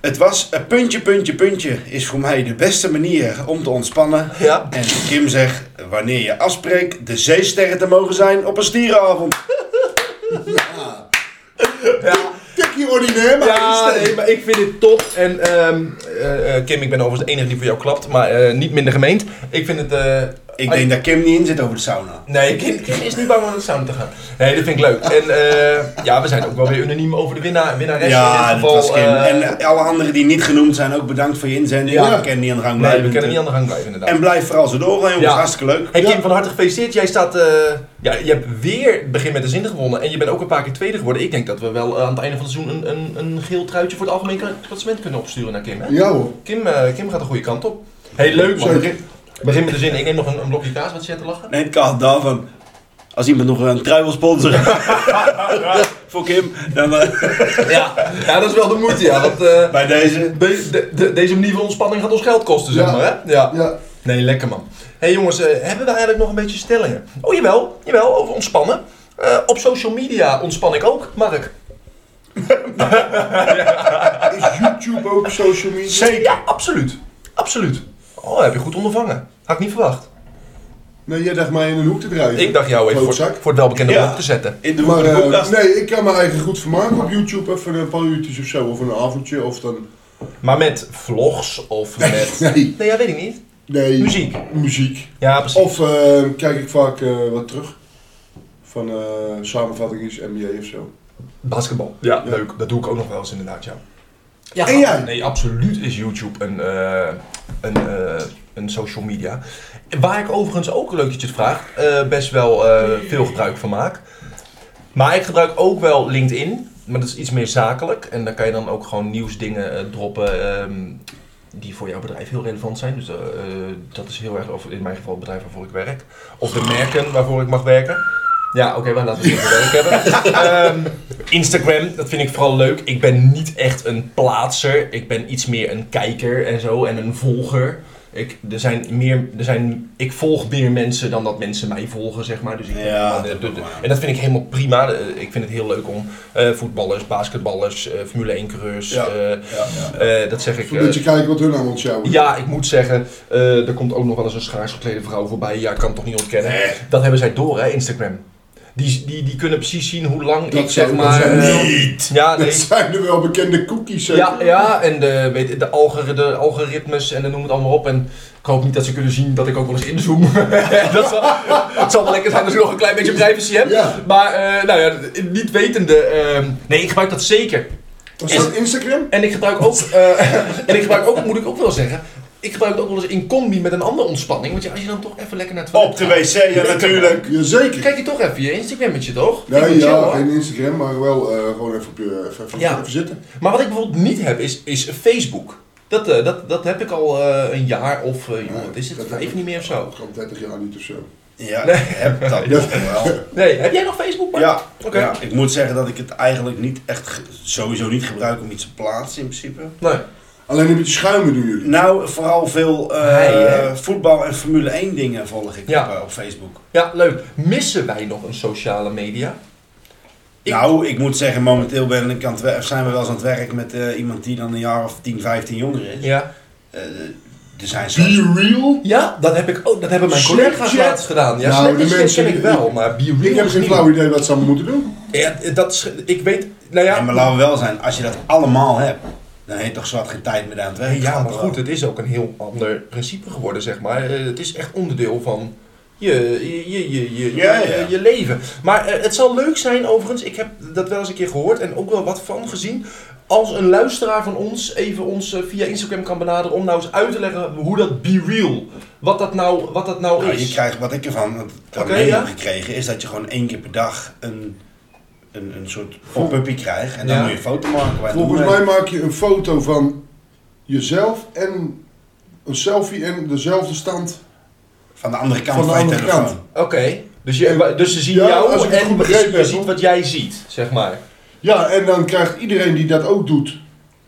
[SPEAKER 3] het was eh, puntje, puntje, puntje is voor mij de beste manier om te ontspannen.
[SPEAKER 1] Ja.
[SPEAKER 3] En Kim zegt, wanneer je afspreekt de zeesterren te mogen zijn op een stierenavond.
[SPEAKER 2] Tikkie ordinair, maar
[SPEAKER 1] Ja,
[SPEAKER 2] geen
[SPEAKER 1] nee,
[SPEAKER 2] steen.
[SPEAKER 1] maar ik vind dit top. En ehm, eh, eh, Kim, ik ben overigens de enige die voor jou klapt, maar eh, niet minder gemeend. Ik vind het... eh,
[SPEAKER 3] Ik
[SPEAKER 1] ah,
[SPEAKER 3] denk dat Kim niet in zit over de sauna.
[SPEAKER 1] Nee, Kim, Kim is niet bang om naar de sauna te gaan. Nee, dat vind ik leuk. En eh, ja, we zijn ook wel weer unaniem over de winnaar, winnares in
[SPEAKER 3] Ja,
[SPEAKER 1] dit
[SPEAKER 3] dat
[SPEAKER 1] geval.
[SPEAKER 3] was Kim.
[SPEAKER 1] eh,
[SPEAKER 3] en eh, alle anderen die niet genoemd zijn, ook bedankt voor je inzending.
[SPEAKER 2] Ja.
[SPEAKER 3] We kennen niet aan de gang
[SPEAKER 1] nee,
[SPEAKER 3] blijven.
[SPEAKER 1] we kunnen niet aan de gang blijven inderdaad.
[SPEAKER 3] En blijf vooral zo door, jongens.
[SPEAKER 1] Ja.
[SPEAKER 3] Hartstikke leuk.
[SPEAKER 1] Hey Kim,
[SPEAKER 2] Ja.
[SPEAKER 1] van harte gefeliciteerd. Jij staat, eh, ja, je hebt weer begin met de zin gewonnen en je bent ook een paar keer tweede geworden. Ik denk dat we wel eh, aan het einde van het seizoen een, een, een geel truitje voor het algemeen klassement kunnen opsturen naar Kim. Hè?
[SPEAKER 2] Ja hoor.
[SPEAKER 1] Kim, eh, Kim gaat de goede kant op. Hey, leuk man.
[SPEAKER 2] Zeker.
[SPEAKER 1] Begin, begin met de zin. Ik neem nog een, een blokje kaas, wat zit te lachen?
[SPEAKER 3] Nee, het kan daarvan. Als iemand nog een trui
[SPEAKER 1] (laughs)
[SPEAKER 3] wil sponsoren voor Kim, dan eh,
[SPEAKER 1] Ja. (laughs) ja, dat is wel de moeite, ja. Want, eh,
[SPEAKER 3] bij deze.
[SPEAKER 1] de- de- de- deze manier van ontspanning gaat ons geld kosten, zeg
[SPEAKER 2] Ja.
[SPEAKER 1] maar. Hè? Ja.
[SPEAKER 2] Ja.
[SPEAKER 1] Nee, lekker man. hey, jongens, eh, hebben we eigenlijk nog een beetje stellingen? Oh jawel, jawel, over ontspannen. Eh, op social media ontspan ik ook, Mark.
[SPEAKER 2] Is YouTube ook social media?
[SPEAKER 1] Ja, absoluut. Absoluut. Oh, heb je goed ondervangen. Had ik niet verwacht.
[SPEAKER 2] Nee, jij dacht mij in een hoek te draaien.
[SPEAKER 1] Ik dacht jou even voor,
[SPEAKER 2] Klootzak.
[SPEAKER 1] voor het welbekende
[SPEAKER 3] Ja.
[SPEAKER 1] blok te zetten.
[SPEAKER 3] In de
[SPEAKER 2] Maar
[SPEAKER 3] hoek-
[SPEAKER 2] eh,
[SPEAKER 3] hoekkast.
[SPEAKER 2] nee, ik kan me eigen goed vermaken op YouTube. Even een paar uurtjes of zo. Of een avondje. Of dan... (laughs)
[SPEAKER 1] Maar met vlogs (laughs) of met...
[SPEAKER 2] Nee.
[SPEAKER 1] Nee, ja, weet ik niet.
[SPEAKER 2] nee.
[SPEAKER 1] Muziek.
[SPEAKER 2] Muziek.
[SPEAKER 1] Ja, precies.
[SPEAKER 2] Of eh, kijk ik vaak eh, wat terug. Van eh samenvattingen, NBA of zo.
[SPEAKER 1] basketbal. Ja, leuk. Dat doe ik ook nog wel eens inderdaad, ja. ja
[SPEAKER 2] En jij?
[SPEAKER 1] Nee, absoluut is YouTube een, eh, een, eh, een social media. Waar ik overigens ook, leuk dat je het vraagt, eh, best wel eh, veel gebruik van maak. Maar ik gebruik ook wel LinkedIn, maar dat is iets meer zakelijk. En daar kan je dan ook gewoon nieuwsdingen eh, droppen ehm, die voor jouw bedrijf heel relevant zijn. Dus eh, eh, dat is heel erg, of in mijn geval het bedrijf waarvoor ik werk. Of de merken waarvoor ik mag werken. Ja, oké, maar laten we het even werk
[SPEAKER 3] (laughs)
[SPEAKER 1] hebben. Ehm, Instagram, dat vind ik vooral leuk. Ik ben niet echt een plaatser. Ik ben iets meer een kijker en zo en een volger. Ik, er zijn meer, er zijn, ik volg meer mensen dan dat mensen mij volgen, zeg maar. Dus ik,
[SPEAKER 3] Ja,
[SPEAKER 1] maar de-
[SPEAKER 3] dat
[SPEAKER 1] de-
[SPEAKER 3] ook
[SPEAKER 1] de-
[SPEAKER 3] maar.
[SPEAKER 1] en dat vind ik helemaal prima. Eh, Ik vind het heel leuk om eh, voetballers, basketballers, eh, Formule 1-coureurs.
[SPEAKER 3] Ja. Ja,
[SPEAKER 1] dat zeg ik.
[SPEAKER 2] Een
[SPEAKER 1] eh,
[SPEAKER 2] beetje kijken wat hun aan ontsjouwen.
[SPEAKER 1] ja, ik moet zeggen, eh, er komt ook nog wel eens een schaars geklede vrouw voorbij. Ja, ik kan het toch niet ontkennen. Dat hebben zij door, hè, Instagram. Die, die, die kunnen precies zien hoe lang
[SPEAKER 2] Dat
[SPEAKER 1] ik
[SPEAKER 2] zijn-
[SPEAKER 1] zeg
[SPEAKER 2] dat
[SPEAKER 1] maar...
[SPEAKER 2] zijn
[SPEAKER 1] eh,
[SPEAKER 2] niet.
[SPEAKER 1] Ja,
[SPEAKER 2] (laughs) Dat
[SPEAKER 1] nee.
[SPEAKER 2] zijn er wel bekende cookies, zeker?
[SPEAKER 1] Ja, ja, en de, weet, je, de, algor- de algoritmes en dan noem het allemaal op. En ik hoop niet dat ze kunnen zien dat ik ook wel eens inzoom. (laughs) dat, zal, dat zal wel lekker zijn als ik nog een klein beetje privacy heb.
[SPEAKER 2] Ja.
[SPEAKER 1] Maar eh, nou ja, niet wetende. ehm, nee, ik gebruik dat zeker.
[SPEAKER 2] Was dat Instagram?
[SPEAKER 1] En ik gebruik ook, eh, (laughs) en ik gebruik ook, moet ik ook wel zeggen, ik gebruik het ook wel eens in combi met een andere ontspanning. Want ja, als je dan toch even lekker naar het toilet
[SPEAKER 3] Op de
[SPEAKER 1] gaat,
[SPEAKER 3] wc, ja natuurlijk.
[SPEAKER 2] Jazeker.
[SPEAKER 1] Kijk je toch even je Instagrammetje, toch? Ik
[SPEAKER 2] Nee,
[SPEAKER 1] moet zeggen,
[SPEAKER 2] ja,
[SPEAKER 1] hoor.
[SPEAKER 2] geen Instagram, maar wel eh, gewoon even, op je, even, even-
[SPEAKER 1] Ja.
[SPEAKER 2] even zitten.
[SPEAKER 1] Maar wat ik bijvoorbeeld niet heb, is, is Facebook. Dat, eh, dat, dat heb ik al eh, een jaar of, eh, joh, wat is het,
[SPEAKER 2] dat heb
[SPEAKER 1] vijf
[SPEAKER 2] ik.
[SPEAKER 1] niet meer of zo.
[SPEAKER 2] Gewoon 30 jaar niet of zo.
[SPEAKER 3] Ja, ik heb dat nog wel.
[SPEAKER 1] Nee, heb jij nog Facebook, Bart?
[SPEAKER 3] Ja,
[SPEAKER 1] Oké.
[SPEAKER 3] ja, ik moet zeggen dat ik het eigenlijk niet echt, ge- sowieso niet gebruik om iets te plaatsen in principe.
[SPEAKER 1] Nee.
[SPEAKER 2] Alleen een beetje schuimen doen jullie.
[SPEAKER 3] Nou, vooral veel eh,
[SPEAKER 1] Hij, hè?
[SPEAKER 3] voetbal en Formule 1 dingen volg ik
[SPEAKER 1] Ja.
[SPEAKER 3] op, eh, op Facebook.
[SPEAKER 1] Ja, leuk. Missen wij nog een sociale media? Ik-
[SPEAKER 3] Nou, ik moet zeggen, momenteel ben ik aan het wer- zijn we wel eens aan het werk met eh, iemand die dan een jaar of 10, 15 jonger is.
[SPEAKER 1] Ja.
[SPEAKER 3] Eh, er zijn soms...
[SPEAKER 2] Be real?
[SPEAKER 1] Ja, dat heb ik ook. Dat hebben mijn collega's
[SPEAKER 2] Snapchat?
[SPEAKER 1] laatst gedaan. Ja,
[SPEAKER 2] Nou,
[SPEAKER 1] Snapchat
[SPEAKER 2] de mensen-
[SPEAKER 1] ken ik wel, maar BeReal
[SPEAKER 2] Ik heb
[SPEAKER 1] is
[SPEAKER 2] geen
[SPEAKER 1] niet.
[SPEAKER 2] flauw idee wat ze allemaal moeten doen.
[SPEAKER 1] Ja, dat is, ik weet, nou ja.
[SPEAKER 3] Ja, maar laten we wel zijn, als je dat allemaal hebt, dan heet toch zwart geen tijd meer aan het werk.
[SPEAKER 1] eh, Ja, maar
[SPEAKER 3] Wel.
[SPEAKER 1] goed, het is ook een heel ander principe geworden, zeg maar. Eh, het is echt onderdeel van je, je, je, je, je,
[SPEAKER 3] Ja, ja.
[SPEAKER 1] je- je leven. Maar eh, het zal leuk zijn, overigens. Ik heb dat wel eens een keer gehoord en ook wel wat van gezien. Als een luisteraar van ons even ons eh, via Instagram kan benaderen om nou eens uit te leggen hoe dat be real, wat dat nou, wat dat nou,
[SPEAKER 3] Nou,
[SPEAKER 1] is.
[SPEAKER 3] je krijgt, wat ik ervan wat ik
[SPEAKER 1] Oké,
[SPEAKER 3] ervan mee
[SPEAKER 1] ja.
[SPEAKER 3] heb gekregen, is dat je gewoon één keer per dag een, een, een soort pop-upje krijgt. En dan
[SPEAKER 1] Ja.
[SPEAKER 3] moet je een foto maken. waar je
[SPEAKER 2] Volgens
[SPEAKER 3] het mee-
[SPEAKER 2] mij maak je een foto van jezelf en een selfie en dezelfde stand.
[SPEAKER 3] Van de andere kant
[SPEAKER 2] Van
[SPEAKER 3] van,
[SPEAKER 2] de
[SPEAKER 3] je
[SPEAKER 2] andere
[SPEAKER 3] telefoon.
[SPEAKER 2] kant.
[SPEAKER 1] Oké, dus, je, dus ze zien
[SPEAKER 2] Ja, als
[SPEAKER 1] jou
[SPEAKER 2] ik het goed
[SPEAKER 1] en
[SPEAKER 2] begrepen
[SPEAKER 1] je
[SPEAKER 2] heb,
[SPEAKER 1] ziet
[SPEAKER 2] hoor.
[SPEAKER 1] wat jij ziet, zeg maar.
[SPEAKER 2] Ja, en dan krijgt iedereen die dat ook doet,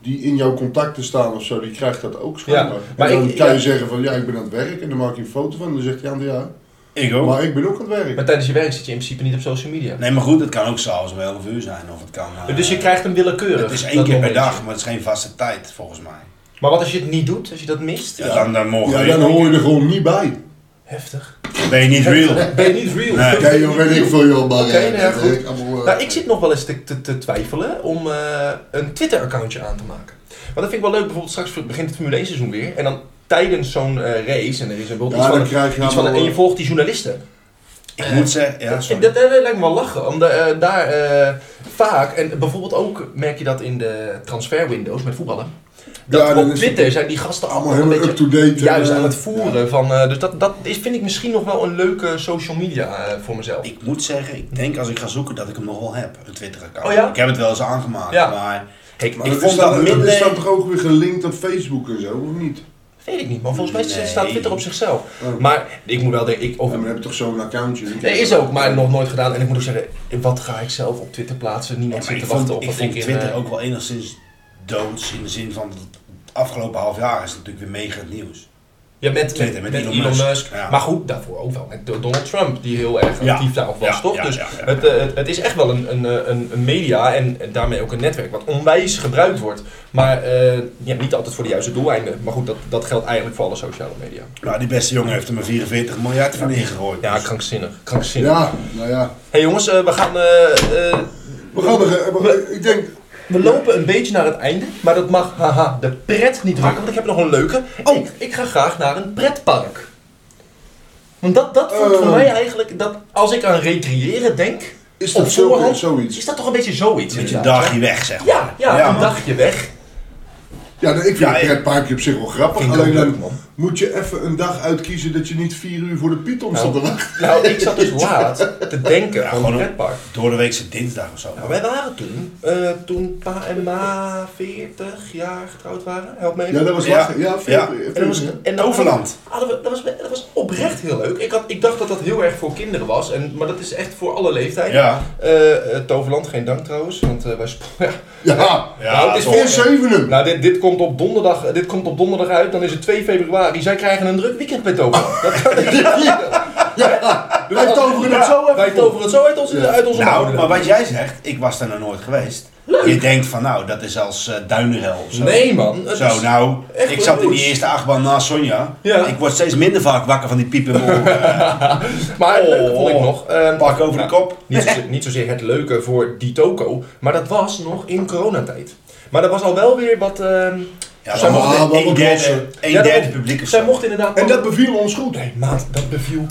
[SPEAKER 2] die in jouw contacten staan of zo, die krijgt dat ook schijnbaar.
[SPEAKER 1] Ja, maar
[SPEAKER 2] en dan
[SPEAKER 1] ik-
[SPEAKER 2] kan je
[SPEAKER 1] ja.
[SPEAKER 2] zeggen van, ja, ik ben aan het werk en dan maak je een foto van en dan zegt die ander, ja,
[SPEAKER 3] Ik
[SPEAKER 1] Oh.
[SPEAKER 3] ook.
[SPEAKER 2] maar ik ben ook aan het werk.
[SPEAKER 1] Maar tijdens je werk zit je in principe niet op social media.
[SPEAKER 3] Nee, maar goed, het kan ook s'avonds om 11 uur zijn. Of het kan, eh,
[SPEAKER 1] Dus je krijgt hem willekeurig.
[SPEAKER 3] het is één
[SPEAKER 1] dat
[SPEAKER 3] keer per
[SPEAKER 1] momentje.
[SPEAKER 3] dag, maar het is geen vaste tijd volgens mij.
[SPEAKER 1] Maar wat als je het niet doet, als je dat mist?
[SPEAKER 3] Ja, dan, dan morgen
[SPEAKER 2] Ja,
[SPEAKER 3] weer.
[SPEAKER 2] dan hoor je er gewoon niet bij.
[SPEAKER 1] (laughs) Heftig.
[SPEAKER 3] ben je niet
[SPEAKER 1] (laughs)
[SPEAKER 3] real.
[SPEAKER 1] Ben je niet real?
[SPEAKER 3] Nee.
[SPEAKER 2] Kijk, joh, weet ik veel, joh, maar...
[SPEAKER 1] Oké,
[SPEAKER 2] eh,
[SPEAKER 1] nou ja,
[SPEAKER 2] dat
[SPEAKER 1] goed.
[SPEAKER 2] werkt allemaal, eh,
[SPEAKER 1] Nou, ik zit nog wel eens te, te, te twijfelen om eh, een Twitter-accountje aan te maken. Want dat vind ik wel leuk. Bijvoorbeeld straks begint het Formule 1 seizoen weer. En dan tijdens zo'n eh, race, en er is een
[SPEAKER 2] Ja,
[SPEAKER 1] iets
[SPEAKER 2] dan
[SPEAKER 1] van,
[SPEAKER 2] krijg je
[SPEAKER 1] iets van
[SPEAKER 2] allemaal, eh,
[SPEAKER 1] en je volgt die journalisten.
[SPEAKER 3] Ik moet zeggen, ja,
[SPEAKER 1] Dat,
[SPEAKER 3] sorry.
[SPEAKER 1] dat, dat lijkt me wel lachen, omdat eh, daar eh, vaak, en bijvoorbeeld ook merk je dat in de transferwindows met voetballen, dat
[SPEAKER 2] Ja, dan
[SPEAKER 1] op
[SPEAKER 2] is
[SPEAKER 1] Twitter zijn die gasten
[SPEAKER 2] allemaal
[SPEAKER 1] allemaal een
[SPEAKER 2] helemaal
[SPEAKER 1] beetje
[SPEAKER 2] up-to-date. en,
[SPEAKER 1] juist aan
[SPEAKER 2] eh,
[SPEAKER 1] het voeren. Van, eh, dus dat, dat is, vind ik misschien nog wel een leuke social media eh, voor mezelf.
[SPEAKER 3] Ik moet zeggen, ik denk als ik ga zoeken dat ik hem nog wel heb, een Twitter-account.
[SPEAKER 1] Oh ja?
[SPEAKER 3] Ik heb het wel eens aangemaakt,
[SPEAKER 1] Ja.
[SPEAKER 3] maar
[SPEAKER 1] Kijk,
[SPEAKER 2] Maar
[SPEAKER 3] Ik
[SPEAKER 2] dat
[SPEAKER 3] vond
[SPEAKER 2] is
[SPEAKER 3] dat
[SPEAKER 2] dan-
[SPEAKER 3] minder-
[SPEAKER 2] Is dat toch ook weer gelinkt op Facebook en zo, of niet?
[SPEAKER 1] weet ik niet, maar volgens mij
[SPEAKER 3] Nee.
[SPEAKER 1] staat Twitter op zichzelf.
[SPEAKER 2] Oh.
[SPEAKER 1] Maar ik moet wel denken, ik,
[SPEAKER 2] Ja,
[SPEAKER 1] of,
[SPEAKER 2] maar dan heb je toch zo'n accountje? dan kijk
[SPEAKER 1] nee,
[SPEAKER 2] je
[SPEAKER 1] is
[SPEAKER 2] wel.
[SPEAKER 1] ook, maar nog nooit gedaan. En ik moet ook zeggen, wat ga ik zelf op Twitter plaatsen? Niemand
[SPEAKER 3] Maar
[SPEAKER 1] zit te
[SPEAKER 3] ik vond,
[SPEAKER 1] wachten op
[SPEAKER 3] ik
[SPEAKER 1] wat
[SPEAKER 3] vond
[SPEAKER 1] in,
[SPEAKER 3] Twitter
[SPEAKER 1] eh,
[SPEAKER 3] ook wel enigszins doods in de zin van dat het afgelopen half jaar is het natuurlijk weer mega het nieuws.
[SPEAKER 1] Ja, met,
[SPEAKER 3] Twitter,
[SPEAKER 1] met,
[SPEAKER 3] met
[SPEAKER 1] met Elon,
[SPEAKER 3] Elon
[SPEAKER 1] Musk.
[SPEAKER 3] Musk. Ja.
[SPEAKER 1] Maar goed, daarvoor ook wel met Do- Donald Trump, die heel erg
[SPEAKER 3] Ja.
[SPEAKER 1] actief daarop was,
[SPEAKER 3] Ja,
[SPEAKER 1] toch?
[SPEAKER 3] ja,
[SPEAKER 1] dus
[SPEAKER 3] ja, ja.
[SPEAKER 1] Het, eh, het, het is echt wel een, een, eh, een, een media en daarmee ook een netwerk wat onwijs gebruikt wordt. Maar eh, ja, niet altijd voor de juiste doeleinden. Maar goed, dat, dat geldt eigenlijk voor alle sociale media.
[SPEAKER 3] Nou, die beste jongen heeft er maar 44 miljard van ingegooid.
[SPEAKER 1] Ja,
[SPEAKER 3] Dus-
[SPEAKER 1] krankzinnig. krankzinnig.
[SPEAKER 2] Ja, nou ja.
[SPEAKER 1] hey jongens, eh, we gaan... eh, eh,
[SPEAKER 2] We gaan er, eh, we- ik denk,
[SPEAKER 1] we lopen een beetje naar het einde, maar dat mag haha, de pret niet drukken, want ik heb nog een leuke. Oh, ik, ik ga graag naar een pretpark. Want dat, dat voelt voor
[SPEAKER 2] Eh.
[SPEAKER 1] mij eigenlijk, dat als ik aan recreëren denk,
[SPEAKER 2] is
[SPEAKER 1] op
[SPEAKER 2] dat zo,
[SPEAKER 1] voorhand,
[SPEAKER 2] zoiets?
[SPEAKER 1] is dat toch een beetje zoiets?
[SPEAKER 3] Een beetje een
[SPEAKER 1] inderdaad,
[SPEAKER 3] dagje
[SPEAKER 1] hè?
[SPEAKER 3] weg, zeg maar.
[SPEAKER 1] Ja, ja, een
[SPEAKER 3] man.
[SPEAKER 1] dagje weg.
[SPEAKER 2] Ja, nou, ik vind
[SPEAKER 3] Ja,
[SPEAKER 2] het
[SPEAKER 3] ik-
[SPEAKER 2] pretparkje op zich wel grappig.
[SPEAKER 1] Vind ik
[SPEAKER 2] Alleen
[SPEAKER 1] ook
[SPEAKER 2] dan
[SPEAKER 1] leuk, man.
[SPEAKER 2] moet je even een dag uitkiezen dat je niet vier uur voor de Python
[SPEAKER 1] Nou,
[SPEAKER 2] staat te wachten.
[SPEAKER 1] Nou, ik zat dus
[SPEAKER 2] (laughs)
[SPEAKER 1] laat te denken aan een
[SPEAKER 3] gewoon een-
[SPEAKER 1] pretpark.
[SPEAKER 3] Door de weekse dinsdag of zo.
[SPEAKER 1] Nou, wij waren toen, eh, toen pa en ma 40 jaar getrouwd waren, help me even.
[SPEAKER 2] Ja, dat was
[SPEAKER 3] Ja.
[SPEAKER 2] lachen. Ja, veel,
[SPEAKER 3] Ja.
[SPEAKER 2] veel,
[SPEAKER 1] En dat was,
[SPEAKER 2] ja.
[SPEAKER 1] en dat-
[SPEAKER 3] Toverland.
[SPEAKER 1] hadden we, dat, was, dat was oprecht heel leuk. Ik, had, ik dacht dat dat heel erg voor kinderen was, en, maar dat is echt voor alle leeftijden.
[SPEAKER 3] Ja.
[SPEAKER 1] Eh, eh, Toverland, geen dank trouwens, want eh, wij sp- (laughs) ja.
[SPEAKER 2] Ja,
[SPEAKER 3] Ja,
[SPEAKER 1] Nou, het is
[SPEAKER 3] toch.
[SPEAKER 2] in zevenen.
[SPEAKER 1] Nou, dit, dit, komt op donderdag, eh, dit komt op donderdag uit, dan is het 2 februari. Zij krijgen een druk weekend bij Toverland. Dat
[SPEAKER 3] (laughs)
[SPEAKER 1] kan niet.
[SPEAKER 2] (laughs) Ja, wij toveren het
[SPEAKER 1] Ja,
[SPEAKER 2] zo even.
[SPEAKER 1] Wij
[SPEAKER 2] vol.
[SPEAKER 1] toveren het zo uit onze,
[SPEAKER 2] Ja.
[SPEAKER 1] uit onze
[SPEAKER 3] Nou,
[SPEAKER 1] mouwen.
[SPEAKER 3] maar wat jij zegt, ik was daar nog nooit geweest.
[SPEAKER 1] Leuk!
[SPEAKER 3] Je denkt van nou, dat is als eh duinenhel of zo.
[SPEAKER 1] Nee man, het
[SPEAKER 3] Zo,
[SPEAKER 1] is-
[SPEAKER 3] nou,
[SPEAKER 1] echt
[SPEAKER 3] ik zat in die
[SPEAKER 1] goed.
[SPEAKER 3] eerste achtbaan naast Sonja.
[SPEAKER 1] Ja.
[SPEAKER 3] Ik word steeds minder vaak wakker van die piepen.
[SPEAKER 1] (laughs) maar het
[SPEAKER 3] Oh.
[SPEAKER 1] leuke vond ik nog. ehm,
[SPEAKER 3] Pak over de kop.
[SPEAKER 1] (laughs) Niet zozeer, niet zozeer het leuke voor die toko, maar dat was nog in coronatijd. Maar er was al wel weer wat... ehm,
[SPEAKER 3] Ja,
[SPEAKER 1] Zij
[SPEAKER 3] dan mocht
[SPEAKER 2] mochten-
[SPEAKER 3] een
[SPEAKER 2] wat
[SPEAKER 3] derde,
[SPEAKER 2] lossen.
[SPEAKER 3] een
[SPEAKER 1] Ja, dat
[SPEAKER 3] derde
[SPEAKER 1] mocht-
[SPEAKER 3] publiek of
[SPEAKER 1] zij
[SPEAKER 3] zo.
[SPEAKER 1] mochten inderdaad...
[SPEAKER 2] En dat beviel ons goed.
[SPEAKER 1] Nee maat, dat beviel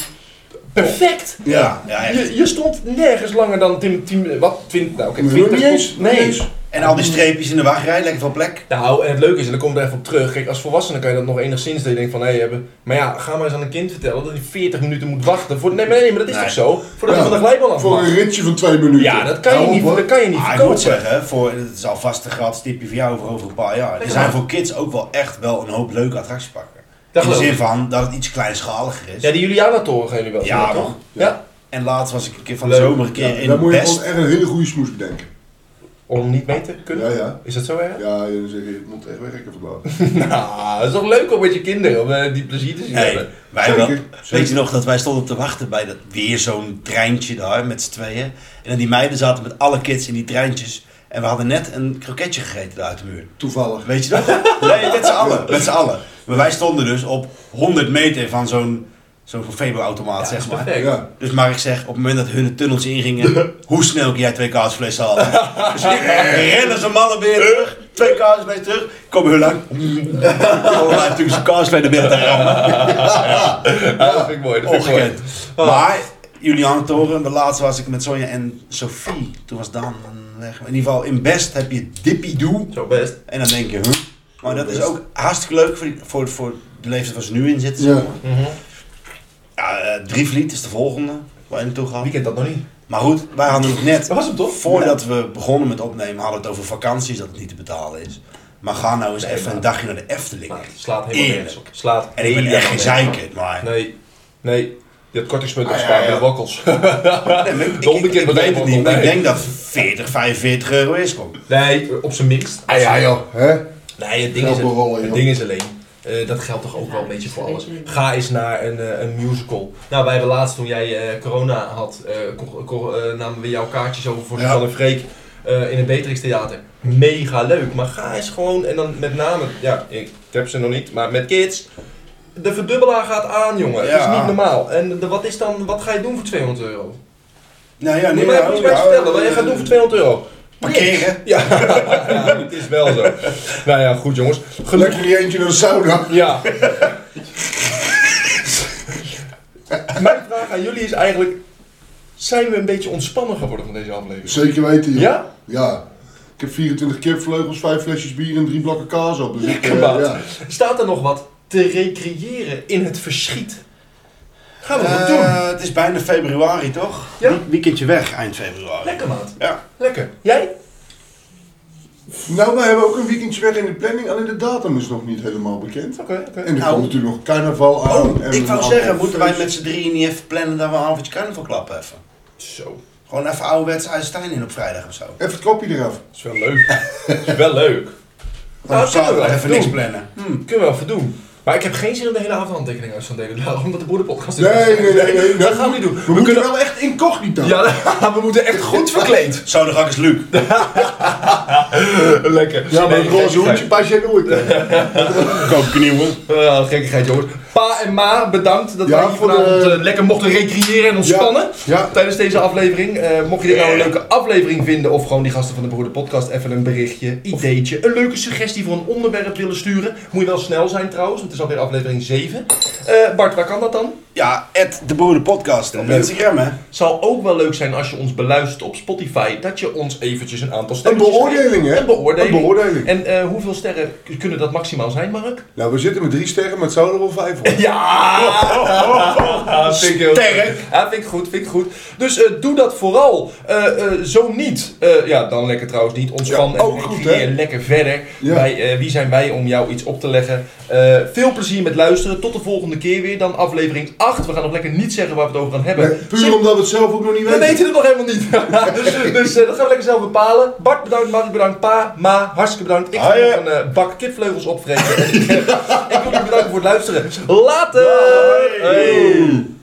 [SPEAKER 1] perfect.
[SPEAKER 3] Ja, ja echt.
[SPEAKER 1] Je, je stond nergens langer dan 10, 10 wat, 20, nou oké,
[SPEAKER 2] Nee,
[SPEAKER 1] 20
[SPEAKER 2] niet eens,
[SPEAKER 1] Nee.
[SPEAKER 2] niet eens.
[SPEAKER 3] En al die streepjes in de wachtrij, lekker veel plek.
[SPEAKER 1] Nou, en het leuke is, en dan komt er even op terug. Kijk, als volwassene kan je dat nog enigszins dat je denkt van, hé, hebben. Maar ja, ga maar eens aan een kind vertellen dat hij 40 minuten moet wachten. Voor, nee, maar nee, maar dat is
[SPEAKER 3] Nee.
[SPEAKER 1] toch zo? Voordat
[SPEAKER 2] Ja.
[SPEAKER 1] hij van de glijbaan af
[SPEAKER 2] Voor
[SPEAKER 1] mag.
[SPEAKER 2] een ritje van twee minuten.
[SPEAKER 1] Ja, dat kan je
[SPEAKER 2] Hou
[SPEAKER 1] niet,
[SPEAKER 2] op, Nou, hoor.
[SPEAKER 1] dat kan je niet
[SPEAKER 3] Maar Ah, ik moet
[SPEAKER 1] verkopen.
[SPEAKER 3] zeggen, voor, het is alvast een gratis tipje voor jou voor over een paar jaar. Er
[SPEAKER 1] Ja.
[SPEAKER 3] zijn voor kids ook wel echt wel een hoop leuke attractiepakken.
[SPEAKER 1] Dat
[SPEAKER 3] in de
[SPEAKER 1] geloof
[SPEAKER 3] zin
[SPEAKER 1] ik.
[SPEAKER 3] van dat het iets kleinschaliger is.
[SPEAKER 1] Ja, die Juliana-toren gaan jullie wel.
[SPEAKER 3] Ja,
[SPEAKER 1] zien,
[SPEAKER 3] man.
[SPEAKER 1] toch? Ja.
[SPEAKER 3] En laatst was ik een keer van de
[SPEAKER 1] Leuk.
[SPEAKER 3] zomer een keer
[SPEAKER 2] Ja,
[SPEAKER 3] in
[SPEAKER 2] daar
[SPEAKER 3] het
[SPEAKER 2] moet je gewoon
[SPEAKER 3] best.
[SPEAKER 2] echt een hele goede smoes bedenken.
[SPEAKER 1] Om niet mee te kunnen?
[SPEAKER 2] Ja, ja.
[SPEAKER 1] Is dat zo
[SPEAKER 2] (laughs)
[SPEAKER 1] erg?
[SPEAKER 2] Ja, je zegt, je moet echt werken vandaag.
[SPEAKER 1] Nou, dat is toch leuk om met je kinderen om eh, die plezier te zien
[SPEAKER 3] Nee,
[SPEAKER 1] hebben.
[SPEAKER 3] wij wel.
[SPEAKER 2] Zeker,
[SPEAKER 3] Weet je
[SPEAKER 2] zeker.
[SPEAKER 3] nog dat wij stonden te wachten bij dat, weer zo'n treintje daar met z'n tweeën. En dan die meiden zaten met alle kids in die treintjes. En we hadden net een kroketje gegeten daar uit de muur.
[SPEAKER 2] Toevallig.
[SPEAKER 3] Weet je
[SPEAKER 2] (laughs)
[SPEAKER 3] dat? Nee, met z'n allen. Met z'n allen. Maar wij stonden dus op 100 meter van zo'n zo'n Febo-automaat,
[SPEAKER 1] dat is
[SPEAKER 3] zeg maar.
[SPEAKER 1] perfect.
[SPEAKER 2] Ja.
[SPEAKER 3] Dus maar ik zeg, op het moment dat hun de tunnels
[SPEAKER 1] (laughs)
[SPEAKER 3] ingingen, hoe snel kun jij twee kaasflessen halen? (laughs) Dus ik rennen ze mannen weer terug, twee kaasflessen terug, komen hun lang. (laughs) Komen wij natuurlijk zijn kaasflessen binnen te rammen.
[SPEAKER 1] Ah, dat vind ik mooi. Dat vind ik mooi.
[SPEAKER 3] Ongekend. Maar Julian Toren, de laatste was ik met Sonja en Sophie. Toen was Daan weg. In ieder geval, in Best heb je Dippy Doe.
[SPEAKER 1] Zo best.
[SPEAKER 3] En dan denk je, huh? Maar dat is ook hartstikke leuk voor, die- voor, voor de leeftijd waar ze nu in zitten. zeg
[SPEAKER 2] Ja.
[SPEAKER 3] maar. Ja, eh, Drievliet is de volgende waar je naartoe gaat.
[SPEAKER 1] Wie kent Ah, dat nog niet?
[SPEAKER 3] Maar goed, wij hadden het net,
[SPEAKER 1] Dat was hem toch?
[SPEAKER 3] voordat we begonnen met opnemen, hadden we het over vakanties, dat het niet te betalen is. Maar ga nou eens
[SPEAKER 1] Nee,
[SPEAKER 3] even
[SPEAKER 1] maar-
[SPEAKER 3] een dagje naar de Efteling.
[SPEAKER 1] Maar Ah, het slaat helemaal nergens op. Slaat
[SPEAKER 3] En ik ben
[SPEAKER 1] helemaal
[SPEAKER 3] echt geen
[SPEAKER 1] nergens op.
[SPEAKER 3] zeikert, maar...
[SPEAKER 1] Nee, nee. Je hebt kortingspunt
[SPEAKER 2] Ah, ja,
[SPEAKER 1] opgespaard
[SPEAKER 2] ja.
[SPEAKER 1] bij de wakkels. (laughs)
[SPEAKER 3] Nee, maar ik,
[SPEAKER 1] De
[SPEAKER 3] ik,
[SPEAKER 1] onbekende
[SPEAKER 3] ik weet het
[SPEAKER 1] Nederland,
[SPEAKER 3] niet, maar ik
[SPEAKER 1] nee.
[SPEAKER 3] denk dat 40, 45 euro is. Kom.
[SPEAKER 1] Nee, op zijn minst.
[SPEAKER 2] Ah ja joh, hè?
[SPEAKER 1] Nee, het ding,
[SPEAKER 2] Wel
[SPEAKER 1] is,
[SPEAKER 2] berollen,
[SPEAKER 1] het
[SPEAKER 2] joh.
[SPEAKER 1] ding is alleen. eh, dat geldt toch ook wel een beetje voor alles. Ga eens naar een, eh, een musical. Nou, wij hebben laatst toen jij eh, corona had, eh, ko- ko- eh, namen we jouw kaartjes over voor
[SPEAKER 2] Ja.
[SPEAKER 1] Suzanne en Freek eh, in het Beatrix Theater. Mega leuk, maar ga eens gewoon en dan met name, ja, ik heb ze nog niet, maar met kids. De verdubbelaar gaat aan, jongen. Het
[SPEAKER 3] Ja.
[SPEAKER 1] is niet normaal. En de- wat, is dan, wat ga je doen voor 200 euro?
[SPEAKER 3] Nou ja,
[SPEAKER 1] Moet
[SPEAKER 3] nee,
[SPEAKER 1] je mij
[SPEAKER 3] ja,
[SPEAKER 1] even iets bij
[SPEAKER 3] ja,
[SPEAKER 1] vertellen wat je gaat doen voor 200 euro?
[SPEAKER 3] Parkeren.
[SPEAKER 1] Ja, (laughs) ja, het is wel zo. Nou ja, goed jongens. Gelukkig.
[SPEAKER 2] Lekker eentje naar de sauna.
[SPEAKER 1] Ja. (laughs) Mijn vraag aan jullie is eigenlijk: zijn we een beetje ontspannen geworden van deze aflevering?
[SPEAKER 2] Zeker weten joh.
[SPEAKER 1] Ja?
[SPEAKER 2] Ja. Ik heb 24 kipvleugels, 5 flesjes bier en 3 blakken kaas op. Dus ik, eh,
[SPEAKER 1] Lekker, maat.
[SPEAKER 2] ja.
[SPEAKER 1] Staat er nog wat te recreëren in het verschiet? Gaan we dat doen?
[SPEAKER 3] Eh, het is bijna februari, toch?
[SPEAKER 1] Ja.
[SPEAKER 3] Wie- Weekendje weg, eind februari.
[SPEAKER 1] Lekker maat.
[SPEAKER 3] Ja.
[SPEAKER 1] Lekker. Jij?
[SPEAKER 2] Nou, wij hebben ook een weekendje weg in de planning, alleen de datum is nog niet helemaal bekend.
[SPEAKER 1] Oké, oké.
[SPEAKER 2] En er
[SPEAKER 3] Nou.
[SPEAKER 2] komt natuurlijk nog carnaval aan.
[SPEAKER 3] Oh,
[SPEAKER 2] en
[SPEAKER 3] ik
[SPEAKER 2] een
[SPEAKER 3] wou
[SPEAKER 2] aantal
[SPEAKER 3] zeggen, moeten wij
[SPEAKER 2] feestjes.
[SPEAKER 3] met z'n drieën niet even plannen dat we een avondje carnaval klappen even?
[SPEAKER 1] Zo.
[SPEAKER 3] Gewoon even ouderwets Uistijn in op vrijdag of
[SPEAKER 1] Nou,
[SPEAKER 3] zo.
[SPEAKER 2] Even het kopje eraf.
[SPEAKER 1] Is wel leuk. is wel leuk.
[SPEAKER 3] Nou,
[SPEAKER 1] dat kunnen we wel
[SPEAKER 3] even
[SPEAKER 1] even
[SPEAKER 3] niks
[SPEAKER 1] doen.
[SPEAKER 3] plannen. Hm.
[SPEAKER 1] Kunnen we wel voor doen. Maar ik heb geen zin om de hele avond handtekeningen uit te gaan delen. Daarom omdat de boerenpodcast
[SPEAKER 2] Nee, nee, nee, nee, nee,
[SPEAKER 1] Dat gaan we niet doen.
[SPEAKER 2] We, moeten wel echt incognito.
[SPEAKER 1] Ja, (laughs) we moeten echt goed verkleed.
[SPEAKER 3] Zo, de gak is Luc.
[SPEAKER 1] Lekker.
[SPEAKER 2] Ja, maar
[SPEAKER 1] Nee,
[SPEAKER 2] een roze
[SPEAKER 1] gekkigheid.
[SPEAKER 2] hoedje pas jij nooit.
[SPEAKER 1] (laughs)
[SPEAKER 2] hè?
[SPEAKER 3] Koop knieuwen.
[SPEAKER 1] Ah, gekkigheid, jongens. Pa en ma, bedankt dat
[SPEAKER 2] Ja,
[SPEAKER 1] wij hier
[SPEAKER 2] voor de-
[SPEAKER 1] vanavond eh, lekker mochten recreëren en ontspannen.
[SPEAKER 2] Ja.
[SPEAKER 1] Tijdens deze aflevering. Eh, mocht je dit nou een leuke aflevering vinden, of gewoon die gasten van de Broeder Podcast even een berichtje, ideetje, een leuke suggestie voor een onderwerp willen sturen. Moet je wel snel zijn trouwens, want het is alweer aflevering 7. Eh, Bart, waar kan dat dan?
[SPEAKER 3] Ja, at de Boeren Podcast op
[SPEAKER 1] Leuk.
[SPEAKER 3] Instagram, hè.
[SPEAKER 1] Zal ook wel leuk zijn als je ons beluistert op Spotify, dat je ons eventjes een aantal
[SPEAKER 2] Een
[SPEAKER 1] sterren
[SPEAKER 2] beoordeling, hè?
[SPEAKER 1] Een beoordeling.
[SPEAKER 2] Een beoordeling.
[SPEAKER 1] En eh, hoeveel sterren k- kunnen dat maximaal zijn, Mark?
[SPEAKER 2] Nou, we zitten met drie sterren, maar het zou er wel vijf worden. (laughs)
[SPEAKER 1] Ja! Vind ik heel
[SPEAKER 3] Sterk.
[SPEAKER 1] goed. Ja, vind ik goed, vind ik goed. Dus eh, doe dat vooral. Eh, eh, zo niet, eh, ja, dan lekker trouwens niet. Ontspan
[SPEAKER 2] Ja,
[SPEAKER 1] en
[SPEAKER 2] ook goed,
[SPEAKER 1] recreëer
[SPEAKER 2] hè?
[SPEAKER 1] lekker verder.
[SPEAKER 2] Ja.
[SPEAKER 1] Wij, eh, wie zijn wij om jou iets op te leggen? Eh, veel plezier met luisteren. Tot de volgende keer weer. Dan aflevering 8. We gaan nog lekker niet zeggen waar we het over gaan hebben.
[SPEAKER 2] Nee, puur omdat we het zelf ook nog niet
[SPEAKER 1] We
[SPEAKER 2] weten.
[SPEAKER 1] weten het nog helemaal niet. (laughs) dus eh, dat gaan we lekker zelf bepalen. Bart bedankt, Marie bedankt, Pa, Ma, hartstikke bedankt. Ik ga
[SPEAKER 3] Haaien.
[SPEAKER 1] nog een eh, bak kipvleugels opvreten. En ik, eh, ik wil jullie bedanken voor het luisteren. Later! Hey.